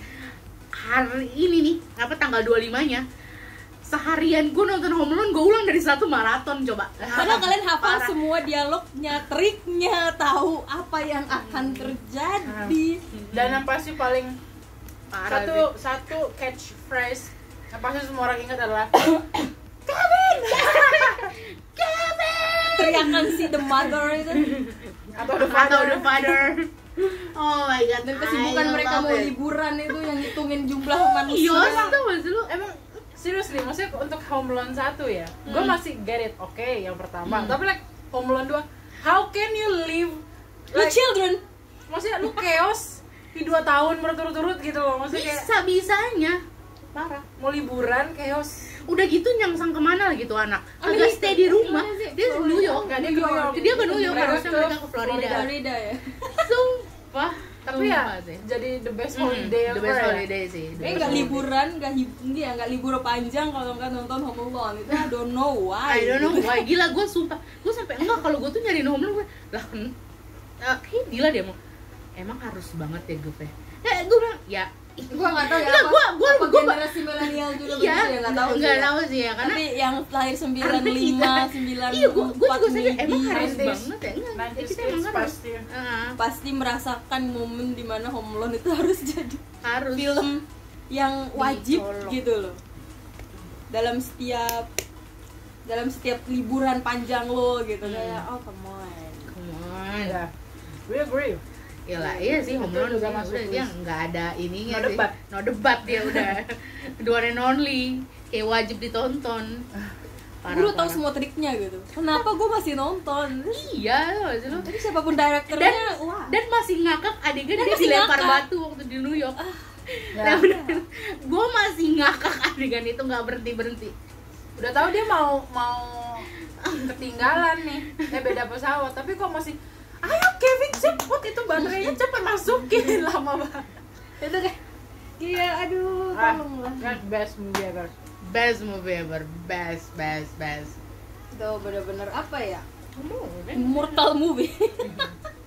[SPEAKER 3] hari ini nih apa tanggal 25 nya seharian gue nonton Home Alone gue ulang dari satu maraton coba
[SPEAKER 1] Padahal kalian hafal
[SPEAKER 3] Parah.
[SPEAKER 1] semua dialognya, triknya, tahu apa yang akan terjadi.
[SPEAKER 2] Dan yang pasti paling
[SPEAKER 3] Parah
[SPEAKER 2] satu
[SPEAKER 3] sih.
[SPEAKER 2] satu catchphrase yang pasti semua orang ingat adalah
[SPEAKER 1] Teriakan si the mother itu
[SPEAKER 2] atau the
[SPEAKER 3] atau
[SPEAKER 2] father.
[SPEAKER 3] The Father oh my god
[SPEAKER 1] dan kesibukan
[SPEAKER 3] I
[SPEAKER 1] mereka
[SPEAKER 3] love
[SPEAKER 1] mau
[SPEAKER 3] it.
[SPEAKER 1] liburan itu yang ngitungin jumlah manusia.
[SPEAKER 3] Yos tuh maksud lu
[SPEAKER 2] Emang seriously maksudnya untuk Home Alone satu ya, gue masih get it, oke yang pertama. Tapi like Home Alone dua, how can you live?
[SPEAKER 1] Lu
[SPEAKER 2] Like,
[SPEAKER 1] children.
[SPEAKER 2] maksudnya lu chaos di dua tahun berturut-turut gitu loh, maksudnya kayak
[SPEAKER 3] bisa bisanya parah
[SPEAKER 2] mau liburan chaos.
[SPEAKER 3] udah gitu nyangsang kemana lagi tuh anak agak
[SPEAKER 1] Amerika.
[SPEAKER 3] stay di rumah
[SPEAKER 1] Gimana sih?
[SPEAKER 3] dia ke New York
[SPEAKER 2] Enggak, dia ke New York.
[SPEAKER 3] dia ke New York
[SPEAKER 2] Mereka
[SPEAKER 1] Oh, ya.
[SPEAKER 3] harusnya
[SPEAKER 2] ke
[SPEAKER 3] mereka ke Florida
[SPEAKER 1] Florida ya.
[SPEAKER 3] sumpah
[SPEAKER 2] tapi
[SPEAKER 3] Tuh,
[SPEAKER 2] ya
[SPEAKER 3] banget ya.
[SPEAKER 2] jadi the best
[SPEAKER 3] Hmm,
[SPEAKER 2] holiday
[SPEAKER 3] the
[SPEAKER 2] ever
[SPEAKER 3] best Eh,
[SPEAKER 2] ya.
[SPEAKER 3] holiday sih the
[SPEAKER 1] Kayaknya
[SPEAKER 3] best
[SPEAKER 1] Eh, nggak
[SPEAKER 3] holiday.
[SPEAKER 1] liburan, nggak hib- ini ya nggak libur panjang kalau nggak nonton Home Alone itu I don't know why.
[SPEAKER 3] I don't know why gila gue sumpah gue sampai enggak kalau gue tuh nyari nomor gue lah ken- eh, kayak gila deh emang emang harus banget ya gue ya gue bilang ya
[SPEAKER 1] Gue nggak tahu ya
[SPEAKER 3] Nggak,
[SPEAKER 1] apa,
[SPEAKER 3] gua- gua-
[SPEAKER 1] apa
[SPEAKER 3] gua-
[SPEAKER 1] generasi milenial juga
[SPEAKER 3] iya
[SPEAKER 1] begitu ya nggak tahu. sih
[SPEAKER 3] nggak
[SPEAKER 1] ya.
[SPEAKER 3] tahu sih ya karena
[SPEAKER 1] Tapi yang lahir sembilan
[SPEAKER 3] Karena
[SPEAKER 1] lima,
[SPEAKER 3] kita-
[SPEAKER 1] sembilan
[SPEAKER 3] iya gue gue juga sadar emang harus
[SPEAKER 2] 90s,
[SPEAKER 3] banget ya enggak
[SPEAKER 2] 90s
[SPEAKER 3] kita Ah, emang
[SPEAKER 2] kids
[SPEAKER 3] harus
[SPEAKER 2] pasti.
[SPEAKER 3] Heeh,
[SPEAKER 1] pasti merasakan momen dimana Home Alone itu harus jadi
[SPEAKER 3] harus
[SPEAKER 1] film yang wajib
[SPEAKER 3] Dicolok.
[SPEAKER 1] gitu loh dalam setiap dalam setiap liburan panjang lo gitu
[SPEAKER 3] Hmm.
[SPEAKER 1] kayak oh come on
[SPEAKER 3] come on
[SPEAKER 2] Ya. we agree
[SPEAKER 3] Gila, iya sih
[SPEAKER 2] Itu
[SPEAKER 3] home run
[SPEAKER 2] juga
[SPEAKER 3] sih,
[SPEAKER 2] masuk
[SPEAKER 3] udah
[SPEAKER 2] list.
[SPEAKER 3] dia nggak ada ininya
[SPEAKER 2] No
[SPEAKER 3] sih.
[SPEAKER 2] debat.
[SPEAKER 3] No debat dia udah. The one and only. Kayak wajib ditonton.
[SPEAKER 1] gue udah tahu semua triknya gitu kenapa gue masih nonton
[SPEAKER 3] Iya, loh, sih lo.
[SPEAKER 1] tapi siapapun direkturnya
[SPEAKER 3] Dan-
[SPEAKER 1] wah
[SPEAKER 3] Dan masih ngakak adegan
[SPEAKER 1] Dan
[SPEAKER 3] dia
[SPEAKER 1] masih
[SPEAKER 3] dilempar
[SPEAKER 1] ngakak.
[SPEAKER 3] batu waktu di New York.
[SPEAKER 2] Ya.
[SPEAKER 3] Nah, gue masih ngakak adegan itu nggak berhenti berhenti.
[SPEAKER 2] udah tahu dia mau mau ketinggalan nih eh beda pesawat tapi kok masih ayo Kevin cepet itu baterainya cepet masukin lama banget
[SPEAKER 1] itu kayak iya aduh
[SPEAKER 2] Ah,
[SPEAKER 1] tolonglah
[SPEAKER 2] that best movie ever
[SPEAKER 3] Best movie ever, best, best, best.
[SPEAKER 1] itu bener-bener apa ya
[SPEAKER 3] Kamu,
[SPEAKER 1] immortal movie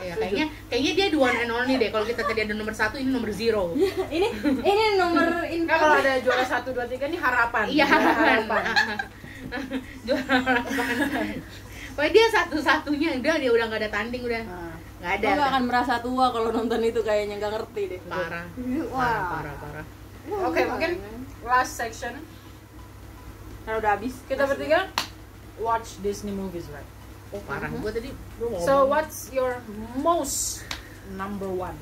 [SPEAKER 3] ya, kayaknya kayaknya dia the one and only deh. Kalau kita tadi ada nomor satu, ini nomor zero.
[SPEAKER 1] ini ini nomor ini
[SPEAKER 2] Enggak Kan kalau ada juara satu dua tiga ini harapan
[SPEAKER 3] Iya
[SPEAKER 2] Juara
[SPEAKER 3] harapan. Juara harapan. Pokoknya dia satu-satunya udah dia udah nggak ada tanding udah
[SPEAKER 2] Ah.
[SPEAKER 3] nggak ada.
[SPEAKER 1] Lo gak akan merasa tua kalau nonton itu kayaknya nggak ngerti deh
[SPEAKER 3] Parah. Parah,
[SPEAKER 1] wah
[SPEAKER 3] parah, parah.
[SPEAKER 2] oke mungkin last section
[SPEAKER 1] Karena udah habis
[SPEAKER 2] kita bertiga watch Disney movies right
[SPEAKER 3] Oh parah. Gue tadi gua ngomong.
[SPEAKER 2] so what's your most number one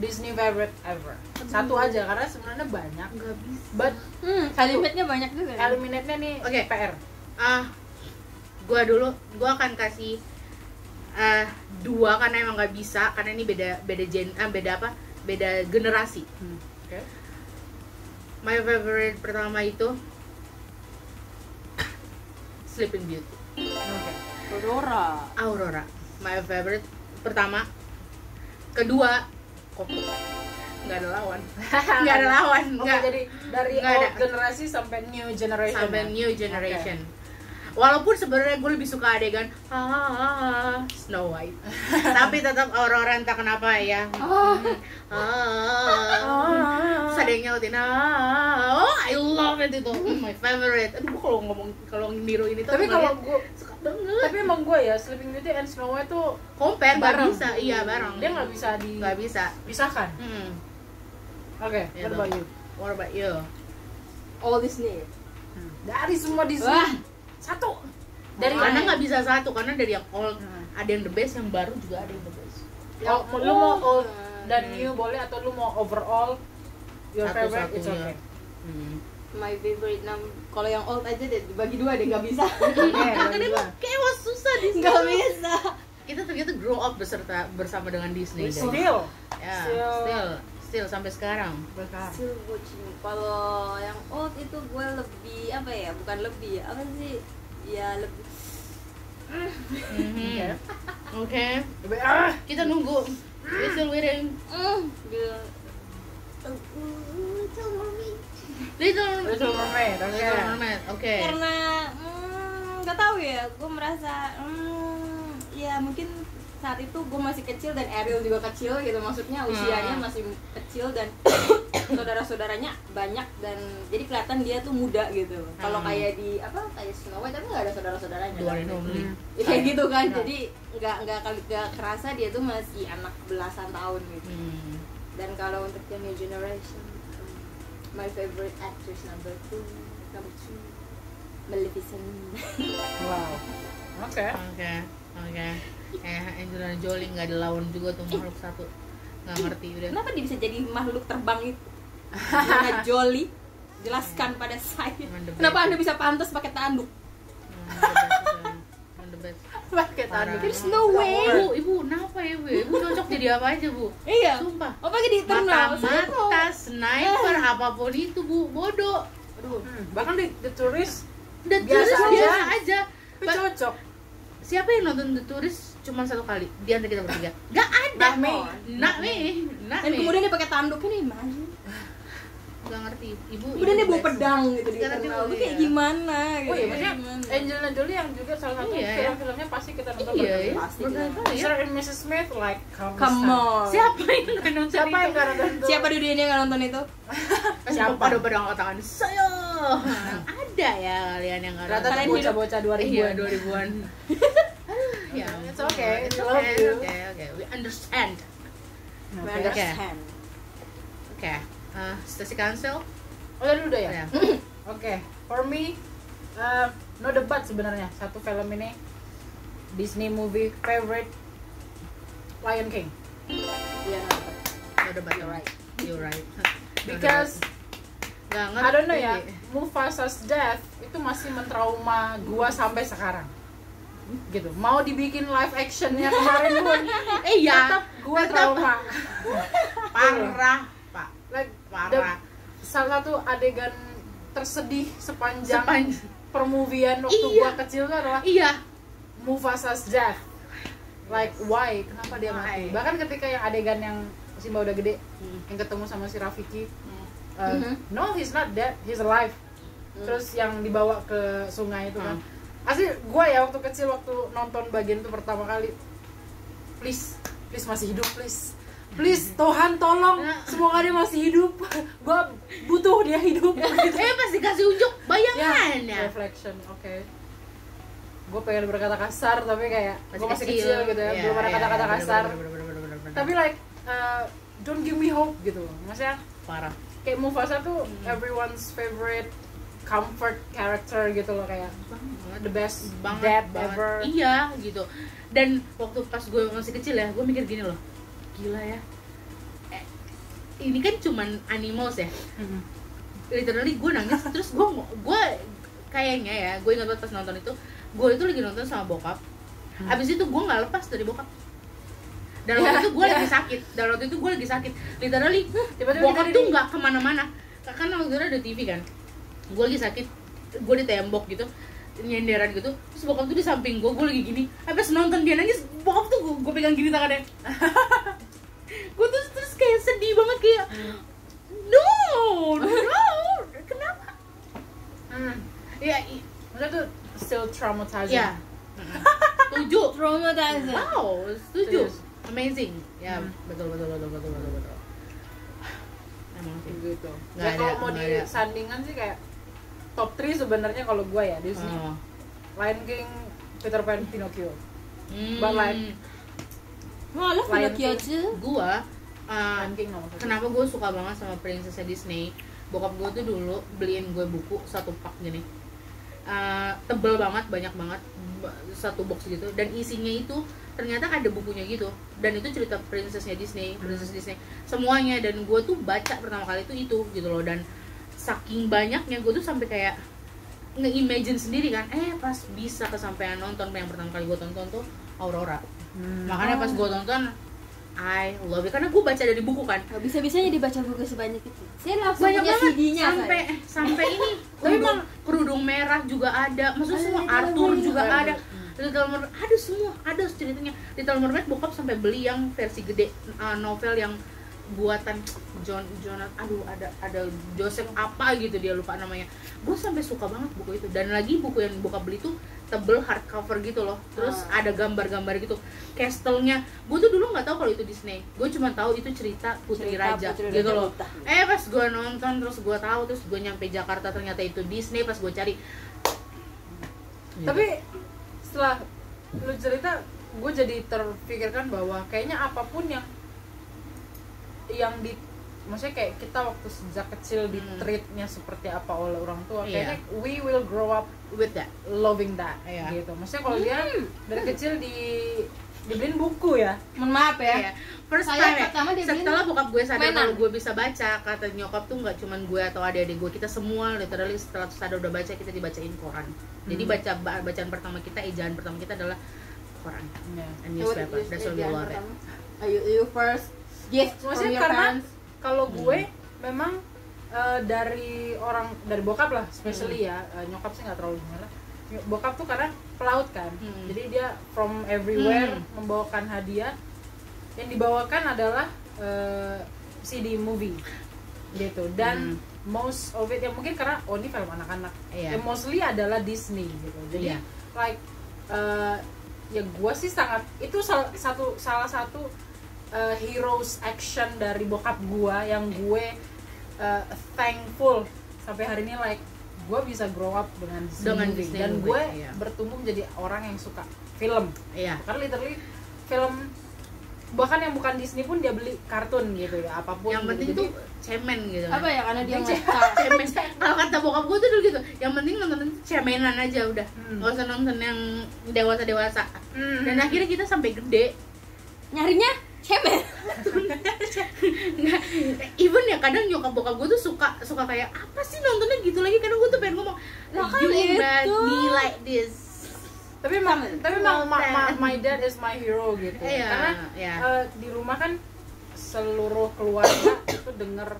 [SPEAKER 2] Disney favorite ever
[SPEAKER 3] Hmm.
[SPEAKER 2] satu aja karena sebenarnya banyak Hmm.
[SPEAKER 3] Nggak bisa.
[SPEAKER 2] but
[SPEAKER 1] Hmm, kalimatnya banyak juga. ya.
[SPEAKER 2] eliminate nya nih
[SPEAKER 3] Oke.
[SPEAKER 2] PR
[SPEAKER 3] Ah, gue dulu gue akan kasih ah dua karena emang nggak bisa karena ini beda beda gen ah, beda apa beda generasi.
[SPEAKER 2] Hmm. oke
[SPEAKER 3] My favorite pertama itu Sleeping Beauty.
[SPEAKER 2] oke
[SPEAKER 1] Aurora.
[SPEAKER 3] Aurora my favorite pertama kedua Coco nggak ada lawan nggak ada lawan
[SPEAKER 2] Oke,
[SPEAKER 3] nggak
[SPEAKER 2] jadi dari
[SPEAKER 3] Nggak
[SPEAKER 2] old
[SPEAKER 3] ada.
[SPEAKER 2] generasi sampai new generation
[SPEAKER 3] sampai
[SPEAKER 2] ya?
[SPEAKER 3] new generation walaupun sebenarnya gue lebih suka adegan ah, Snow White tapi tetap Aurora entah kenapa ya
[SPEAKER 1] Hmm.
[SPEAKER 3] ah,
[SPEAKER 2] Ah.
[SPEAKER 3] Terus ada yang nyautin ah, oh I love it itu Hmm, my favorite aduh gua kalau ngomong kalau niru ini tuh
[SPEAKER 2] tapi kalau
[SPEAKER 3] ngeliat,
[SPEAKER 2] gue
[SPEAKER 3] suka banget
[SPEAKER 2] tapi emang gue ya Sleeping Beauty and Snow White tuh
[SPEAKER 3] compare nggak
[SPEAKER 2] bareng.
[SPEAKER 3] bisa iya bareng
[SPEAKER 2] dia nggak bisa di
[SPEAKER 3] nggak bisa
[SPEAKER 2] pisahkan
[SPEAKER 3] Hmm.
[SPEAKER 2] oke
[SPEAKER 3] Iya,
[SPEAKER 2] what about
[SPEAKER 3] dong.
[SPEAKER 2] you?
[SPEAKER 3] What about you?
[SPEAKER 1] All Disney.
[SPEAKER 3] Hmm.
[SPEAKER 2] dari semua Disney
[SPEAKER 1] Wah.
[SPEAKER 2] satu dari
[SPEAKER 3] karena
[SPEAKER 2] mana
[SPEAKER 3] nggak bisa satu karena dari yang old
[SPEAKER 2] Hmm.
[SPEAKER 3] ada yang the best yang baru juga ada yang the best.
[SPEAKER 2] Oh, lu mau old dan
[SPEAKER 3] Hmm.
[SPEAKER 2] new boleh atau lu mau overall your favorite it's
[SPEAKER 3] Satu-satunya.
[SPEAKER 2] okay Eh,
[SPEAKER 3] Hmm.
[SPEAKER 1] My favorite nam. Kalau yang old aja deh bagi dua deh nggak bisa.
[SPEAKER 3] Eh,
[SPEAKER 2] Oke,
[SPEAKER 3] Karena emang kayak wah, susah di sini.
[SPEAKER 1] Nggak bisa.
[SPEAKER 3] Kita ternyata grow up beserta bersama dengan Disney. guys.
[SPEAKER 2] still
[SPEAKER 3] Ya,
[SPEAKER 2] Still.
[SPEAKER 3] still, still sampai sekarang. Hmm.
[SPEAKER 1] Still watching. Kalau yang old itu gue lebih apa ya? Bukan lebih ya. Apa sih? Ya lebih.
[SPEAKER 3] Mhm.
[SPEAKER 2] Oke.
[SPEAKER 3] Oke,
[SPEAKER 2] Ah,
[SPEAKER 3] kita nunggu. We still waiting.
[SPEAKER 1] Mm,
[SPEAKER 3] Hmm.
[SPEAKER 1] gitu. Mm, tell mommy.
[SPEAKER 3] Little,
[SPEAKER 2] Little Mermaid oke
[SPEAKER 3] Little Mermaid. Oke.
[SPEAKER 1] Karena mm, nggak tahu ya. Gue merasa mm, ya mungkin saat itu gue masih kecil dan Ariel juga kecil gitu maksudnya usianya
[SPEAKER 3] Hmm.
[SPEAKER 1] masih kecil dan saudara-saudaranya banyak dan jadi kelihatan dia tuh muda gitu kalau
[SPEAKER 3] Hmm.
[SPEAKER 1] kayak di apa kayak Snow White tapi nggak ada saudara-saudaranya
[SPEAKER 3] Dua
[SPEAKER 1] kan?
[SPEAKER 3] and only.
[SPEAKER 2] Hmm.
[SPEAKER 1] Ya, kayak gitu kan
[SPEAKER 3] Benar.
[SPEAKER 1] jadi nggak nggak nggak kerasa dia tuh masih anak belasan tahun gitu
[SPEAKER 3] Hmm.
[SPEAKER 1] dan kalau untuk the new generation um, my favorite actress number two number two Maleficent
[SPEAKER 2] wow oke
[SPEAKER 3] Oke, oke. Eh, Angelina Jolie nggak ada lawan juga tuh makhluk satu. Nggak ngerti udah.
[SPEAKER 1] Kenapa dia bisa jadi makhluk terbang itu? Mana Jolly? Jelaskan pada saya. Kenapa Anda bisa pantas pakai tanduk?
[SPEAKER 3] Hmm, the best.
[SPEAKER 2] pakai tanduk
[SPEAKER 1] There's no way.
[SPEAKER 3] Bu, ibu, kenapa ya bu? Ibu cocok jadi apa aja bu?
[SPEAKER 1] Iya.
[SPEAKER 3] Sumpah.
[SPEAKER 1] Oh pakai di internal. Saya mau.
[SPEAKER 3] Mata-mata, sniper,
[SPEAKER 1] Iya.
[SPEAKER 3] apapun itu bu, bodoh.
[SPEAKER 1] Aduh.
[SPEAKER 2] Hmm, bahkan di The Tourist
[SPEAKER 3] The
[SPEAKER 2] Biasa
[SPEAKER 3] Tourist
[SPEAKER 2] aja.
[SPEAKER 3] biasa aja.
[SPEAKER 2] tapi cocok
[SPEAKER 3] Siapa yang nonton The Tourist cuma satu kali di antara kita bertiga nggak ada
[SPEAKER 2] Rahmi.
[SPEAKER 3] Nami
[SPEAKER 1] Nah. dan kemudian dia pakai tanduk kan imagine
[SPEAKER 3] nggak ngerti ibu
[SPEAKER 1] kemudian
[SPEAKER 3] ibu
[SPEAKER 1] dia bawa
[SPEAKER 3] biasa.
[SPEAKER 1] pedang gitu di
[SPEAKER 3] Sekarang
[SPEAKER 1] internal
[SPEAKER 3] dia-
[SPEAKER 1] lu kayak gimana gitu
[SPEAKER 2] Oh iya, maksudnya
[SPEAKER 1] Gimana?
[SPEAKER 2] Angelina Jolie yang juga salah satu
[SPEAKER 3] Hmm. Iya, ya.
[SPEAKER 2] film-filmnya pasti kita nonton
[SPEAKER 3] iya ya
[SPEAKER 2] berdua.
[SPEAKER 1] Pasti
[SPEAKER 3] berkali-kali ya
[SPEAKER 2] Sir and Mrs. Smith like come,
[SPEAKER 1] come
[SPEAKER 2] on.
[SPEAKER 1] on
[SPEAKER 3] siapa yang nggak nonton
[SPEAKER 2] Siapa
[SPEAKER 3] itu? Eh,
[SPEAKER 2] yang gak nonton itu?
[SPEAKER 1] siapa di dunia yang nggak nonton itu
[SPEAKER 3] Pasti
[SPEAKER 2] Siapa?
[SPEAKER 3] pada pada angkat tangan saya ada ya kalian yang nggak
[SPEAKER 2] Rata
[SPEAKER 3] nonton.
[SPEAKER 1] Kalian
[SPEAKER 2] bocah-bocah 2000-an.
[SPEAKER 3] iya dua ribuan ya
[SPEAKER 2] It's okay,
[SPEAKER 3] it's
[SPEAKER 2] we love
[SPEAKER 3] okay
[SPEAKER 2] you.
[SPEAKER 3] it's okay okay we understand
[SPEAKER 1] We
[SPEAKER 2] Oke.
[SPEAKER 1] understand.
[SPEAKER 3] oke Eh, Stasi Kansel
[SPEAKER 2] Oh, tadi udah ya?
[SPEAKER 3] ya
[SPEAKER 2] Oke, for me uh, no debat sebenarnya satu film ini Disney movie favorite Lion King
[SPEAKER 1] Iya, nonton.
[SPEAKER 3] udah banyak
[SPEAKER 1] You're right.
[SPEAKER 3] you're right
[SPEAKER 2] because
[SPEAKER 3] nggak ngerti
[SPEAKER 2] I don't know ya Mufasa's death itu masih mentrauma gua sampai sekarang gitu mau dibikin live actionnya kemarin pun
[SPEAKER 3] eh ya
[SPEAKER 2] tetap gua trauma
[SPEAKER 3] parah pak
[SPEAKER 2] like the,
[SPEAKER 3] parah
[SPEAKER 2] salah satu adegan tersedih sepanjang
[SPEAKER 3] Sepanj-
[SPEAKER 2] permuvian waktu
[SPEAKER 3] Iya.
[SPEAKER 2] gua kecil itu adalah
[SPEAKER 3] iya
[SPEAKER 2] Mufasa's death. Like why? Kenapa dia
[SPEAKER 3] Why?
[SPEAKER 2] mati? Bahkan ketika yang adegan yang Simba udah gede, yang ketemu sama si Rafiki, uh,
[SPEAKER 1] Mhm.
[SPEAKER 2] no he's not dead, he's alive. Terus yang dibawa ke sungai itu kan. Asli gua ya waktu kecil waktu nonton bagian itu pertama kali, please, please masih hidup please. Please Tuhan tolong, semoga dia masih hidup. gua butuh dia hidup.
[SPEAKER 3] eh pas dikasih unjuk bayangan ya
[SPEAKER 2] reflection oke gue pengen berkata kasar tapi kayak gue masih kecil, gitu ya
[SPEAKER 3] Iya,
[SPEAKER 2] belum ada
[SPEAKER 3] iya,
[SPEAKER 2] kata-kata
[SPEAKER 3] iya,
[SPEAKER 2] kasar
[SPEAKER 3] bener, bener, bener, bener, bener.
[SPEAKER 2] tapi like uh, don't give me hope gitu maksudnya
[SPEAKER 3] parah
[SPEAKER 2] kayak Mufasa tuh
[SPEAKER 3] Hmm.
[SPEAKER 2] everyone's favorite comfort character gitu loh kayak the best
[SPEAKER 3] banget
[SPEAKER 2] dad
[SPEAKER 3] banget.
[SPEAKER 2] ever
[SPEAKER 3] iya gitu dan waktu pas gue masih kecil ya gue mikir gini loh gila ya eh, ini kan cuman animals ya
[SPEAKER 2] Mhm.
[SPEAKER 3] literally gue nangis terus gue gue kayaknya ya gue ingat banget pas nonton itu gue itu lagi nonton sama bokap
[SPEAKER 2] Hmm.
[SPEAKER 3] abis itu gue nggak lepas dari bokap dan waktu
[SPEAKER 2] Ya,
[SPEAKER 3] itu gue
[SPEAKER 2] ya.
[SPEAKER 3] lagi sakit dan waktu itu gue lagi sakit literally
[SPEAKER 2] tiba-tiba
[SPEAKER 3] bokap
[SPEAKER 2] kita
[SPEAKER 3] tuh
[SPEAKER 2] di-
[SPEAKER 3] nggak kemana-mana karena waktu itu ada TV kan gue lagi sakit gue di tembok gitu nyenderan gitu terus bokap tuh di samping gue gue lagi gini habis nonton dia nangis bokap tuh gue, gue pegang gini tangannya gue tuh terus kayak sedih banget kayak no no kenapa
[SPEAKER 2] Hmm.
[SPEAKER 3] ya i-
[SPEAKER 2] maksudnya tuh still traumatizing
[SPEAKER 3] ya tujuh
[SPEAKER 1] Traumatizer.
[SPEAKER 3] wow setuju
[SPEAKER 2] Serius.
[SPEAKER 3] amazing ya
[SPEAKER 2] Hmm.
[SPEAKER 3] betul betul betul betul betul betul emang sih
[SPEAKER 2] gitu
[SPEAKER 3] Nggak
[SPEAKER 2] ya
[SPEAKER 3] ada,
[SPEAKER 2] kalau mau
[SPEAKER 3] nggak ada.
[SPEAKER 2] disandingkan sih kayak top 3 sebenarnya kalau gue ya di sini
[SPEAKER 3] Oh.
[SPEAKER 2] Lion King Peter Pan Pinocchio
[SPEAKER 3] Hmm.
[SPEAKER 2] But like,
[SPEAKER 1] Wah, lu
[SPEAKER 2] Lion
[SPEAKER 1] udah kyoji.
[SPEAKER 3] gua uh,
[SPEAKER 2] Lion King nomor satu.
[SPEAKER 3] kenapa gue suka banget sama princess Disney bokap gue tuh dulu beliin gue buku satu pak gini Uh, tebel banget banyak banget ba- satu box gitu dan isinya itu ternyata ada bukunya gitu dan itu cerita princessnya Disney princess Disney semuanya dan gue tuh baca pertama kali itu itu gitu loh dan saking banyaknya gue tuh sampai kayak nge-imagine sendiri kan eh pas bisa kesampaian nonton yang pertama kali gue tonton tuh Aurora
[SPEAKER 2] Hmm.
[SPEAKER 3] makanya pas gue tonton I love it karena gue baca dari buku kan
[SPEAKER 1] Gak bisa-bisanya dibaca buku sebanyak itu. Saya langsung
[SPEAKER 3] banyak
[SPEAKER 1] punya
[SPEAKER 3] banget
[SPEAKER 1] CD-nya.
[SPEAKER 3] sampai
[SPEAKER 1] saya.
[SPEAKER 3] ya. sampai ini
[SPEAKER 2] Tapi
[SPEAKER 3] kerudung kerudung merah juga ada maksudnya semua
[SPEAKER 1] Ada, ada,
[SPEAKER 3] Arthur
[SPEAKER 1] ada.
[SPEAKER 3] juga
[SPEAKER 2] Ada.
[SPEAKER 3] ada Little Mermaid ada semua ada ceritanya Little Mermaid bokap sampai beli yang versi gede uh, novel yang buatan John Jonathan aduh ada ada Joseph apa gitu dia lupa namanya gue sampai suka banget buku itu dan lagi buku yang bokap beli tuh tebel hardcover gitu loh terus
[SPEAKER 1] Ah.
[SPEAKER 3] ada gambar-gambar gitu castle-nya gue tuh dulu nggak tahu kalau itu Disney gue cuma tahu itu cerita putri
[SPEAKER 1] Cerita
[SPEAKER 3] raja
[SPEAKER 1] Putri
[SPEAKER 3] gitu
[SPEAKER 1] Raja
[SPEAKER 3] loh
[SPEAKER 1] Utah.
[SPEAKER 3] eh pas gue nonton terus gue tahu terus gue nyampe Jakarta ternyata itu Disney pas gue cari iya.
[SPEAKER 2] Tapi setelah lu cerita, gue jadi terpikirkan bahwa kayaknya apapun yang yang di maksudnya kayak kita waktu sejak kecil di
[SPEAKER 3] Hmm.
[SPEAKER 2] treatnya seperti apa oleh orang tua
[SPEAKER 3] Iya.
[SPEAKER 2] kayaknya we will grow up
[SPEAKER 3] with that
[SPEAKER 2] loving that
[SPEAKER 3] Iya. Hmm.
[SPEAKER 2] gitu maksudnya kalau dia dari kecil di dibeliin buku ya
[SPEAKER 1] Mohon maaf ya.
[SPEAKER 3] Iya. First
[SPEAKER 4] Saya
[SPEAKER 3] time ya.
[SPEAKER 4] pertama dia
[SPEAKER 3] Setelah bokap gue sadar
[SPEAKER 4] mainan.
[SPEAKER 3] kalau gue bisa baca Kata nyokap tuh nggak cuman gue atau adik-adik gue Kita semua literally setelah sadar udah baca Kita dibacain koran Jadi
[SPEAKER 2] Hmm.
[SPEAKER 3] baca ba- bacaan pertama kita, ejaan pertama kita adalah koran
[SPEAKER 2] Iya.
[SPEAKER 3] And newspaper, that's what we
[SPEAKER 1] Jangan
[SPEAKER 3] love it
[SPEAKER 1] pertama. Ayo, you first. Gift from
[SPEAKER 2] maksudnya
[SPEAKER 1] your
[SPEAKER 2] karena
[SPEAKER 1] parents.
[SPEAKER 2] kalau
[SPEAKER 3] Hmm.
[SPEAKER 2] gue memang eh, dari orang dari bokap lah especially ya eh, nyokap sih nggak terlalu gimana Ny- bokap tuh karena pelaut kan
[SPEAKER 1] Hmm.
[SPEAKER 2] jadi dia from everywhere
[SPEAKER 3] Hmm.
[SPEAKER 2] membawakan hadiah yang dibawakan adalah eh, CD movie gitu dan
[SPEAKER 3] Hmm.
[SPEAKER 2] most of it ya mungkin karena oh ini film anak-anak
[SPEAKER 3] Iya.
[SPEAKER 2] ya mostly adalah Disney gitu
[SPEAKER 3] Iya.
[SPEAKER 2] jadi like eh, ya gua sih sangat itu sal- satu salah satu eh, heroes action dari bokap gua yang gue eh, thankful sampai hari ini like gue bisa grow up dengan Disney
[SPEAKER 3] Dengan
[SPEAKER 2] movie.
[SPEAKER 3] Disney
[SPEAKER 2] dan
[SPEAKER 3] movie,
[SPEAKER 2] gue
[SPEAKER 3] iya.
[SPEAKER 2] bertumbuh menjadi orang yang suka film
[SPEAKER 3] Iya.
[SPEAKER 2] karena literally film bahkan yang bukan Disney pun dia beli kartun gitu ya apapun
[SPEAKER 3] Yang
[SPEAKER 2] gitu.
[SPEAKER 3] penting
[SPEAKER 2] Jadi,
[SPEAKER 3] tuh cemen gitu. kan.
[SPEAKER 1] apa ya karena dia
[SPEAKER 2] Dia
[SPEAKER 1] ngaca
[SPEAKER 3] cemen kalau kata bokap gue tuh dulu gitu yang penting nonton cemenan aja udah
[SPEAKER 2] Hmm.
[SPEAKER 3] nggak usah nonton yang dewasa dewasa
[SPEAKER 2] Hmm.
[SPEAKER 3] dan akhirnya kita sampai gede
[SPEAKER 1] nyarinya cemen
[SPEAKER 3] Nggak, even ya kadang nyokap bokap gue tuh suka suka kayak apa sih nontonnya gitu lagi karena gue tuh pengen ngomong
[SPEAKER 1] Lah, kan
[SPEAKER 3] you made
[SPEAKER 1] itu."
[SPEAKER 3] me like this
[SPEAKER 2] tapi emang tapi emang
[SPEAKER 3] Well,
[SPEAKER 2] ma- ma-
[SPEAKER 3] then.
[SPEAKER 2] my dad is my hero gitu
[SPEAKER 3] Iya,
[SPEAKER 2] karena
[SPEAKER 3] iya.
[SPEAKER 2] eh, di rumah kan seluruh keluarga itu denger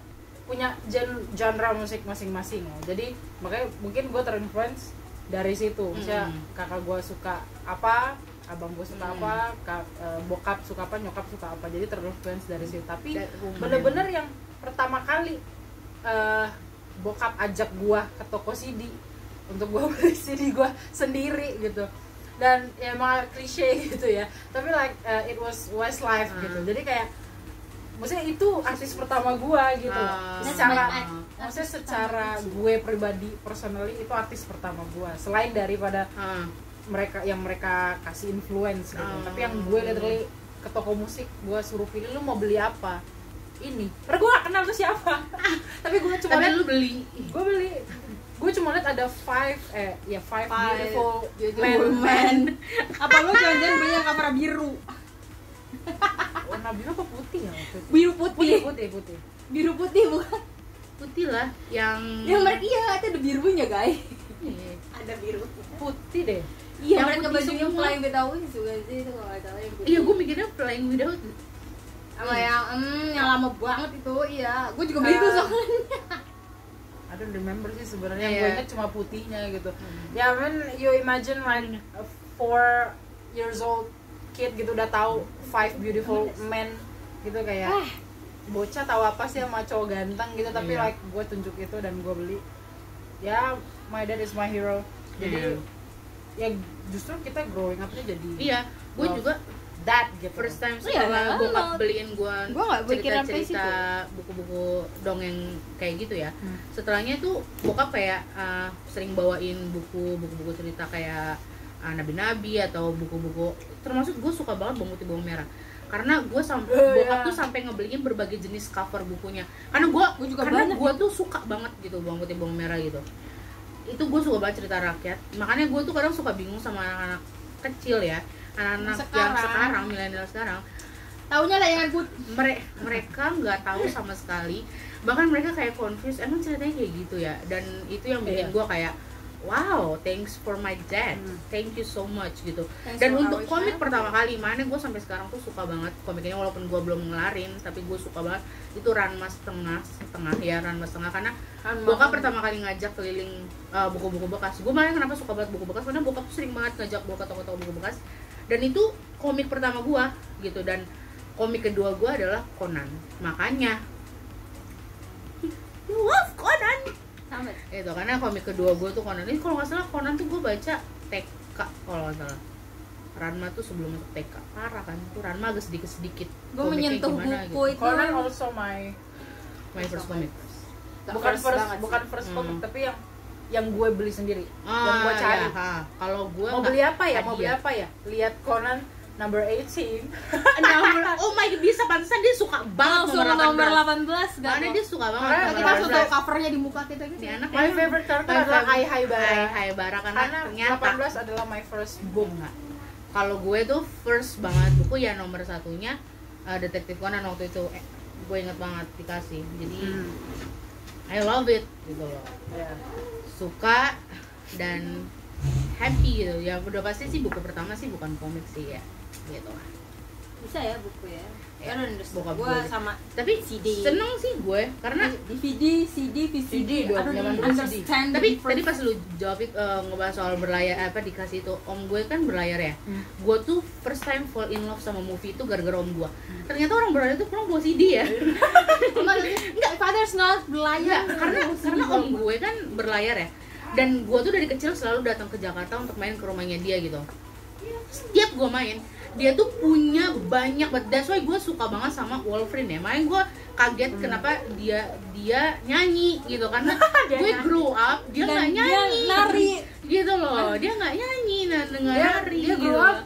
[SPEAKER 2] punya gen- genre musik masing-masing ya jadi makanya mungkin gue terinfluence dari situ misalnya
[SPEAKER 3] Mm.
[SPEAKER 2] kakak gue suka apa abang gue suka
[SPEAKER 3] Mm.
[SPEAKER 2] apa ka- eh, bokap suka apa nyokap suka apa jadi terinfluence dari situ tapi
[SPEAKER 3] Dari rumah.
[SPEAKER 2] bener-bener yang pertama kali eh bokap ajak gua ke toko CD untuk gua beli CD gua sendiri gitu dan ya emang klise gitu ya tapi like eh, it was Westlife gitu jadi kayak maksudnya itu artis pertama gua gitu
[SPEAKER 3] Ah.
[SPEAKER 1] Nah,
[SPEAKER 2] secara
[SPEAKER 4] That's my-
[SPEAKER 2] maksudnya secara gue pribadi personally itu artis pertama gua selain daripada
[SPEAKER 3] Ah,
[SPEAKER 2] mereka yang mereka kasih influence gitu.
[SPEAKER 3] Oh.
[SPEAKER 2] Tapi yang gue literally ke toko musik gue suruh pilih lu mau beli apa ini. Padahal gue gak kenal tuh siapa. Tapi gue cuma
[SPEAKER 3] tapi
[SPEAKER 2] liat,
[SPEAKER 3] lu beli
[SPEAKER 2] gue beli gue cuma liat ada five eh ya five,
[SPEAKER 3] Five
[SPEAKER 2] beautiful men
[SPEAKER 1] Beautiful man. apa lu jangan-jangan beli yang kamera biru
[SPEAKER 2] warna biru apa putih ya waktu itu?
[SPEAKER 1] biru
[SPEAKER 2] Putih
[SPEAKER 1] putih
[SPEAKER 2] putih putih.
[SPEAKER 1] biru putih bukan
[SPEAKER 3] putih lah yang
[SPEAKER 1] yang mereka iya itu ada birunya guys
[SPEAKER 3] Iya.
[SPEAKER 4] ada biru
[SPEAKER 2] Putih deh.
[SPEAKER 1] iya
[SPEAKER 3] Yang
[SPEAKER 1] mereka
[SPEAKER 3] putih
[SPEAKER 1] baju yang
[SPEAKER 3] semua.
[SPEAKER 1] flying without wings juga sih itu kalau nggak salah yang putih
[SPEAKER 3] iya gue mikirnya playing without
[SPEAKER 1] sama yang hmm, yang lama banget itu iya gue juga beli
[SPEAKER 3] Eh,
[SPEAKER 2] Ah.
[SPEAKER 1] tuh soalnya
[SPEAKER 2] I don't remember sih sebenarnya
[SPEAKER 3] Iya. Hmm.
[SPEAKER 2] gue inget cuma putihnya gitu. Ya I mean, you imagine like a four years old kid gitu udah tahu five beautiful men gitu
[SPEAKER 3] ya.
[SPEAKER 2] kayak
[SPEAKER 3] Eh, Ah.
[SPEAKER 2] bocah tahu apa sih sama cowok ganteng gitu tapi
[SPEAKER 3] Iya.
[SPEAKER 2] like gue tunjuk itu dan gue beli ya my dad is my hero jadi ya justru kita growing up nya jadi
[SPEAKER 3] iya gue
[SPEAKER 2] Wow.
[SPEAKER 3] juga
[SPEAKER 2] that gitu
[SPEAKER 3] first time
[SPEAKER 1] Iya,
[SPEAKER 3] setelah
[SPEAKER 1] banget.
[SPEAKER 3] bokap beliin gue
[SPEAKER 1] Gua nggak
[SPEAKER 3] cerita
[SPEAKER 1] pikiran ke situ.
[SPEAKER 3] cerita buku-buku dongeng kayak gitu ya
[SPEAKER 2] Hmm.
[SPEAKER 3] setelahnya tuh bokap kayak uh, sering bawain buku buku-buku cerita kayak uh, nabi-nabi atau buku-buku termasuk gue suka banget bawang putih bawang merah karena gue sampai
[SPEAKER 2] Oh,
[SPEAKER 3] bokap
[SPEAKER 2] iya.
[SPEAKER 3] tuh sampai ngebeliin berbagai jenis cover bukunya karena gue
[SPEAKER 1] Gua juga
[SPEAKER 3] karena
[SPEAKER 1] banyak.
[SPEAKER 3] gue tuh suka banget gitu bawang putih bawang merah gitu itu gue suka banget cerita rakyat makanya gue tuh kadang suka bingung sama anak-anak kecil ya anak-anak yang
[SPEAKER 1] Sekarang.
[SPEAKER 3] sekarang milenial sekarang
[SPEAKER 1] taunya layangan putih
[SPEAKER 3] mere- mereka nggak tahu sama sekali bahkan mereka kayak confused emang ceritanya kayak gitu ya dan itu yang bikin
[SPEAKER 2] Iya.
[SPEAKER 3] gue kayak wow thanks for my dad
[SPEAKER 2] Hmm.
[SPEAKER 3] thank you so much gitu
[SPEAKER 1] Thanks
[SPEAKER 3] dan
[SPEAKER 1] for
[SPEAKER 3] untuk
[SPEAKER 1] our
[SPEAKER 3] komik
[SPEAKER 1] time.
[SPEAKER 3] pertama kali mana gue sampai sekarang tuh suka banget komik ini walaupun gue belum ngelarin tapi gue suka banget itu Ranma setengah setengah ya Ranma setengah karena
[SPEAKER 1] Kan
[SPEAKER 3] bokap pertama kali ngajak keliling uh, buku-buku bekas gue makanya kenapa suka banget buku bekas karena bokap tuh sering banget ngajak gue ke toko-toko buku bekas dan itu komik pertama gue gitu dan komik kedua gue adalah Conan makanya you love Conan
[SPEAKER 1] sama
[SPEAKER 3] itu karena komik kedua gue tuh Conan ini kalau nggak salah Conan tuh gue baca TK kalau nggak salah Ranma tuh sebelum masuk TK parah kan tuh Ranma agak sedikit sedikit
[SPEAKER 1] gue menyentuh
[SPEAKER 3] gitu?
[SPEAKER 1] buku itu
[SPEAKER 2] Conan also my
[SPEAKER 3] my first comic
[SPEAKER 1] Gak
[SPEAKER 2] bukan
[SPEAKER 1] first
[SPEAKER 2] first,
[SPEAKER 1] banget sih.
[SPEAKER 2] bukan first
[SPEAKER 3] Hmm.
[SPEAKER 2] comic tapi yang yang gue beli sendiri yang
[SPEAKER 3] ah
[SPEAKER 2] gue cari
[SPEAKER 3] ya, ha. kalau gue
[SPEAKER 2] mau
[SPEAKER 3] nggak-
[SPEAKER 2] beli apa ya mau beli
[SPEAKER 3] hadiah.
[SPEAKER 2] apa ya lihat Conan number 18
[SPEAKER 3] Nomor- oh my god bisa pantesan dia suka banget
[SPEAKER 1] langsung nomor 18 gak
[SPEAKER 3] karena dia suka banget
[SPEAKER 2] Makanya
[SPEAKER 3] nomor Iya,
[SPEAKER 1] kita langsung tahu
[SPEAKER 3] 18.
[SPEAKER 1] covernya di muka kita gitu
[SPEAKER 3] Ini anak
[SPEAKER 2] my favorite character adalah Ai Hai
[SPEAKER 3] Hai
[SPEAKER 2] Bara
[SPEAKER 3] Hai Bara karena,
[SPEAKER 2] karena
[SPEAKER 3] ternyata
[SPEAKER 2] 18 adalah my first book
[SPEAKER 3] bunga kalau gue tuh first banget buku ya nomor satunya uh, detektif Conan waktu itu Eh, gue inget banget dikasih jadi
[SPEAKER 2] Hmm.
[SPEAKER 3] I love it gitu loh
[SPEAKER 2] Ya.
[SPEAKER 3] suka dan happy gitu ya udah pasti sih buku pertama sih bukan komik sih ya gitu lah
[SPEAKER 1] bisa ya buku ya
[SPEAKER 3] Ya,
[SPEAKER 1] I don't understand.
[SPEAKER 3] bokap
[SPEAKER 1] Gua
[SPEAKER 3] gue.
[SPEAKER 1] sama
[SPEAKER 3] tapi
[SPEAKER 1] CD.
[SPEAKER 3] seneng sih gue karena
[SPEAKER 1] DVD, CD, VCD,
[SPEAKER 2] CD dong,
[SPEAKER 1] I don't
[SPEAKER 2] zaman dulu CD.
[SPEAKER 1] understand the
[SPEAKER 3] tapi tadi
[SPEAKER 1] difference.
[SPEAKER 3] pas lu jawab eh, ngebahas soal berlayar apa dikasih itu om gue kan berlayar ya
[SPEAKER 2] Hmm.
[SPEAKER 3] gue tuh first time fall in love sama movie itu gara-gara om gue ternyata orang berlayar tuh pulang bawa CD ya
[SPEAKER 1] Enggak, father's not
[SPEAKER 3] Enggak,
[SPEAKER 1] belayar
[SPEAKER 3] karena karena om gue kan berlayar ya dan gue tuh dari kecil selalu datang ke Jakarta untuk main ke rumahnya dia gitu setiap gue main dia tuh punya banyak banget that's why gue suka banget sama Wolverine ya main gue kaget
[SPEAKER 2] Hmm.
[SPEAKER 3] kenapa dia dia nyanyi gitu karena gue grow up dia
[SPEAKER 1] Dan
[SPEAKER 3] nggak
[SPEAKER 1] dia
[SPEAKER 3] nyanyi
[SPEAKER 1] nari.
[SPEAKER 3] gitu loh dia nggak nyanyi nah dengan
[SPEAKER 2] Dia,
[SPEAKER 3] nari
[SPEAKER 2] dia
[SPEAKER 3] gitu
[SPEAKER 2] grow up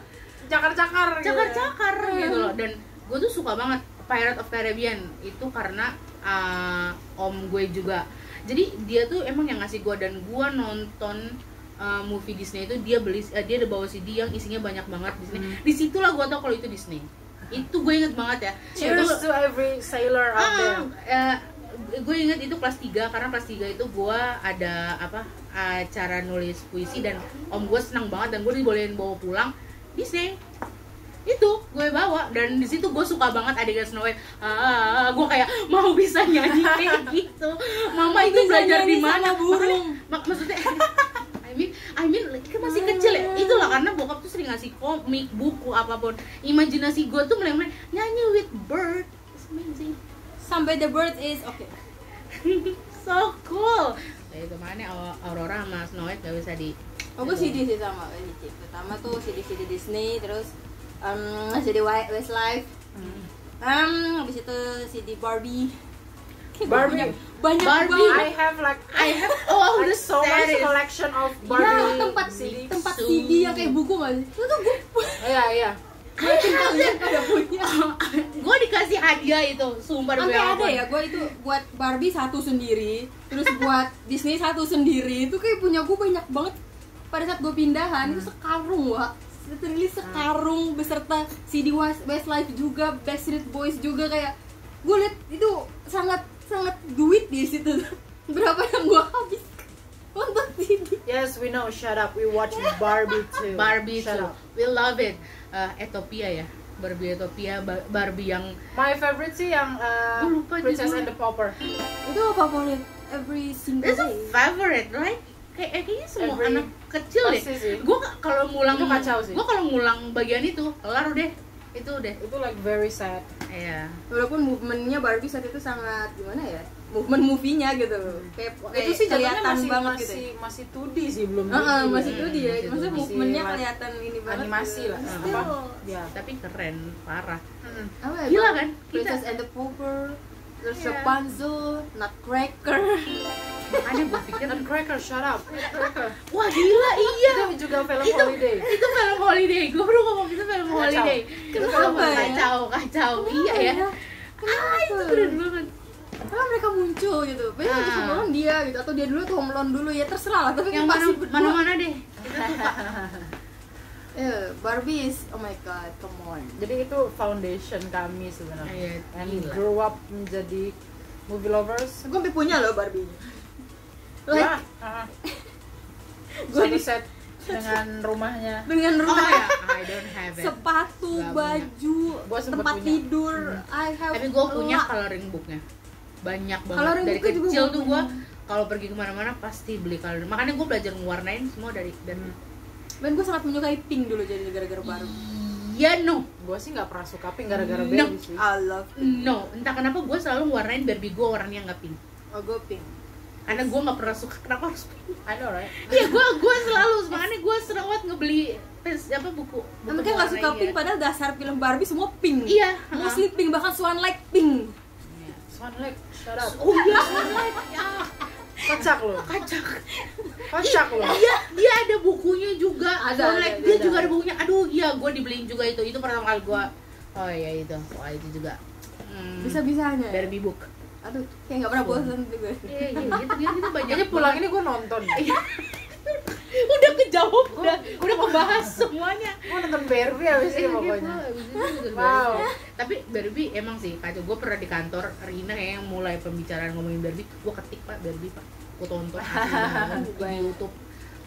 [SPEAKER 2] cakar-cakar gitu.
[SPEAKER 3] cakar-cakar gitu loh dan gue tuh suka banget Pirate of Caribbean itu karena uh, om gue juga jadi dia tuh emang yang ngasih gue dan gue nonton uh, movie Disney itu dia beli eh, dia ada bawa CD yang isinya banyak banget Disney
[SPEAKER 2] Hmm.
[SPEAKER 3] disitulah gue tau kalau itu Disney itu gue inget banget ya Itu-
[SPEAKER 2] Cheers to every sailor out there.
[SPEAKER 3] Ah, eh, gue inget itu kelas 3 karena kelas 3 itu gue ada apa acara nulis puisi dan om gue senang banget dan gue dibolehin bawa pulang Disney itu gue bawa dan di situ gue suka banget adegan Snow White ah, gue kayak mau bisa nyanyi kayak gitu mama itu
[SPEAKER 1] Bisa
[SPEAKER 3] belajar di
[SPEAKER 1] nyanyi
[SPEAKER 3] mana
[SPEAKER 1] sama burung.
[SPEAKER 3] Mak- maksudnya I mean, I mean, kan
[SPEAKER 1] Ah.
[SPEAKER 3] masih kecil ya. Itulah karena bokap tuh sering ngasih komik, buku, apapun. Imajinasi gue tuh meleng-meleng nyanyi with bird. It's amazing
[SPEAKER 1] sampai the bird is oke
[SPEAKER 3] so cool ya itu makanya Au- Aurora sama Snow White gak bisa di
[SPEAKER 1] oh gue CD sih sama CD pertama tuh CD CD Disney terus um, CD Wi- Westlife um, habis itu CD Barbie Kayak gua
[SPEAKER 2] Barbie.
[SPEAKER 1] punya banyak
[SPEAKER 3] Barbie.
[SPEAKER 1] banget
[SPEAKER 2] I have like
[SPEAKER 3] I have all the
[SPEAKER 2] There's Oh, so much
[SPEAKER 3] series
[SPEAKER 2] collection of Barbie
[SPEAKER 1] Ya, tempat
[SPEAKER 2] CD.
[SPEAKER 1] tempat
[SPEAKER 3] Su.
[SPEAKER 1] CD yang kayak buku nggak sih? Itu tuh gue
[SPEAKER 2] Iya, iya.
[SPEAKER 1] makin kalian pada punya.
[SPEAKER 3] gue dikasih hadiah itu sumpah demi
[SPEAKER 1] Sampai ada
[SPEAKER 3] apapun.
[SPEAKER 1] ya, gue itu buat Barbie satu sendiri, terus buat Disney satu sendiri. Itu kayak punya gue banyak banget. Pada saat gue pindahan itu sekarung, Wak. Literally sekarung beserta CD Wes- Westlife juga, Backstreet Boys juga kayak gue liat itu sangat sangat duit di situ. Berapa yang gue habis untuk CD?
[SPEAKER 2] Yes, we know. Shut up. We watch Barbie too.
[SPEAKER 3] Barbie
[SPEAKER 2] Shut
[SPEAKER 3] tuh
[SPEAKER 2] up.
[SPEAKER 3] we love it Eh, Ethiopia ya Barbie Ethiopia Ba- Barbie yang
[SPEAKER 2] My favorite sih yang uh,
[SPEAKER 3] Gue lupa
[SPEAKER 2] Princess
[SPEAKER 3] judulnya.
[SPEAKER 2] and the Pauper.
[SPEAKER 1] Itu favorit every single
[SPEAKER 3] that's a
[SPEAKER 1] day.
[SPEAKER 3] favorite right kayak eh, kayaknya semua
[SPEAKER 2] Every-
[SPEAKER 3] anak kecil deh
[SPEAKER 2] Pasti sih.
[SPEAKER 3] gue kalau ngulang
[SPEAKER 2] Itu kacau sih.
[SPEAKER 3] gue kalau ngulang bagian itu kelar deh itu deh
[SPEAKER 2] Itu like very sad.
[SPEAKER 3] iya
[SPEAKER 1] walaupun movementnya Barbie saat itu sangat gimana ya movement movie-nya gitu loh kayak, kayak
[SPEAKER 2] itu sih jadinya
[SPEAKER 1] kelihatan
[SPEAKER 2] masih
[SPEAKER 1] banget
[SPEAKER 2] masih
[SPEAKER 1] gitu ya.
[SPEAKER 2] masih 2D sih belum.
[SPEAKER 1] Heeh,
[SPEAKER 2] 3D.
[SPEAKER 1] masih itu dia
[SPEAKER 3] Masih
[SPEAKER 1] maksudnya
[SPEAKER 3] masih
[SPEAKER 1] movementnya
[SPEAKER 2] la-
[SPEAKER 1] kelihatan ini banget
[SPEAKER 2] gitu animasi
[SPEAKER 1] gitu.
[SPEAKER 2] lah.
[SPEAKER 1] Still.
[SPEAKER 2] Apa? Ya.
[SPEAKER 3] tapi keren parah
[SPEAKER 2] Mm.
[SPEAKER 1] Apa ya,
[SPEAKER 3] Gila
[SPEAKER 1] Bang?
[SPEAKER 3] kan? Kita-
[SPEAKER 1] Princess and the Pauper terus
[SPEAKER 3] Iya.
[SPEAKER 1] Rapunzel Nutcracker
[SPEAKER 3] makanya gue pikir
[SPEAKER 2] Dan Cracker, shut up. Cracker.
[SPEAKER 3] wah gila iya
[SPEAKER 1] Ya.
[SPEAKER 2] Itu juga film
[SPEAKER 3] itu
[SPEAKER 2] holiday.
[SPEAKER 3] itu film holiday gue baru ngomong itu film
[SPEAKER 2] Kacau.
[SPEAKER 3] holiday
[SPEAKER 1] Kenapa ya?
[SPEAKER 3] kacau kacau iya ya ah itu keren banget
[SPEAKER 1] Kenapa mereka muncul gitu? Banyak
[SPEAKER 3] Ah.
[SPEAKER 1] yang suka orang dia gitu atau dia dulu tuh home Alone dulu ya terserah lah tapi
[SPEAKER 3] yang
[SPEAKER 1] pasti
[SPEAKER 3] mana
[SPEAKER 1] berdua.
[SPEAKER 3] mana mana deh kita suka
[SPEAKER 1] Eh, Barbie is oh my god come on
[SPEAKER 2] Jadi itu foundation kami sebenarnya.
[SPEAKER 3] Iya,
[SPEAKER 2] And
[SPEAKER 3] gila.
[SPEAKER 2] grow up menjadi movie lovers.
[SPEAKER 1] gue sampai punya loh Barbie like
[SPEAKER 2] Wah, ah,
[SPEAKER 1] gue
[SPEAKER 2] satu set dengan rumahnya.
[SPEAKER 1] dengan
[SPEAKER 3] oh
[SPEAKER 1] rumah
[SPEAKER 3] ya I don't have it
[SPEAKER 1] sepatu,
[SPEAKER 3] Gak punya.
[SPEAKER 1] baju,
[SPEAKER 2] Gua sempet
[SPEAKER 1] tempat
[SPEAKER 2] punya.
[SPEAKER 1] tidur, I have
[SPEAKER 3] Hmm. tapi gue punya
[SPEAKER 1] a lot.
[SPEAKER 3] coloring booknya banyak banget
[SPEAKER 1] Coloring
[SPEAKER 3] dari
[SPEAKER 1] booknya juga
[SPEAKER 3] kecil
[SPEAKER 1] gua
[SPEAKER 3] tuh
[SPEAKER 1] punya.
[SPEAKER 3] gue kalau pergi kemana-mana pasti beli coloring makanya gue belajar ngewarnain semua dari dari
[SPEAKER 1] Dan gue sangat menyukai pink dulu jadi gara-gara baru.
[SPEAKER 3] iya no
[SPEAKER 2] Gue sih nggak pernah suka pink gara-gara
[SPEAKER 3] No.
[SPEAKER 2] baby sih.
[SPEAKER 1] I love pink.
[SPEAKER 3] no entah kenapa gue selalu warnain Barbie gue warnanya nggak pink
[SPEAKER 1] Oh, gue pink.
[SPEAKER 3] karena gue nggak pernah suka kenapa harus pink
[SPEAKER 2] I know right.
[SPEAKER 3] Iya, gue gue selalu makanya gue sering banget ngebeli pens apa buku. buku
[SPEAKER 1] Tapi kan gak suka
[SPEAKER 3] warnanya.
[SPEAKER 1] pink padahal dasar film Barbie semua pink.
[SPEAKER 3] Iya.
[SPEAKER 1] Mostly pink bahkan Swan Lake pink.
[SPEAKER 2] Swan Lake, shut up.
[SPEAKER 3] Oh iya, online. ya
[SPEAKER 2] Kocak lo,
[SPEAKER 3] kacak.
[SPEAKER 2] kocak lo.
[SPEAKER 3] Iya, dia ada bukunya juga.
[SPEAKER 1] Ada,
[SPEAKER 3] Ada,
[SPEAKER 1] ada, ada,
[SPEAKER 3] dia
[SPEAKER 1] ada.
[SPEAKER 3] juga ada bukunya. Aduh, iya, gue dibeliin juga itu. Itu pertama kali gue. Oh iya itu, wah itu juga. Hmm,
[SPEAKER 1] Bisa-bisanya. ya.
[SPEAKER 3] Barbie book.
[SPEAKER 1] Aduh, kayak gak pernah bosan juga.
[SPEAKER 3] Iya, iya, gitu, gitu, gitu banyak.
[SPEAKER 2] Kayaknya pulang ini gue nonton.
[SPEAKER 3] udah kejawab, udah, udah membahas semuanya.
[SPEAKER 2] Gue nonton Barbie abis
[SPEAKER 3] Iya,
[SPEAKER 2] itu pokoknya.
[SPEAKER 3] gitu.
[SPEAKER 2] Wow.
[SPEAKER 3] Tapi Barbie emang sih kacau. Gue pernah di kantor Rina kayak yang mulai pembicaraan ngomongin Barbie, gue ketik pak Barbie pak, gue tonton asli banget, di YouTube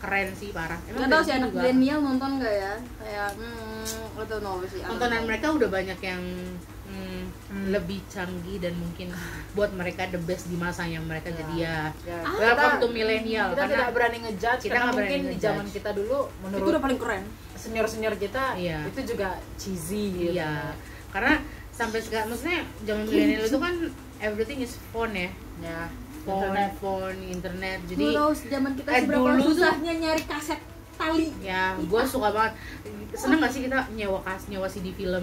[SPEAKER 3] keren sih parah
[SPEAKER 1] Gak tau sih
[SPEAKER 3] Densu
[SPEAKER 1] anak
[SPEAKER 3] juga.
[SPEAKER 1] milenial nonton gak ya? Kayak hmm, itu no sih. anak-
[SPEAKER 3] tontonan mereka udah banyak yang mm,
[SPEAKER 2] Hmm.
[SPEAKER 3] lebih canggih dan mungkin buat mereka the best di masanya mereka
[SPEAKER 2] Ya.
[SPEAKER 3] jadi ya
[SPEAKER 2] Ya,
[SPEAKER 3] welcome to millennial
[SPEAKER 2] kita tidak
[SPEAKER 3] karena
[SPEAKER 2] berani ngejudge
[SPEAKER 3] kita
[SPEAKER 2] karena
[SPEAKER 3] nggak berani
[SPEAKER 2] mungkin di
[SPEAKER 3] ngejudge.
[SPEAKER 2] zaman kita dulu
[SPEAKER 1] Itu udah
[SPEAKER 2] menurut
[SPEAKER 1] paling keren.
[SPEAKER 2] senior senior kita
[SPEAKER 3] Iya.
[SPEAKER 2] itu juga cheesy gitu.
[SPEAKER 3] iya karena sampai sekarang maksudnya zaman milenial itu kan everything is phone ya
[SPEAKER 2] ya
[SPEAKER 3] phone
[SPEAKER 2] internet.
[SPEAKER 3] phone internet
[SPEAKER 1] Lu
[SPEAKER 3] jadi
[SPEAKER 1] tau zaman kita
[SPEAKER 3] eh,
[SPEAKER 1] seberapa
[SPEAKER 3] dulu tuh-
[SPEAKER 1] susahnya nyari kaset tali.
[SPEAKER 3] ya gue suka banget seneng gak sih kita nyewa kas nyewa CD film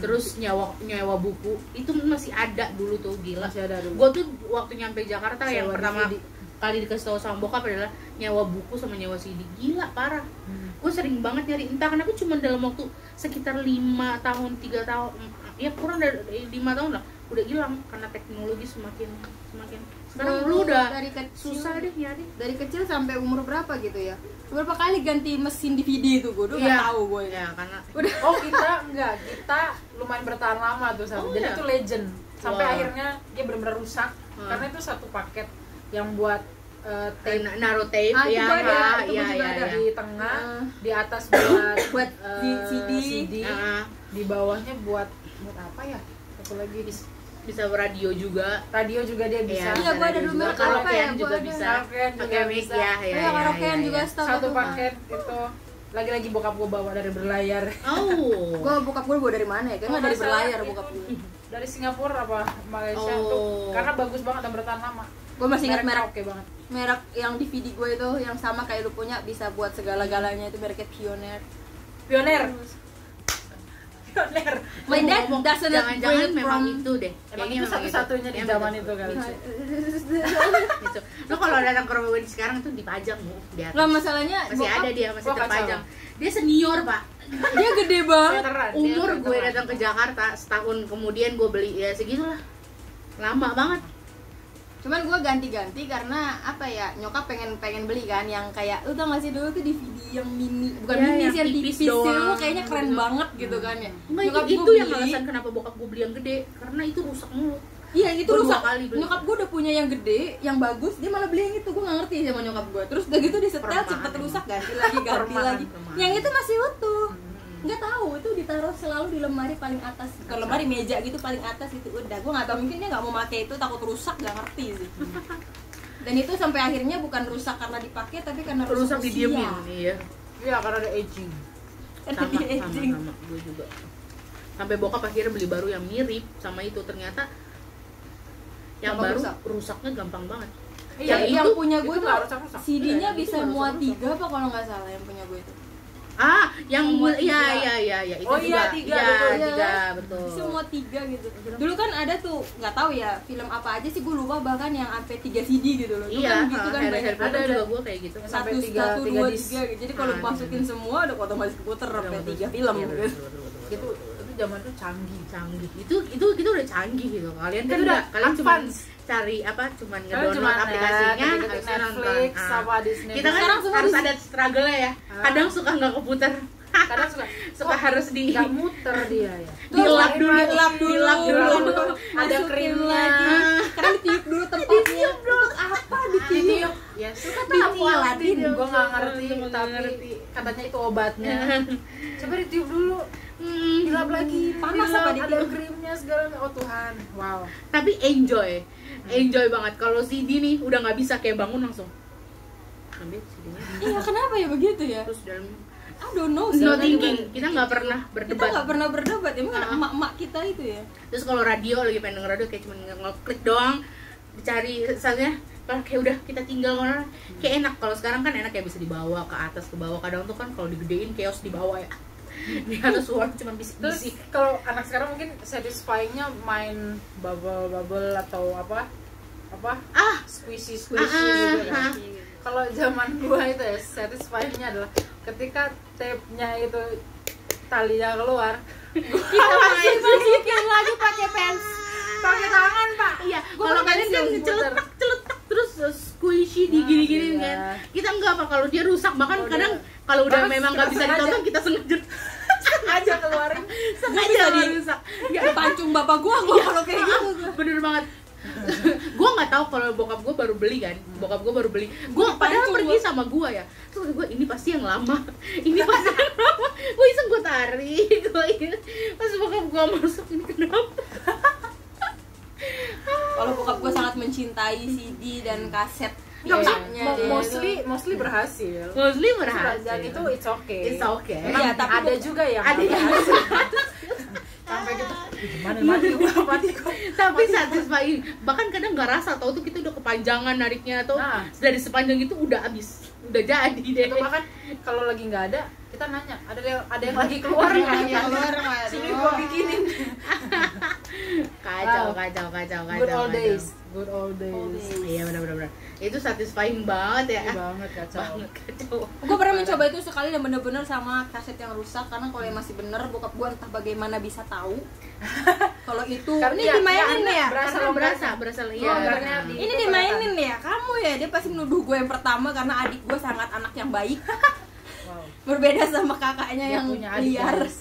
[SPEAKER 3] terus nyewa nyewa buku itu masih ada dulu tuh gila
[SPEAKER 2] masih ada dulu
[SPEAKER 3] gue tuh waktu nyampe Jakarta yang
[SPEAKER 2] Sewa
[SPEAKER 3] pertama
[SPEAKER 2] DVD.
[SPEAKER 3] kali dikasih tahu sama bokap adalah nyewa buku sama nyewa CD gila parah
[SPEAKER 2] Hmm.
[SPEAKER 3] gue sering banget nyari entah kenapa cuma dalam waktu sekitar lima tahun tiga tahun mm, ya kurang dari lima tahun lah udah hilang karena teknologi semakin semakin sekarang
[SPEAKER 1] Dulu
[SPEAKER 3] lu udah
[SPEAKER 1] dari kecil,
[SPEAKER 3] susah deh nyari
[SPEAKER 1] Dari kecil sampai umur berapa gitu ya? Berapa kali ganti mesin DVD itu gue udah
[SPEAKER 3] Iya.
[SPEAKER 1] nggak tahu gue.
[SPEAKER 3] ya karena
[SPEAKER 2] oh kita enggak kita lumayan bertahan lama tuh sampai
[SPEAKER 3] Oh,
[SPEAKER 2] jadi
[SPEAKER 3] iya?
[SPEAKER 2] itu legend sampai
[SPEAKER 3] Wah.
[SPEAKER 2] akhirnya dia benar-benar rusak
[SPEAKER 3] Wah.
[SPEAKER 2] karena itu satu paket yang buat eh, tape
[SPEAKER 3] na- naruh tape
[SPEAKER 1] Ah,
[SPEAKER 3] ya
[SPEAKER 1] itu ada,
[SPEAKER 3] Kak.
[SPEAKER 2] itu
[SPEAKER 3] ya
[SPEAKER 2] juga
[SPEAKER 3] ya
[SPEAKER 2] ada
[SPEAKER 3] ya
[SPEAKER 2] di tengah
[SPEAKER 1] Ah.
[SPEAKER 2] di atas buat
[SPEAKER 1] Buat
[SPEAKER 2] eh,
[SPEAKER 1] di CD.
[SPEAKER 3] Ah,
[SPEAKER 2] di bawahnya buat buat apa ya satu lagi di
[SPEAKER 3] bisa radio juga
[SPEAKER 2] radio juga dia bisa
[SPEAKER 1] Iya, gua ada
[SPEAKER 3] radio
[SPEAKER 1] dulu
[SPEAKER 3] juga.
[SPEAKER 1] merek apa
[SPEAKER 3] karaokean
[SPEAKER 1] ya, gua
[SPEAKER 3] juga
[SPEAKER 1] ada.
[SPEAKER 3] bisa
[SPEAKER 2] Karaokean juga
[SPEAKER 3] pakai mic
[SPEAKER 2] bisa.
[SPEAKER 3] ya
[SPEAKER 1] Ya,
[SPEAKER 3] ya ya,
[SPEAKER 1] karaokean
[SPEAKER 3] ya,
[SPEAKER 1] juga
[SPEAKER 3] ya.
[SPEAKER 1] setahu
[SPEAKER 2] iya. satu
[SPEAKER 1] gua tuh, Kak.
[SPEAKER 2] paket itu lagi-lagi bokap gue bawa dari berlayar
[SPEAKER 3] oh
[SPEAKER 1] Gue bokap gue bawa dari mana ya? Kayaknya
[SPEAKER 2] Kalau
[SPEAKER 1] dari
[SPEAKER 2] nggak salah
[SPEAKER 1] berlayar
[SPEAKER 2] itu
[SPEAKER 1] bokap gue.
[SPEAKER 2] dari Singapura apa Malaysia
[SPEAKER 3] Oh.
[SPEAKER 2] tuh karena bagus banget dan bertahan lama
[SPEAKER 1] Gue masih ingat merek
[SPEAKER 2] oke banget
[SPEAKER 1] merek yang DVD gue itu yang sama kayak lu punya bisa buat segala-galanya itu mereknya Pioneer.
[SPEAKER 2] pioner pioner
[SPEAKER 1] My dad
[SPEAKER 3] Ngomong-
[SPEAKER 1] doesn't
[SPEAKER 3] jangan-jangan
[SPEAKER 1] bring
[SPEAKER 3] memang
[SPEAKER 1] from-
[SPEAKER 3] itu deh
[SPEAKER 2] emang
[SPEAKER 3] Kayaknya
[SPEAKER 2] itu
[SPEAKER 3] memang Iya,
[SPEAKER 2] satu-satunya di
[SPEAKER 3] Emang
[SPEAKER 2] zaman
[SPEAKER 1] kan?
[SPEAKER 2] itu kali
[SPEAKER 1] Nah,
[SPEAKER 3] gitu. Lo kalau datang ke rumah gue sekarang tuh dipajang bu, di atas.
[SPEAKER 1] Lah masalahnya
[SPEAKER 3] masih
[SPEAKER 1] bokap-
[SPEAKER 3] ada dia masih
[SPEAKER 2] Wah, kacau.
[SPEAKER 3] terpajang. Dia senior pak.
[SPEAKER 1] dia gitu, gede banget.
[SPEAKER 2] Veteran, dia
[SPEAKER 3] Umur gue
[SPEAKER 2] veteran.
[SPEAKER 3] datang ke Jakarta setahun kemudian gue beli ya segitulah. Lama banget.
[SPEAKER 1] Cuman gue ganti-ganti karena apa ya nyokap pengen pengen beli kan yang kayak lu tau gak sih dulu tuh DVD yang mini bukan
[SPEAKER 3] Ya,
[SPEAKER 1] mini
[SPEAKER 3] yang
[SPEAKER 1] sih yang
[SPEAKER 3] tipis
[SPEAKER 1] tipis, itu
[SPEAKER 3] doang.
[SPEAKER 1] kayaknya keren banget gitu kan ya.
[SPEAKER 3] Enggak itu,
[SPEAKER 1] gua
[SPEAKER 3] itu yang
[SPEAKER 1] beli.
[SPEAKER 3] alasan kenapa bokap gue beli yang gede karena itu rusak mulu.
[SPEAKER 1] Iya itu
[SPEAKER 3] Gua dua
[SPEAKER 1] rusak.
[SPEAKER 3] kali beli.
[SPEAKER 1] Nyokap gue udah punya yang gede, yang bagus, dia malah beli yang itu. Gue gak ngerti ya sama nyokap gue. Terus udah gitu disetel
[SPEAKER 3] Perumahan
[SPEAKER 1] cepet
[SPEAKER 3] emang.
[SPEAKER 1] rusak ganti lagi ganti
[SPEAKER 3] Perumahan,
[SPEAKER 1] lagi.
[SPEAKER 3] perumahan.
[SPEAKER 1] Yang itu masih utuh.
[SPEAKER 3] Hmm.
[SPEAKER 1] Nggak tahu itu ditaruh selalu di lemari paling atas. Kalau lemari meja gitu paling atas itu udah. Gue nggak tahu mungkin dia nggak mau pakai itu takut rusak gak ngerti sih.
[SPEAKER 3] Hmm.
[SPEAKER 1] Dan itu sampai akhirnya bukan rusak karena dipakai tapi karena rusak,
[SPEAKER 3] Rusak didiemin. Iya.
[SPEAKER 2] iya karena ada aging
[SPEAKER 1] Karena
[SPEAKER 3] Sama
[SPEAKER 1] Kan dia
[SPEAKER 3] sama
[SPEAKER 1] aging.
[SPEAKER 3] sama gue juga. Sampai bokap akhirnya beli baru yang mirip sama itu ternyata yang
[SPEAKER 1] Gampang
[SPEAKER 3] baru
[SPEAKER 1] rusak.
[SPEAKER 3] rusaknya gampang banget.
[SPEAKER 1] Yang,
[SPEAKER 3] Iya,
[SPEAKER 1] yang
[SPEAKER 3] itu-
[SPEAKER 1] punya gue
[SPEAKER 2] itu
[SPEAKER 1] tuh
[SPEAKER 2] nggak rusak-rusak.
[SPEAKER 1] CD-nya
[SPEAKER 3] Iya, itu
[SPEAKER 1] bisa
[SPEAKER 3] nggak
[SPEAKER 1] muat
[SPEAKER 3] rusak-rusak.
[SPEAKER 1] tiga apa kalau nggak salah yang punya gue itu.
[SPEAKER 3] Ah, yang
[SPEAKER 1] Semua
[SPEAKER 3] mul- ya
[SPEAKER 1] tiga.
[SPEAKER 3] ya ya ya itu
[SPEAKER 2] Oh
[SPEAKER 3] juga.
[SPEAKER 2] iya, tiga,
[SPEAKER 3] Iya,
[SPEAKER 2] betul.
[SPEAKER 1] Iya
[SPEAKER 3] tiga,
[SPEAKER 1] kan?
[SPEAKER 3] betul.
[SPEAKER 1] semua tiga gitu dulu kan ada tuh nggak tahu ya film apa aja sih gue lupa bahkan yang sampai tiga CD gitu loh Itu
[SPEAKER 3] Iya,
[SPEAKER 1] kan gitu kan
[SPEAKER 3] Harry,
[SPEAKER 1] banyak
[SPEAKER 3] Harry Potter
[SPEAKER 2] Ada, ada.
[SPEAKER 3] juga gue kayak gitu.
[SPEAKER 2] Yang
[SPEAKER 1] satu
[SPEAKER 2] sampai tiga-
[SPEAKER 1] satu
[SPEAKER 2] tiga
[SPEAKER 1] dua
[SPEAKER 2] disk.
[SPEAKER 1] tiga gitu. jadi kalau
[SPEAKER 3] Ah,
[SPEAKER 1] masukin semua udah otomatis puter sampai tiga film
[SPEAKER 3] Iya,
[SPEAKER 1] gitu
[SPEAKER 3] betul, betul, betul, betul.
[SPEAKER 2] itu itu zaman tuh canggih
[SPEAKER 3] canggih itu itu itu udah canggih gitu kalian
[SPEAKER 2] Itu
[SPEAKER 3] kan
[SPEAKER 2] udah
[SPEAKER 3] udah kalian cuma
[SPEAKER 2] advance.
[SPEAKER 3] cari apa cuma
[SPEAKER 2] Kalian
[SPEAKER 3] ngedownload
[SPEAKER 2] cuma
[SPEAKER 3] aplikasinya
[SPEAKER 2] net,
[SPEAKER 3] habis
[SPEAKER 2] ketik-ketik Netflix,
[SPEAKER 3] nonton. Ah.
[SPEAKER 2] sama Disney
[SPEAKER 3] kita kan
[SPEAKER 1] Sekarang semua
[SPEAKER 3] harus
[SPEAKER 1] di-
[SPEAKER 3] ada struggle ya
[SPEAKER 2] Ah.
[SPEAKER 3] kadang suka nggak keputar
[SPEAKER 2] kadang suka
[SPEAKER 3] suka harus
[SPEAKER 1] Iya.
[SPEAKER 3] di
[SPEAKER 2] nggak muter dia ya
[SPEAKER 3] dilap
[SPEAKER 1] lari
[SPEAKER 3] dulu
[SPEAKER 1] mati, dilap dulu,
[SPEAKER 3] dilap dulu
[SPEAKER 2] dulu. Ada
[SPEAKER 1] masukin
[SPEAKER 2] krimnya.
[SPEAKER 3] Ah.
[SPEAKER 1] lagi karena ditiup dulu tempatnya untuk apa ditiup
[SPEAKER 2] ya suka
[SPEAKER 1] tahu Aladin.
[SPEAKER 2] gue nggak ngerti
[SPEAKER 3] Gua nggak
[SPEAKER 2] tapi
[SPEAKER 3] ngerti.
[SPEAKER 2] katanya itu obatnya coba ditiup dulu
[SPEAKER 3] Hmm,
[SPEAKER 2] dilap lagi
[SPEAKER 1] Panas
[SPEAKER 2] dilap,
[SPEAKER 1] apa
[SPEAKER 2] ada
[SPEAKER 1] ditiup?
[SPEAKER 2] krimnya segala macam. oh Tuhan wow
[SPEAKER 3] tapi enjoy enjoy banget kalau CD nih udah nggak bisa kayak bangun langsung ambil CD-nya
[SPEAKER 1] iya kenapa ya begitu ya
[SPEAKER 3] terus dalam
[SPEAKER 1] I don't know sih
[SPEAKER 3] no
[SPEAKER 1] Kita
[SPEAKER 3] thinking kita nggak pernah
[SPEAKER 1] nggak
[SPEAKER 3] berdebat
[SPEAKER 1] pernah berdebat emang
[SPEAKER 3] Ah.
[SPEAKER 1] emak-emak kita itu ya
[SPEAKER 3] terus kalau radio lagi pengen denger radio kayak cuma ngeklik doang dicari misalnya kalau kayak udah kita tinggal mana kayak enak kalau sekarang kan enak ya bisa dibawa ke atas ke bawah kadang tuh kan kalau digedein chaos di bawah ya di atas suara cuma
[SPEAKER 2] terus
[SPEAKER 3] bisik-bisik
[SPEAKER 2] kalau anak sekarang mungkin satisfyingnya main bubble bubble atau apa apa
[SPEAKER 3] ah
[SPEAKER 2] squishy
[SPEAKER 3] ah,
[SPEAKER 2] squishy
[SPEAKER 3] ah,
[SPEAKER 2] gitu
[SPEAKER 3] ah.
[SPEAKER 2] kan kalau zaman gua itu ya satisfyingnya adalah ketika tape-nya itu talinya keluar
[SPEAKER 3] kita masih
[SPEAKER 1] masukin lagi pakai pens
[SPEAKER 2] pakai tangan pak
[SPEAKER 3] iya
[SPEAKER 2] Gua
[SPEAKER 3] kalau kalian
[SPEAKER 2] pakai
[SPEAKER 3] kan
[SPEAKER 2] yang puter.
[SPEAKER 3] celetak celetak terus uh, squishy digini-giniin
[SPEAKER 2] iya.
[SPEAKER 3] kan kita enggak apa kalau dia rusak bahkan
[SPEAKER 2] Kalau
[SPEAKER 3] kadang
[SPEAKER 2] dia-
[SPEAKER 3] kalau udah
[SPEAKER 2] bahkan
[SPEAKER 3] memang
[SPEAKER 2] kita
[SPEAKER 3] nggak bisa
[SPEAKER 2] sengaja.
[SPEAKER 3] ditonton kita sengaja
[SPEAKER 2] aja keluarin
[SPEAKER 3] sengaja
[SPEAKER 1] bisa
[SPEAKER 3] dia
[SPEAKER 1] di-
[SPEAKER 3] rusak ya Iya.
[SPEAKER 1] pancung bapak gua gua kalau kayak gitu
[SPEAKER 3] bener banget gue nggak tahu kalau bokap gue baru beli kan bokap gue baru beli gue padahal
[SPEAKER 1] Pancung,
[SPEAKER 3] pergi sama gue ya terus gue ini pasti yang lama ini pasti yang lama gue iseng gue tarik gue pas bokap gue masuk ini kenapa
[SPEAKER 1] Kalau bokap gue sangat mencintai CD dan kaset
[SPEAKER 2] Nggak,
[SPEAKER 3] Iya.
[SPEAKER 1] piyanya
[SPEAKER 2] maksudnya mo-
[SPEAKER 1] dia itu.
[SPEAKER 2] mostly mostly berhasil.
[SPEAKER 3] Muslim
[SPEAKER 2] Dan
[SPEAKER 3] berhasil
[SPEAKER 2] itu ya. it's okay.
[SPEAKER 3] Nah, iya. it's okay
[SPEAKER 1] Emang Iya, tapi
[SPEAKER 2] ada
[SPEAKER 1] bu-
[SPEAKER 2] juga yang
[SPEAKER 3] ada yang
[SPEAKER 2] sampai gitu "Ih, gimana mati gua mati gua."
[SPEAKER 3] tapi satisfying bahkan kadang nggak rasa tau tuh kita udah kepanjangan nariknya atau
[SPEAKER 2] Nah.
[SPEAKER 3] dari sepanjang itu udah habis udah jadi deh
[SPEAKER 2] Atau Gitu, bahkan kalau lagi nggak ada kita nanya ada yang ada yang lagi keluar nggak
[SPEAKER 1] Iya, keluar nggak?
[SPEAKER 2] sini gua bikinin
[SPEAKER 3] kacau
[SPEAKER 2] Wow.
[SPEAKER 3] kacau kacau kacau
[SPEAKER 2] good
[SPEAKER 3] kacau.
[SPEAKER 2] old days good old days
[SPEAKER 3] iya benar benar benar. itu satisfying banget ya
[SPEAKER 2] Iya banget kacau
[SPEAKER 3] banget kacau
[SPEAKER 1] Gue pernah mencoba itu sekali dan bener-bener sama kaset yang rusak karena kalau yang masih bener bokap gue entah bagaimana bisa tahu kalau itu
[SPEAKER 2] Karena
[SPEAKER 1] ini
[SPEAKER 2] ya-
[SPEAKER 1] dimainin
[SPEAKER 2] ya,
[SPEAKER 1] ya.
[SPEAKER 2] Berasa
[SPEAKER 3] berasa
[SPEAKER 2] longgaran.
[SPEAKER 3] berasa berasa iya
[SPEAKER 2] Longgarannya
[SPEAKER 3] benar.
[SPEAKER 2] di-
[SPEAKER 1] Ini dimainin ya, kamu ya dia pasti menuduh gue yang pertama karena adik gue sangat anak yang baik
[SPEAKER 2] wow
[SPEAKER 1] berbeda sama kakaknya
[SPEAKER 2] dia
[SPEAKER 1] yang
[SPEAKER 2] punya adik
[SPEAKER 1] liar.
[SPEAKER 2] guys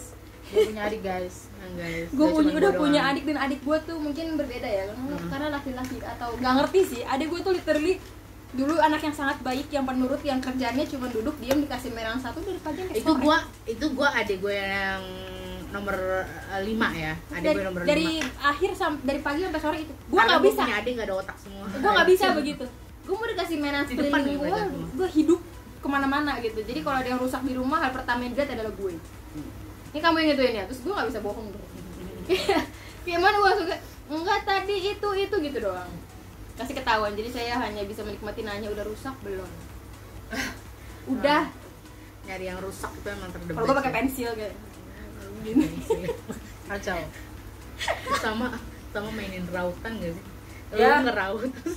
[SPEAKER 2] dia punya adik guys
[SPEAKER 3] Nah, guys,
[SPEAKER 1] Gue
[SPEAKER 3] dia
[SPEAKER 1] punya
[SPEAKER 3] cuman
[SPEAKER 1] udah
[SPEAKER 3] gua
[SPEAKER 1] punya
[SPEAKER 3] doang. Hmm.
[SPEAKER 1] adik dan adik gue tuh mungkin berbeda ya karena, karena laki-laki atau nggak ngerti sih. Adik gue tuh literally dulu anak yang sangat baik yang penurut yang kerjaannya cuma duduk diam dikasih merang satu dari pagi sampai
[SPEAKER 3] itu
[SPEAKER 1] sore.
[SPEAKER 3] gua itu gua adik gua yang nomor 5 ya adik
[SPEAKER 1] dari,
[SPEAKER 3] gua nomor 5
[SPEAKER 1] dari akhir sam- dari pagi sampai sore itu gue nggak bisa
[SPEAKER 3] punya adik gak ada otak semua
[SPEAKER 1] gue nggak bisa begitu gue mau dikasih mainan
[SPEAKER 3] Di depan
[SPEAKER 1] sekeliling
[SPEAKER 3] gitu
[SPEAKER 1] gue
[SPEAKER 3] aja.
[SPEAKER 1] gue hidup kemana-mana gitu jadi kalau ada yang rusak di rumah hal pertama yang dilihat adalah gue ini kamu yang ngituin ya terus gue nggak bisa bohong bro gimana gue suka enggak tadi itu itu gitu doang kasih ketahuan jadi saya hanya bisa menikmati nanya udah rusak belum udah
[SPEAKER 3] nyari yang rusak itu emang terdebat Iya
[SPEAKER 1] kalau gue pakai pensil kayak
[SPEAKER 2] kacau
[SPEAKER 3] sama sama mainin rautan gak sih lu
[SPEAKER 2] Ya.
[SPEAKER 1] Iya.
[SPEAKER 3] ngeraut terus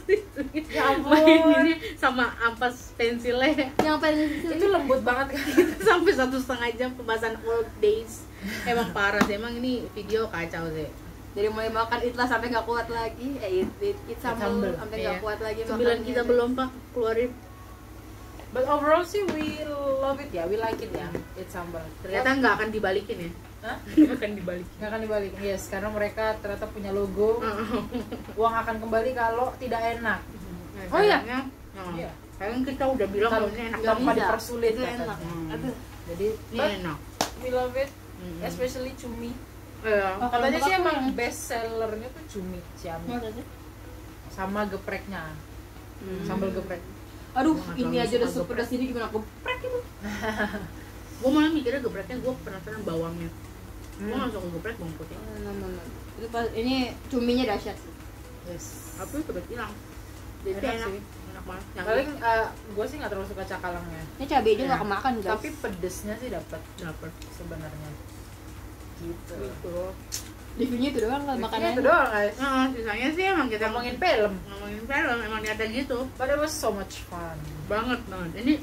[SPEAKER 2] ya
[SPEAKER 3] maininnya sama ampas pensilnya
[SPEAKER 1] yang pensil
[SPEAKER 2] itu lembut banget kan
[SPEAKER 3] sampai satu setengah jam pembahasan old days emang parah sih emang ini video kacau sih
[SPEAKER 1] dari mulai makan itlah sampai nggak kuat lagi eh it it, it sambel
[SPEAKER 2] sambel,
[SPEAKER 1] sampai nggak
[SPEAKER 3] iya.
[SPEAKER 1] kuat lagi
[SPEAKER 3] sembilan
[SPEAKER 1] makannya.
[SPEAKER 3] kita belum pak keluarin
[SPEAKER 2] but overall sih we love it ya we like it ya it's sambal
[SPEAKER 3] ternyata nggak akan dibalikin ya
[SPEAKER 2] Hah?
[SPEAKER 3] nggak akan dibalikin
[SPEAKER 2] nggak akan dibalik yes karena mereka ternyata punya logo uang akan kembali kalau tidak enak
[SPEAKER 3] Nah,
[SPEAKER 1] Oh, iya?
[SPEAKER 2] Iya.
[SPEAKER 3] Kalian nah, kita udah bilang kalau ini enak
[SPEAKER 2] tanpa
[SPEAKER 1] bisa.
[SPEAKER 2] dipersulit
[SPEAKER 1] Itu enak.
[SPEAKER 2] katanya.
[SPEAKER 1] Aduh.
[SPEAKER 2] jadi
[SPEAKER 3] ini
[SPEAKER 2] but
[SPEAKER 3] enak
[SPEAKER 2] we love it
[SPEAKER 3] Mm.
[SPEAKER 2] especially cumi
[SPEAKER 3] Iya.
[SPEAKER 1] Oh, kalau
[SPEAKER 2] katanya sih
[SPEAKER 1] bokap
[SPEAKER 2] emang
[SPEAKER 1] tuh
[SPEAKER 2] best sellernya tuh cumi ciami
[SPEAKER 1] yang-
[SPEAKER 2] sama gepreknya
[SPEAKER 3] Hmm.
[SPEAKER 2] sambal geprek
[SPEAKER 1] Aduh,
[SPEAKER 3] Gua nggak
[SPEAKER 1] ini
[SPEAKER 3] terlalu
[SPEAKER 1] aja udah
[SPEAKER 3] suka
[SPEAKER 1] super pedas ini gimana geprek itu.
[SPEAKER 3] gue malah mikirnya gebreknya gue penasaran bawangnya gue
[SPEAKER 2] Hmm.
[SPEAKER 3] langsung geprek bawang putih
[SPEAKER 1] Itu pas ini cuminya dahsyat sih.
[SPEAKER 2] yes
[SPEAKER 3] tapi kebet hilang jadi
[SPEAKER 2] Enak
[SPEAKER 3] enak, enak.
[SPEAKER 2] sih.
[SPEAKER 3] banget Yang
[SPEAKER 2] paling eh, gue sih nggak terlalu suka cakalangnya
[SPEAKER 1] Ini cabenya
[SPEAKER 3] Iya.
[SPEAKER 1] nggak kemakan, guys.
[SPEAKER 2] tapi pedesnya sih dapat
[SPEAKER 3] dapet
[SPEAKER 2] sebenarnya gitu
[SPEAKER 3] gitu
[SPEAKER 1] reviewnya itu doang kan
[SPEAKER 2] Makannya
[SPEAKER 1] makanannya.
[SPEAKER 2] itu doang guys
[SPEAKER 3] nah, sisanya sih emang kita
[SPEAKER 2] ngomongin film
[SPEAKER 3] ngomongin film emang ada gitu
[SPEAKER 2] but it was so much fun
[SPEAKER 3] banget non ini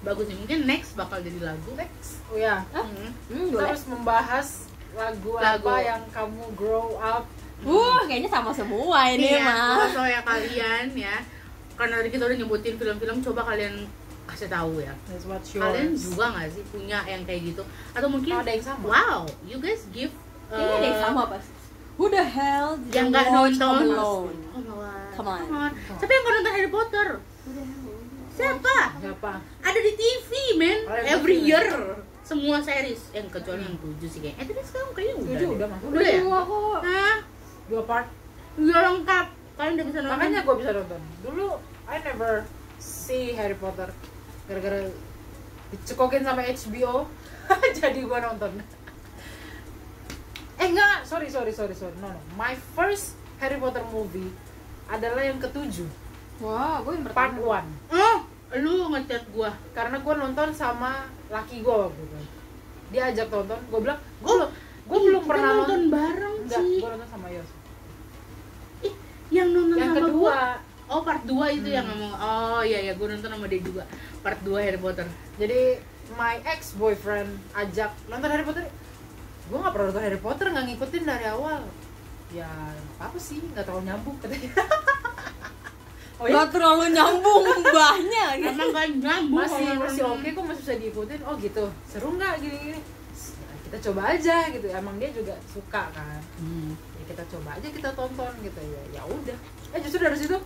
[SPEAKER 3] bagus nih mungkin next bakal jadi lagu
[SPEAKER 2] next oh ya
[SPEAKER 3] Hmm.
[SPEAKER 1] Hmm,
[SPEAKER 2] kita
[SPEAKER 1] boleh.
[SPEAKER 2] harus membahas lagu,
[SPEAKER 3] Lagu.
[SPEAKER 2] apa yang kamu grow up
[SPEAKER 1] Uh, kayaknya sama semua
[SPEAKER 2] Ah,
[SPEAKER 1] ini
[SPEAKER 3] Nih ya,
[SPEAKER 1] mah.
[SPEAKER 3] kalau ya kalian ya karena tadi kita udah nyebutin film-film coba kalian kasih tahu ya
[SPEAKER 2] that's what
[SPEAKER 3] kalian
[SPEAKER 2] yours
[SPEAKER 3] juga nggak sih punya yang kayak gitu atau mungkin
[SPEAKER 2] Oh, ada yang sama?
[SPEAKER 3] wow you guys give
[SPEAKER 1] Kayaknya ada yang
[SPEAKER 3] uh,
[SPEAKER 1] sama pas. Who the hell did
[SPEAKER 3] yang
[SPEAKER 1] you
[SPEAKER 3] nggak
[SPEAKER 1] watch
[SPEAKER 3] nonton
[SPEAKER 1] alone?
[SPEAKER 3] Come on.
[SPEAKER 1] Come on.
[SPEAKER 3] Come on. siapa yang nggak nonton Harry Potter siapa
[SPEAKER 2] siapa
[SPEAKER 3] ada di TV men
[SPEAKER 2] Ada di
[SPEAKER 3] every
[SPEAKER 2] TV.
[SPEAKER 3] year semua series yang kecuali yang tujuh sih kayaknya eh tapi sekarang kayaknya udah
[SPEAKER 2] Tujuh
[SPEAKER 3] deh.
[SPEAKER 2] udah masuk.
[SPEAKER 3] udah ya
[SPEAKER 1] Semua kok.
[SPEAKER 3] Hah?
[SPEAKER 2] dua part
[SPEAKER 3] udah lengkap kalian udah bisa nonton
[SPEAKER 2] makanya gue bisa nonton dulu I never see Harry Potter gara-gara dicekokin sama HBO jadi gue nonton eh enggak sorry sorry sorry sorry no no my first Harry Potter movie adalah yang ketujuh
[SPEAKER 1] Wah, gue yang
[SPEAKER 2] part
[SPEAKER 1] pertama.
[SPEAKER 2] 1
[SPEAKER 3] oh lu ngechat gua
[SPEAKER 2] karena gue nonton sama laki gue waktu itu dia ajak tonton gue bilang gue belum gue
[SPEAKER 3] Ih,
[SPEAKER 2] belum
[SPEAKER 3] kita
[SPEAKER 2] pernah
[SPEAKER 3] nonton
[SPEAKER 2] nonton
[SPEAKER 3] bareng
[SPEAKER 2] enggak
[SPEAKER 3] sih
[SPEAKER 2] gue nonton sama Yos
[SPEAKER 3] Ih, yang nonton
[SPEAKER 2] yang
[SPEAKER 3] sama
[SPEAKER 2] kedua Hmm.
[SPEAKER 3] gua. oh part 2 itu yang ngomong oh iya iya gua nonton sama dia juga part 2 Harry Potter
[SPEAKER 2] jadi my ex boyfriend ajak nonton Harry Potter gue nggak pernah nonton Harry Potter nggak ngikutin dari awal ya apa sih nggak terlalu nyambung katanya oh ya
[SPEAKER 1] Gak terlalu nyambung mbahnya gitu.
[SPEAKER 3] emang kan nyambung
[SPEAKER 2] masih
[SPEAKER 3] kalau
[SPEAKER 2] masih oke
[SPEAKER 3] nonton.
[SPEAKER 2] kok masih bisa diikutin oh gitu Nah, seru nggak gini gini kita coba aja gitu emang dia juga suka kan
[SPEAKER 3] Hmm.
[SPEAKER 2] ya kita coba aja kita tonton gitu ya ya udah eh justru dari situ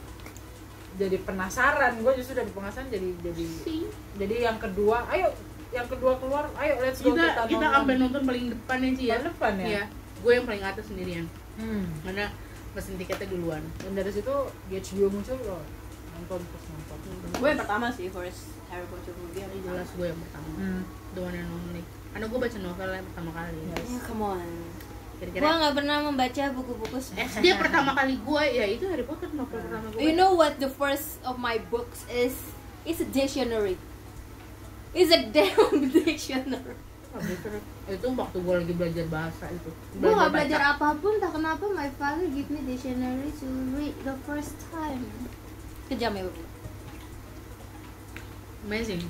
[SPEAKER 2] jadi penasaran gue justru dari penasaran jadi jadi jadi yang kedua ayo yang kedua keluar ayo let's go
[SPEAKER 3] kita
[SPEAKER 2] kita,
[SPEAKER 3] kita sampai nonton paling depan ya Ci ya
[SPEAKER 2] Paling depan ya?
[SPEAKER 3] Iya. gue yang paling atas sendirian
[SPEAKER 2] Hmm.
[SPEAKER 3] karena mesin tiketnya duluan
[SPEAKER 2] dan dari situ HBO muncul loh nonton terus nonton
[SPEAKER 1] gue yang pertama sih first Harry Potter movie yang
[SPEAKER 3] Ini jelas gue yang pertama
[SPEAKER 2] hmm.
[SPEAKER 3] the one and only karena gue baca novelnya pertama kali
[SPEAKER 2] Yes.
[SPEAKER 4] come on.
[SPEAKER 3] kira-kira
[SPEAKER 4] Gua nggak pernah membaca buku-buku. se-
[SPEAKER 3] SD pertama kali gue ya itu Harry Potter novel pertama gue
[SPEAKER 4] You know what the first of my books is? It's a dictionary. It's a damn dictionary.
[SPEAKER 3] itu waktu gue lagi belajar bahasa itu
[SPEAKER 4] Gue nggak belajar
[SPEAKER 3] baca.
[SPEAKER 4] apapun, tak kenapa my father give me dictionary to read the first time. Kejam ya bapak.
[SPEAKER 3] amazing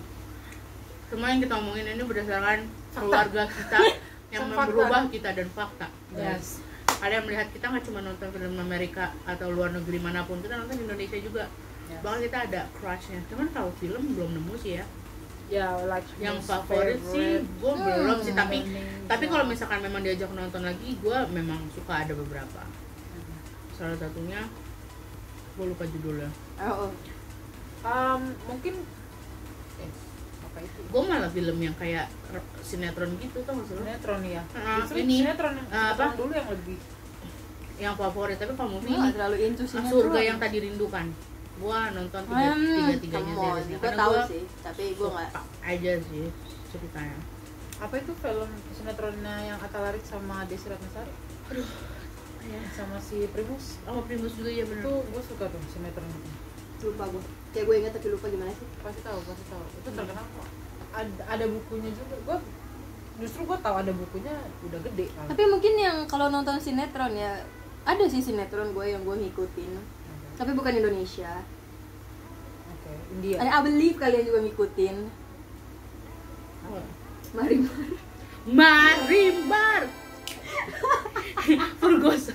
[SPEAKER 3] semua yang kita omongin ini berdasarkan keluarga kita yang
[SPEAKER 2] Fakta.
[SPEAKER 3] berubah kita dan fakta
[SPEAKER 2] yes
[SPEAKER 3] guys ada yang melihat kita nggak cuma nonton film Amerika atau luar negeri manapun kita nonton di Indonesia juga
[SPEAKER 2] Yes.
[SPEAKER 3] bahkan kita ada crushnya cuman kalau film belum nemu sih ya
[SPEAKER 2] ya like
[SPEAKER 3] yang
[SPEAKER 2] most
[SPEAKER 3] favorit sih
[SPEAKER 2] favorite.
[SPEAKER 3] gue belum sih tapi
[SPEAKER 2] Indonesia.
[SPEAKER 3] tapi kalau misalkan memang diajak nonton lagi gue memang suka ada beberapa salah satunya gue lupa judulnya
[SPEAKER 1] oh, oh.
[SPEAKER 2] um, mungkin eh, apa itu
[SPEAKER 3] gue malah film yang kayak r- sinetron gitu tuh maksudnya
[SPEAKER 2] sinetron ya
[SPEAKER 3] Ah,
[SPEAKER 2] justru
[SPEAKER 3] ini.
[SPEAKER 2] sinetron yang
[SPEAKER 3] Ah, apa?
[SPEAKER 2] sinetron dulu yang lebih
[SPEAKER 3] yang favorit tapi kalau movie
[SPEAKER 1] gue
[SPEAKER 3] ini
[SPEAKER 1] nggak terlalu into sih
[SPEAKER 3] surga yang tadi rindukan gue nonton
[SPEAKER 4] Hmm,
[SPEAKER 3] tiga tiga tiganya
[SPEAKER 1] come on
[SPEAKER 3] seriesnya.
[SPEAKER 1] gue
[SPEAKER 3] Karena
[SPEAKER 1] tahu
[SPEAKER 3] gua
[SPEAKER 1] sih tapi gue nggak
[SPEAKER 3] suka aja sih ceritanya
[SPEAKER 2] apa itu film sinetronnya yang Atalarik sama Desi Ratnasari
[SPEAKER 3] ya
[SPEAKER 2] sama si Primus
[SPEAKER 3] sama Primus juga ya bener
[SPEAKER 2] itu gue suka tuh sinetron itu
[SPEAKER 1] lupa gue kayak gue inget tapi lupa gimana sih
[SPEAKER 2] pasti tahu pasti tahu itu terkenal kok ada, Hmm. ada bukunya juga gue justru gue tahu ada bukunya udah gede kan
[SPEAKER 1] tapi mungkin yang kalau nonton sinetron ya ada sih sinetron gue yang gue ngikutin
[SPEAKER 2] oke
[SPEAKER 1] tapi bukan Indonesia
[SPEAKER 2] Oke, India
[SPEAKER 3] Iya.
[SPEAKER 1] ada I believe kalian juga ngikutin
[SPEAKER 3] Oh.
[SPEAKER 1] mari
[SPEAKER 3] Marimbar Furgoso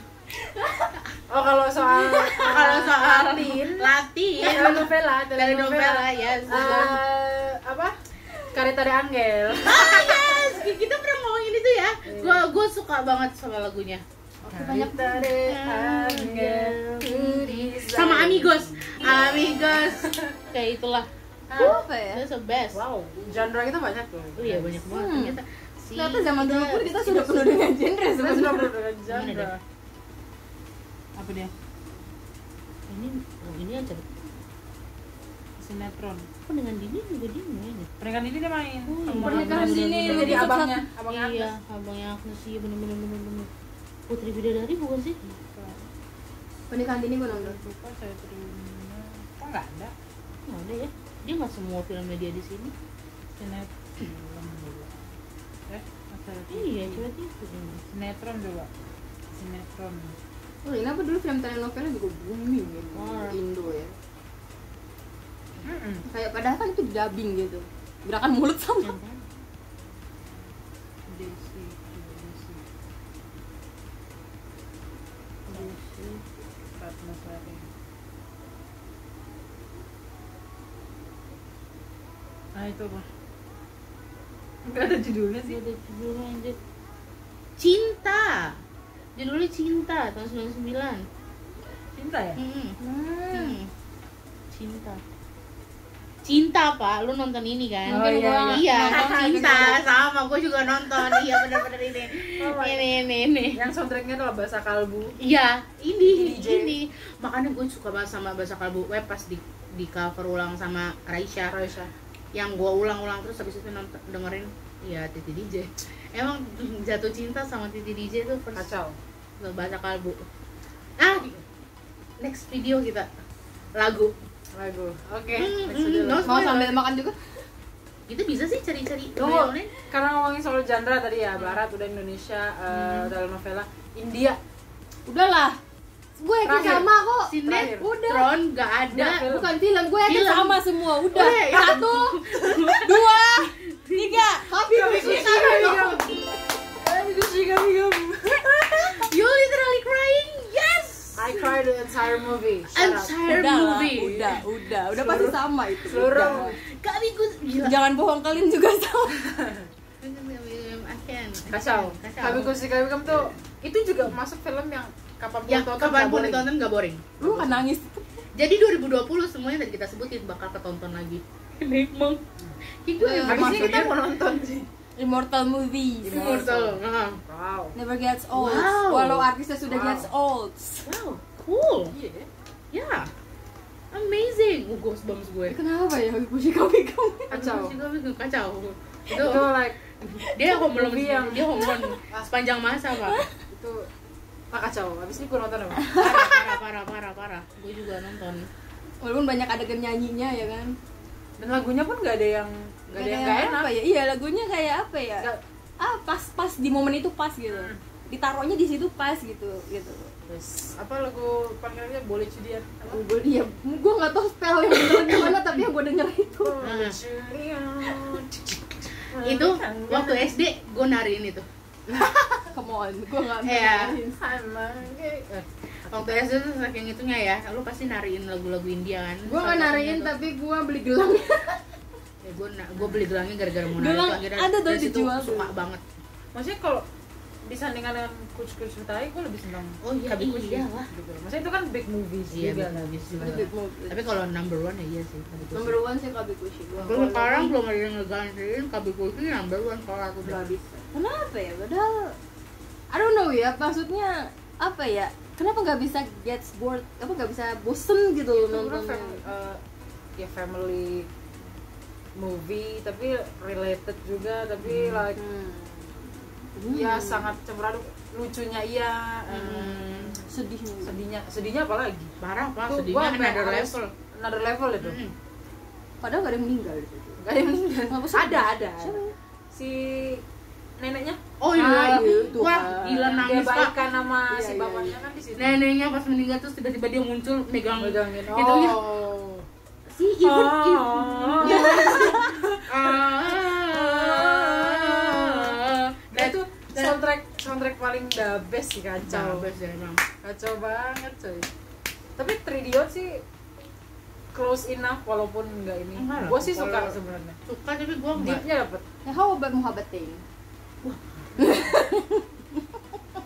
[SPEAKER 2] oh kalau soal
[SPEAKER 3] kalau soal
[SPEAKER 2] Latin
[SPEAKER 3] Latin
[SPEAKER 2] telenovela
[SPEAKER 3] telenovela ya sudah.
[SPEAKER 2] Eh, apa Carita de Angel
[SPEAKER 3] Ah, yes kita pernah ngomongin itu ya gua gua suka banget sama lagunya
[SPEAKER 2] Carita de Angel
[SPEAKER 3] sama Amigos Amigos kayak itulah Ah,
[SPEAKER 1] apa ya
[SPEAKER 3] that's the best
[SPEAKER 2] wow genre kita banyak loh
[SPEAKER 3] oh iya banyak banget
[SPEAKER 1] Hmm.
[SPEAKER 3] ternyata si
[SPEAKER 1] ternyata zaman dulu pun kita sudah penuh dengan genre
[SPEAKER 2] kita sudah
[SPEAKER 1] sebenarnya
[SPEAKER 2] berbagai
[SPEAKER 3] Gimana
[SPEAKER 2] genre
[SPEAKER 3] deh? apa dia ini oh, ini aja
[SPEAKER 2] sinetron
[SPEAKER 3] aku dengan Dini juga Dini ya
[SPEAKER 2] pernikahan ini dia main
[SPEAKER 3] Oh,
[SPEAKER 2] Sama-
[SPEAKER 1] pernikahan
[SPEAKER 2] sama-
[SPEAKER 1] dini
[SPEAKER 2] sama-
[SPEAKER 1] lebih
[SPEAKER 2] jadi
[SPEAKER 1] sukses.
[SPEAKER 2] abangnya abangnya
[SPEAKER 3] iya abangnya Agnes iya bener bener bener bener Putri Bidadari bukan sih
[SPEAKER 1] pernikahan dini gue nonton
[SPEAKER 2] lupa saya terima kok nggak ada
[SPEAKER 3] nggak ada ya dia nggak semua filmnya dia di sini
[SPEAKER 2] sinetron dulu eh saya
[SPEAKER 3] iya coba itu ini
[SPEAKER 2] sinetron dulu sinetron
[SPEAKER 1] oh ini apa dulu film telenovela juga booming ya
[SPEAKER 3] Wah.
[SPEAKER 1] di Indo ya kayak padahal kan itu dubbing gitu gerakan mulut sama
[SPEAKER 3] Yang kan?
[SPEAKER 2] Desi Desi Desi Ratnasari ah itu apa nggak ada judulnya
[SPEAKER 3] Dia
[SPEAKER 2] sih
[SPEAKER 3] ada judulnya anjir. Cinta judulnya Cinta tahun 99
[SPEAKER 2] cinta ya
[SPEAKER 3] hmm. Hmm. Cinta Cinta pak, lu nonton ini kan?
[SPEAKER 2] Oh, iya,
[SPEAKER 3] Gua-
[SPEAKER 2] iya.
[SPEAKER 3] nonton cinta sama, gue juga nonton. Iya bener-bener ini,
[SPEAKER 2] Oh, my
[SPEAKER 3] ini, ini, ini.
[SPEAKER 2] yang soundtracknya adalah bahasa kalbu
[SPEAKER 3] Iya, ini,
[SPEAKER 2] DJ.
[SPEAKER 3] ini. Makanya gue suka banget sama bahasa kalbu web pas di di cover ulang sama Raisya.
[SPEAKER 2] Raisa
[SPEAKER 3] yang gua ulang-ulang terus habis itu nonton dengerin ya Titi DJ emang jatuh cinta sama Titi DJ tuh pers-
[SPEAKER 2] kacau
[SPEAKER 3] bahasa kalbu ah next video kita lagu
[SPEAKER 2] lagu oke
[SPEAKER 3] Hmm,
[SPEAKER 2] next
[SPEAKER 3] hmm,
[SPEAKER 2] judul.
[SPEAKER 3] no.
[SPEAKER 1] mau sambil makan juga
[SPEAKER 3] kita bisa sih cari-cari
[SPEAKER 2] Tunggu,
[SPEAKER 3] bayangin.
[SPEAKER 2] karena ngomongin soal genre tadi ya barat udah Indonesia eh, telenovela India
[SPEAKER 1] udahlah gue yakin
[SPEAKER 2] Terakhir.
[SPEAKER 1] sama kok
[SPEAKER 2] Oh, Terakhir.
[SPEAKER 3] sinetron gak ada
[SPEAKER 2] Nggak, film.
[SPEAKER 1] bukan film gue yakin
[SPEAKER 3] Film.
[SPEAKER 1] sama semua udah
[SPEAKER 3] Udah, ya.
[SPEAKER 1] satu dua tiga happy
[SPEAKER 2] Kami
[SPEAKER 1] susah dong.
[SPEAKER 2] Eh,
[SPEAKER 3] you literally crying yes
[SPEAKER 2] I cried the entire movie Shut up.
[SPEAKER 3] entire
[SPEAKER 1] udah lah,
[SPEAKER 3] movie
[SPEAKER 1] udah udah udah pasti sama itu
[SPEAKER 2] seluruh
[SPEAKER 3] kami gue
[SPEAKER 1] Udah.
[SPEAKER 3] gila
[SPEAKER 1] jangan bohong kalian juga sama
[SPEAKER 3] I can't.
[SPEAKER 2] kacau kami
[SPEAKER 3] kacau
[SPEAKER 2] kusi kami kamu tuh itu juga masuk film yang kapanpun
[SPEAKER 3] yang
[SPEAKER 2] ditonton
[SPEAKER 3] Ya, kapanpun
[SPEAKER 2] nggak boring.
[SPEAKER 3] ditonton nggak boring
[SPEAKER 1] lu kan nangis
[SPEAKER 3] jadi 2020 semuanya tadi kita sebutin bakal ketonton lagi ini emang kayak gue
[SPEAKER 1] Eh,
[SPEAKER 3] yang
[SPEAKER 2] Habis ini
[SPEAKER 3] masuk
[SPEAKER 2] kita
[SPEAKER 3] ya.
[SPEAKER 2] mau nonton sih.
[SPEAKER 1] immortal movies
[SPEAKER 3] immortal gitu Heeh.
[SPEAKER 2] Wow.
[SPEAKER 1] never gets old
[SPEAKER 3] Wow.
[SPEAKER 1] walau artisnya sudah
[SPEAKER 2] Wow.
[SPEAKER 1] gets old
[SPEAKER 3] wow cool
[SPEAKER 2] Iya.
[SPEAKER 3] yeah amazing gue goosebumps gue
[SPEAKER 1] kenapa ya puji kami kamu
[SPEAKER 2] Kacau.
[SPEAKER 3] Aduh, sih, gue kacau itu
[SPEAKER 2] Itu like
[SPEAKER 3] dia home alone
[SPEAKER 2] Movie yang-
[SPEAKER 3] dia home alone sepanjang masa pak
[SPEAKER 2] itu ah kacau. Habis ini gue nonton apa?
[SPEAKER 3] parah parah parah parah parah gue juga nonton
[SPEAKER 1] walaupun banyak adegan nyanyinya ya kan
[SPEAKER 2] Dan lagunya pun gak ada yang gak ada yang gak enak.
[SPEAKER 1] apa ya iya lagunya kayak apa ya
[SPEAKER 2] Nggak-
[SPEAKER 1] ah pas pas di momen itu pas gitu
[SPEAKER 2] Hmm.
[SPEAKER 1] ditaruhnya di situ pas gitu gitu
[SPEAKER 2] Terus, apa lagu panggilnya boleh cudian? Apa?
[SPEAKER 1] gue dia gue nggak tahu spell yang bener gimana tapi yang gue denger itu
[SPEAKER 2] Boleh ya. cudian. Nah,
[SPEAKER 3] itu
[SPEAKER 2] kan,
[SPEAKER 3] waktu SD gue nariin itu
[SPEAKER 1] come on gue nggak
[SPEAKER 3] Iya.
[SPEAKER 1] dengerin.
[SPEAKER 3] waktu SD tuh saking itunya ya lu pasti nariin lagu-lagu India kan
[SPEAKER 1] gue nggak nariin tapi gue beli gelang
[SPEAKER 3] ya, gue gue beli gelangnya gara-gara mau
[SPEAKER 1] Gelang
[SPEAKER 3] nari akhirnya
[SPEAKER 1] ada tuh
[SPEAKER 3] dari situ
[SPEAKER 1] dijual
[SPEAKER 3] suka
[SPEAKER 1] tuh.
[SPEAKER 3] banget
[SPEAKER 2] Maksudnya kalau disandingkan dengan kuch kuch Thai, gue lebih seneng
[SPEAKER 3] Oh iya,
[SPEAKER 2] Kabi Kuch
[SPEAKER 3] iya
[SPEAKER 2] gitu.
[SPEAKER 3] lah.
[SPEAKER 2] Maksudnya itu kan big movies
[SPEAKER 3] iya
[SPEAKER 2] juga
[SPEAKER 3] big
[SPEAKER 2] kan.
[SPEAKER 3] movies juga.
[SPEAKER 1] Itu big movie.
[SPEAKER 3] tapi kalau number one ya iya sih Kabi Kucing.
[SPEAKER 1] number one sih kabi kushi gue
[SPEAKER 3] Belum sekarang belum ada yang ngegantiin Kabi Kucing number one kalau aku
[SPEAKER 2] Gak bisa.
[SPEAKER 1] kenapa ya padahal I don't know ya maksudnya apa ya kenapa nggak bisa get bored apa nggak bisa bosen gitu loh
[SPEAKER 2] Itu orang
[SPEAKER 1] nontonnya
[SPEAKER 2] fam- eh, ya family movie tapi related juga tapi like
[SPEAKER 1] Hmm.
[SPEAKER 2] ya
[SPEAKER 1] Hmm.
[SPEAKER 2] sangat cemerlang lucunya iya eh,
[SPEAKER 3] Hmm.
[SPEAKER 1] sedih
[SPEAKER 2] sedihnya sedihnya apa lagi
[SPEAKER 3] parah pak
[SPEAKER 2] Tuh,
[SPEAKER 3] sedihnya kan
[SPEAKER 2] sampai
[SPEAKER 3] ada
[SPEAKER 2] harus-
[SPEAKER 3] level
[SPEAKER 2] another level itu
[SPEAKER 3] Hmm.
[SPEAKER 1] padahal gak ada yang meninggal di situ
[SPEAKER 2] gak ada yang meninggal
[SPEAKER 1] Nggak bosan.
[SPEAKER 2] ada ada
[SPEAKER 1] Siapa?
[SPEAKER 2] si neneknya eh,
[SPEAKER 3] oh iya wah
[SPEAKER 1] Ah, iya, Tuhan.
[SPEAKER 3] gila
[SPEAKER 2] dia
[SPEAKER 3] nangis pak
[SPEAKER 2] baikan sama
[SPEAKER 1] Iya,
[SPEAKER 2] si
[SPEAKER 1] iya,
[SPEAKER 2] bapaknya
[SPEAKER 1] iya.
[SPEAKER 2] kan di situ
[SPEAKER 3] neneknya pas meninggal terus tiba-tiba dia muncul megang
[SPEAKER 2] megangin oh
[SPEAKER 3] itu ya si even even
[SPEAKER 2] Oh.
[SPEAKER 3] Iya. ah
[SPEAKER 2] Nah, itu soundtrack soundtrack paling the best sih kacau
[SPEAKER 3] cabes ya emang
[SPEAKER 2] kacau banget cuy tapi Tridion sih close enough walaupun nggak ini
[SPEAKER 3] Enggak lah,
[SPEAKER 2] gue sih
[SPEAKER 3] kalau-
[SPEAKER 2] suka sebenarnya
[SPEAKER 3] suka tapi gua enggak
[SPEAKER 2] deepnya dapet
[SPEAKER 1] ya how about muhabbatin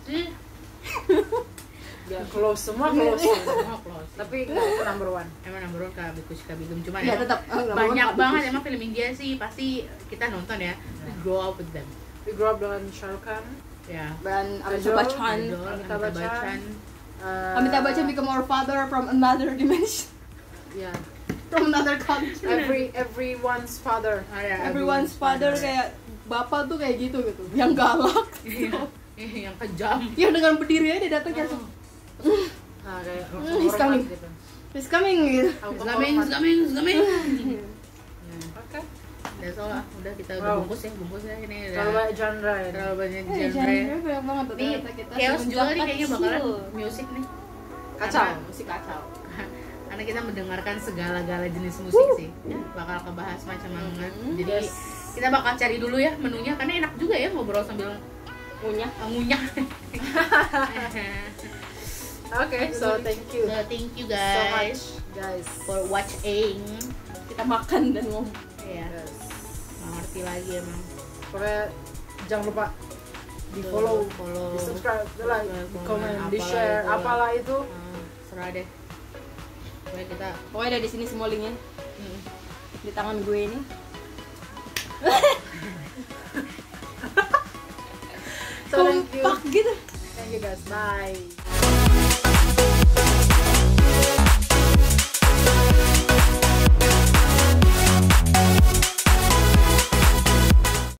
[SPEAKER 3] sih
[SPEAKER 2] ya close semua close
[SPEAKER 3] Semua close. tapi
[SPEAKER 2] tapi nggak itu number one
[SPEAKER 3] emang number one Kabi Kucing Kabi Kucing cuman
[SPEAKER 1] ya
[SPEAKER 3] emang
[SPEAKER 1] tetap eh, nggak
[SPEAKER 3] Oh, banyak
[SPEAKER 1] mau, Kabi
[SPEAKER 3] banget
[SPEAKER 1] Kushi.
[SPEAKER 3] emang film India sih pasti kita nonton ya We grow up with them
[SPEAKER 2] we grew up dengan Shahrukh Khan
[SPEAKER 3] ya
[SPEAKER 1] dan Amitabh
[SPEAKER 2] Joe,
[SPEAKER 1] Bachchan
[SPEAKER 3] Idol,
[SPEAKER 2] Amitabh
[SPEAKER 3] Amitabh Bachchan
[SPEAKER 2] Bachchan. eh,
[SPEAKER 1] Amitabh Bachchan become our father from another dimension
[SPEAKER 2] ya
[SPEAKER 1] from another country
[SPEAKER 2] every everyone's father
[SPEAKER 3] Ah, ya,
[SPEAKER 1] everyone's father kayak gitu. bapak tuh kayak gitu gitu yang galak
[SPEAKER 3] Iya. yang kejam
[SPEAKER 1] yang dengan berdiri aja dia datang kayak
[SPEAKER 3] Oh.
[SPEAKER 2] nah kayak
[SPEAKER 1] Hmm, he's coming.
[SPEAKER 2] hormat gitu
[SPEAKER 1] he's coming gitu
[SPEAKER 2] Aku
[SPEAKER 3] It's coming, it's
[SPEAKER 2] hormat.
[SPEAKER 3] coming, it's coming. Ya,
[SPEAKER 2] oke
[SPEAKER 3] Udah soal, udah kita udah
[SPEAKER 2] Wow.
[SPEAKER 3] bungkus ya, bungkus ya ini.
[SPEAKER 2] terlalu
[SPEAKER 3] udah
[SPEAKER 2] banyak genre ya
[SPEAKER 3] Terlalu banyak
[SPEAKER 1] Eh,
[SPEAKER 3] genre.
[SPEAKER 1] genre banyak banget
[SPEAKER 3] Ini
[SPEAKER 1] ternyata kita
[SPEAKER 3] chaos juga
[SPEAKER 1] semenjak
[SPEAKER 3] nih kayaknya bakalan
[SPEAKER 1] kecil.
[SPEAKER 3] musik nih.
[SPEAKER 2] kacau
[SPEAKER 3] Karena-
[SPEAKER 1] musik kacau
[SPEAKER 3] Karena kita mendengarkan segala-gala jenis musik sih. Bakal kebahas macam-macam.
[SPEAKER 1] Hmm.
[SPEAKER 3] Jadi
[SPEAKER 2] Yes.
[SPEAKER 3] kita bakal cari dulu ya menunya karena enak juga ya ngobrol sambil
[SPEAKER 1] punya
[SPEAKER 3] uh, ngunyah.
[SPEAKER 2] oke so thank you
[SPEAKER 3] so, thank you
[SPEAKER 2] so
[SPEAKER 3] guys
[SPEAKER 2] much guys
[SPEAKER 3] for watching.
[SPEAKER 1] kita makan dan ngomong
[SPEAKER 3] Ya,
[SPEAKER 2] Yes.
[SPEAKER 3] nggak ngerti lagi emang.
[SPEAKER 2] Pokoknya jangan lupa di follow,
[SPEAKER 3] follow.
[SPEAKER 2] di subscribe, di like, di
[SPEAKER 3] Komen,
[SPEAKER 2] comment, di
[SPEAKER 3] apalah
[SPEAKER 2] share,
[SPEAKER 3] itu.
[SPEAKER 2] apalah itu.
[SPEAKER 3] Ah, serah deh. Pokoknya kita
[SPEAKER 1] pokoknya ada di sini semua linknya
[SPEAKER 3] mm,
[SPEAKER 1] di tangan gue ini
[SPEAKER 2] So thank you,
[SPEAKER 1] kompak gitu
[SPEAKER 2] thank you guys, bye.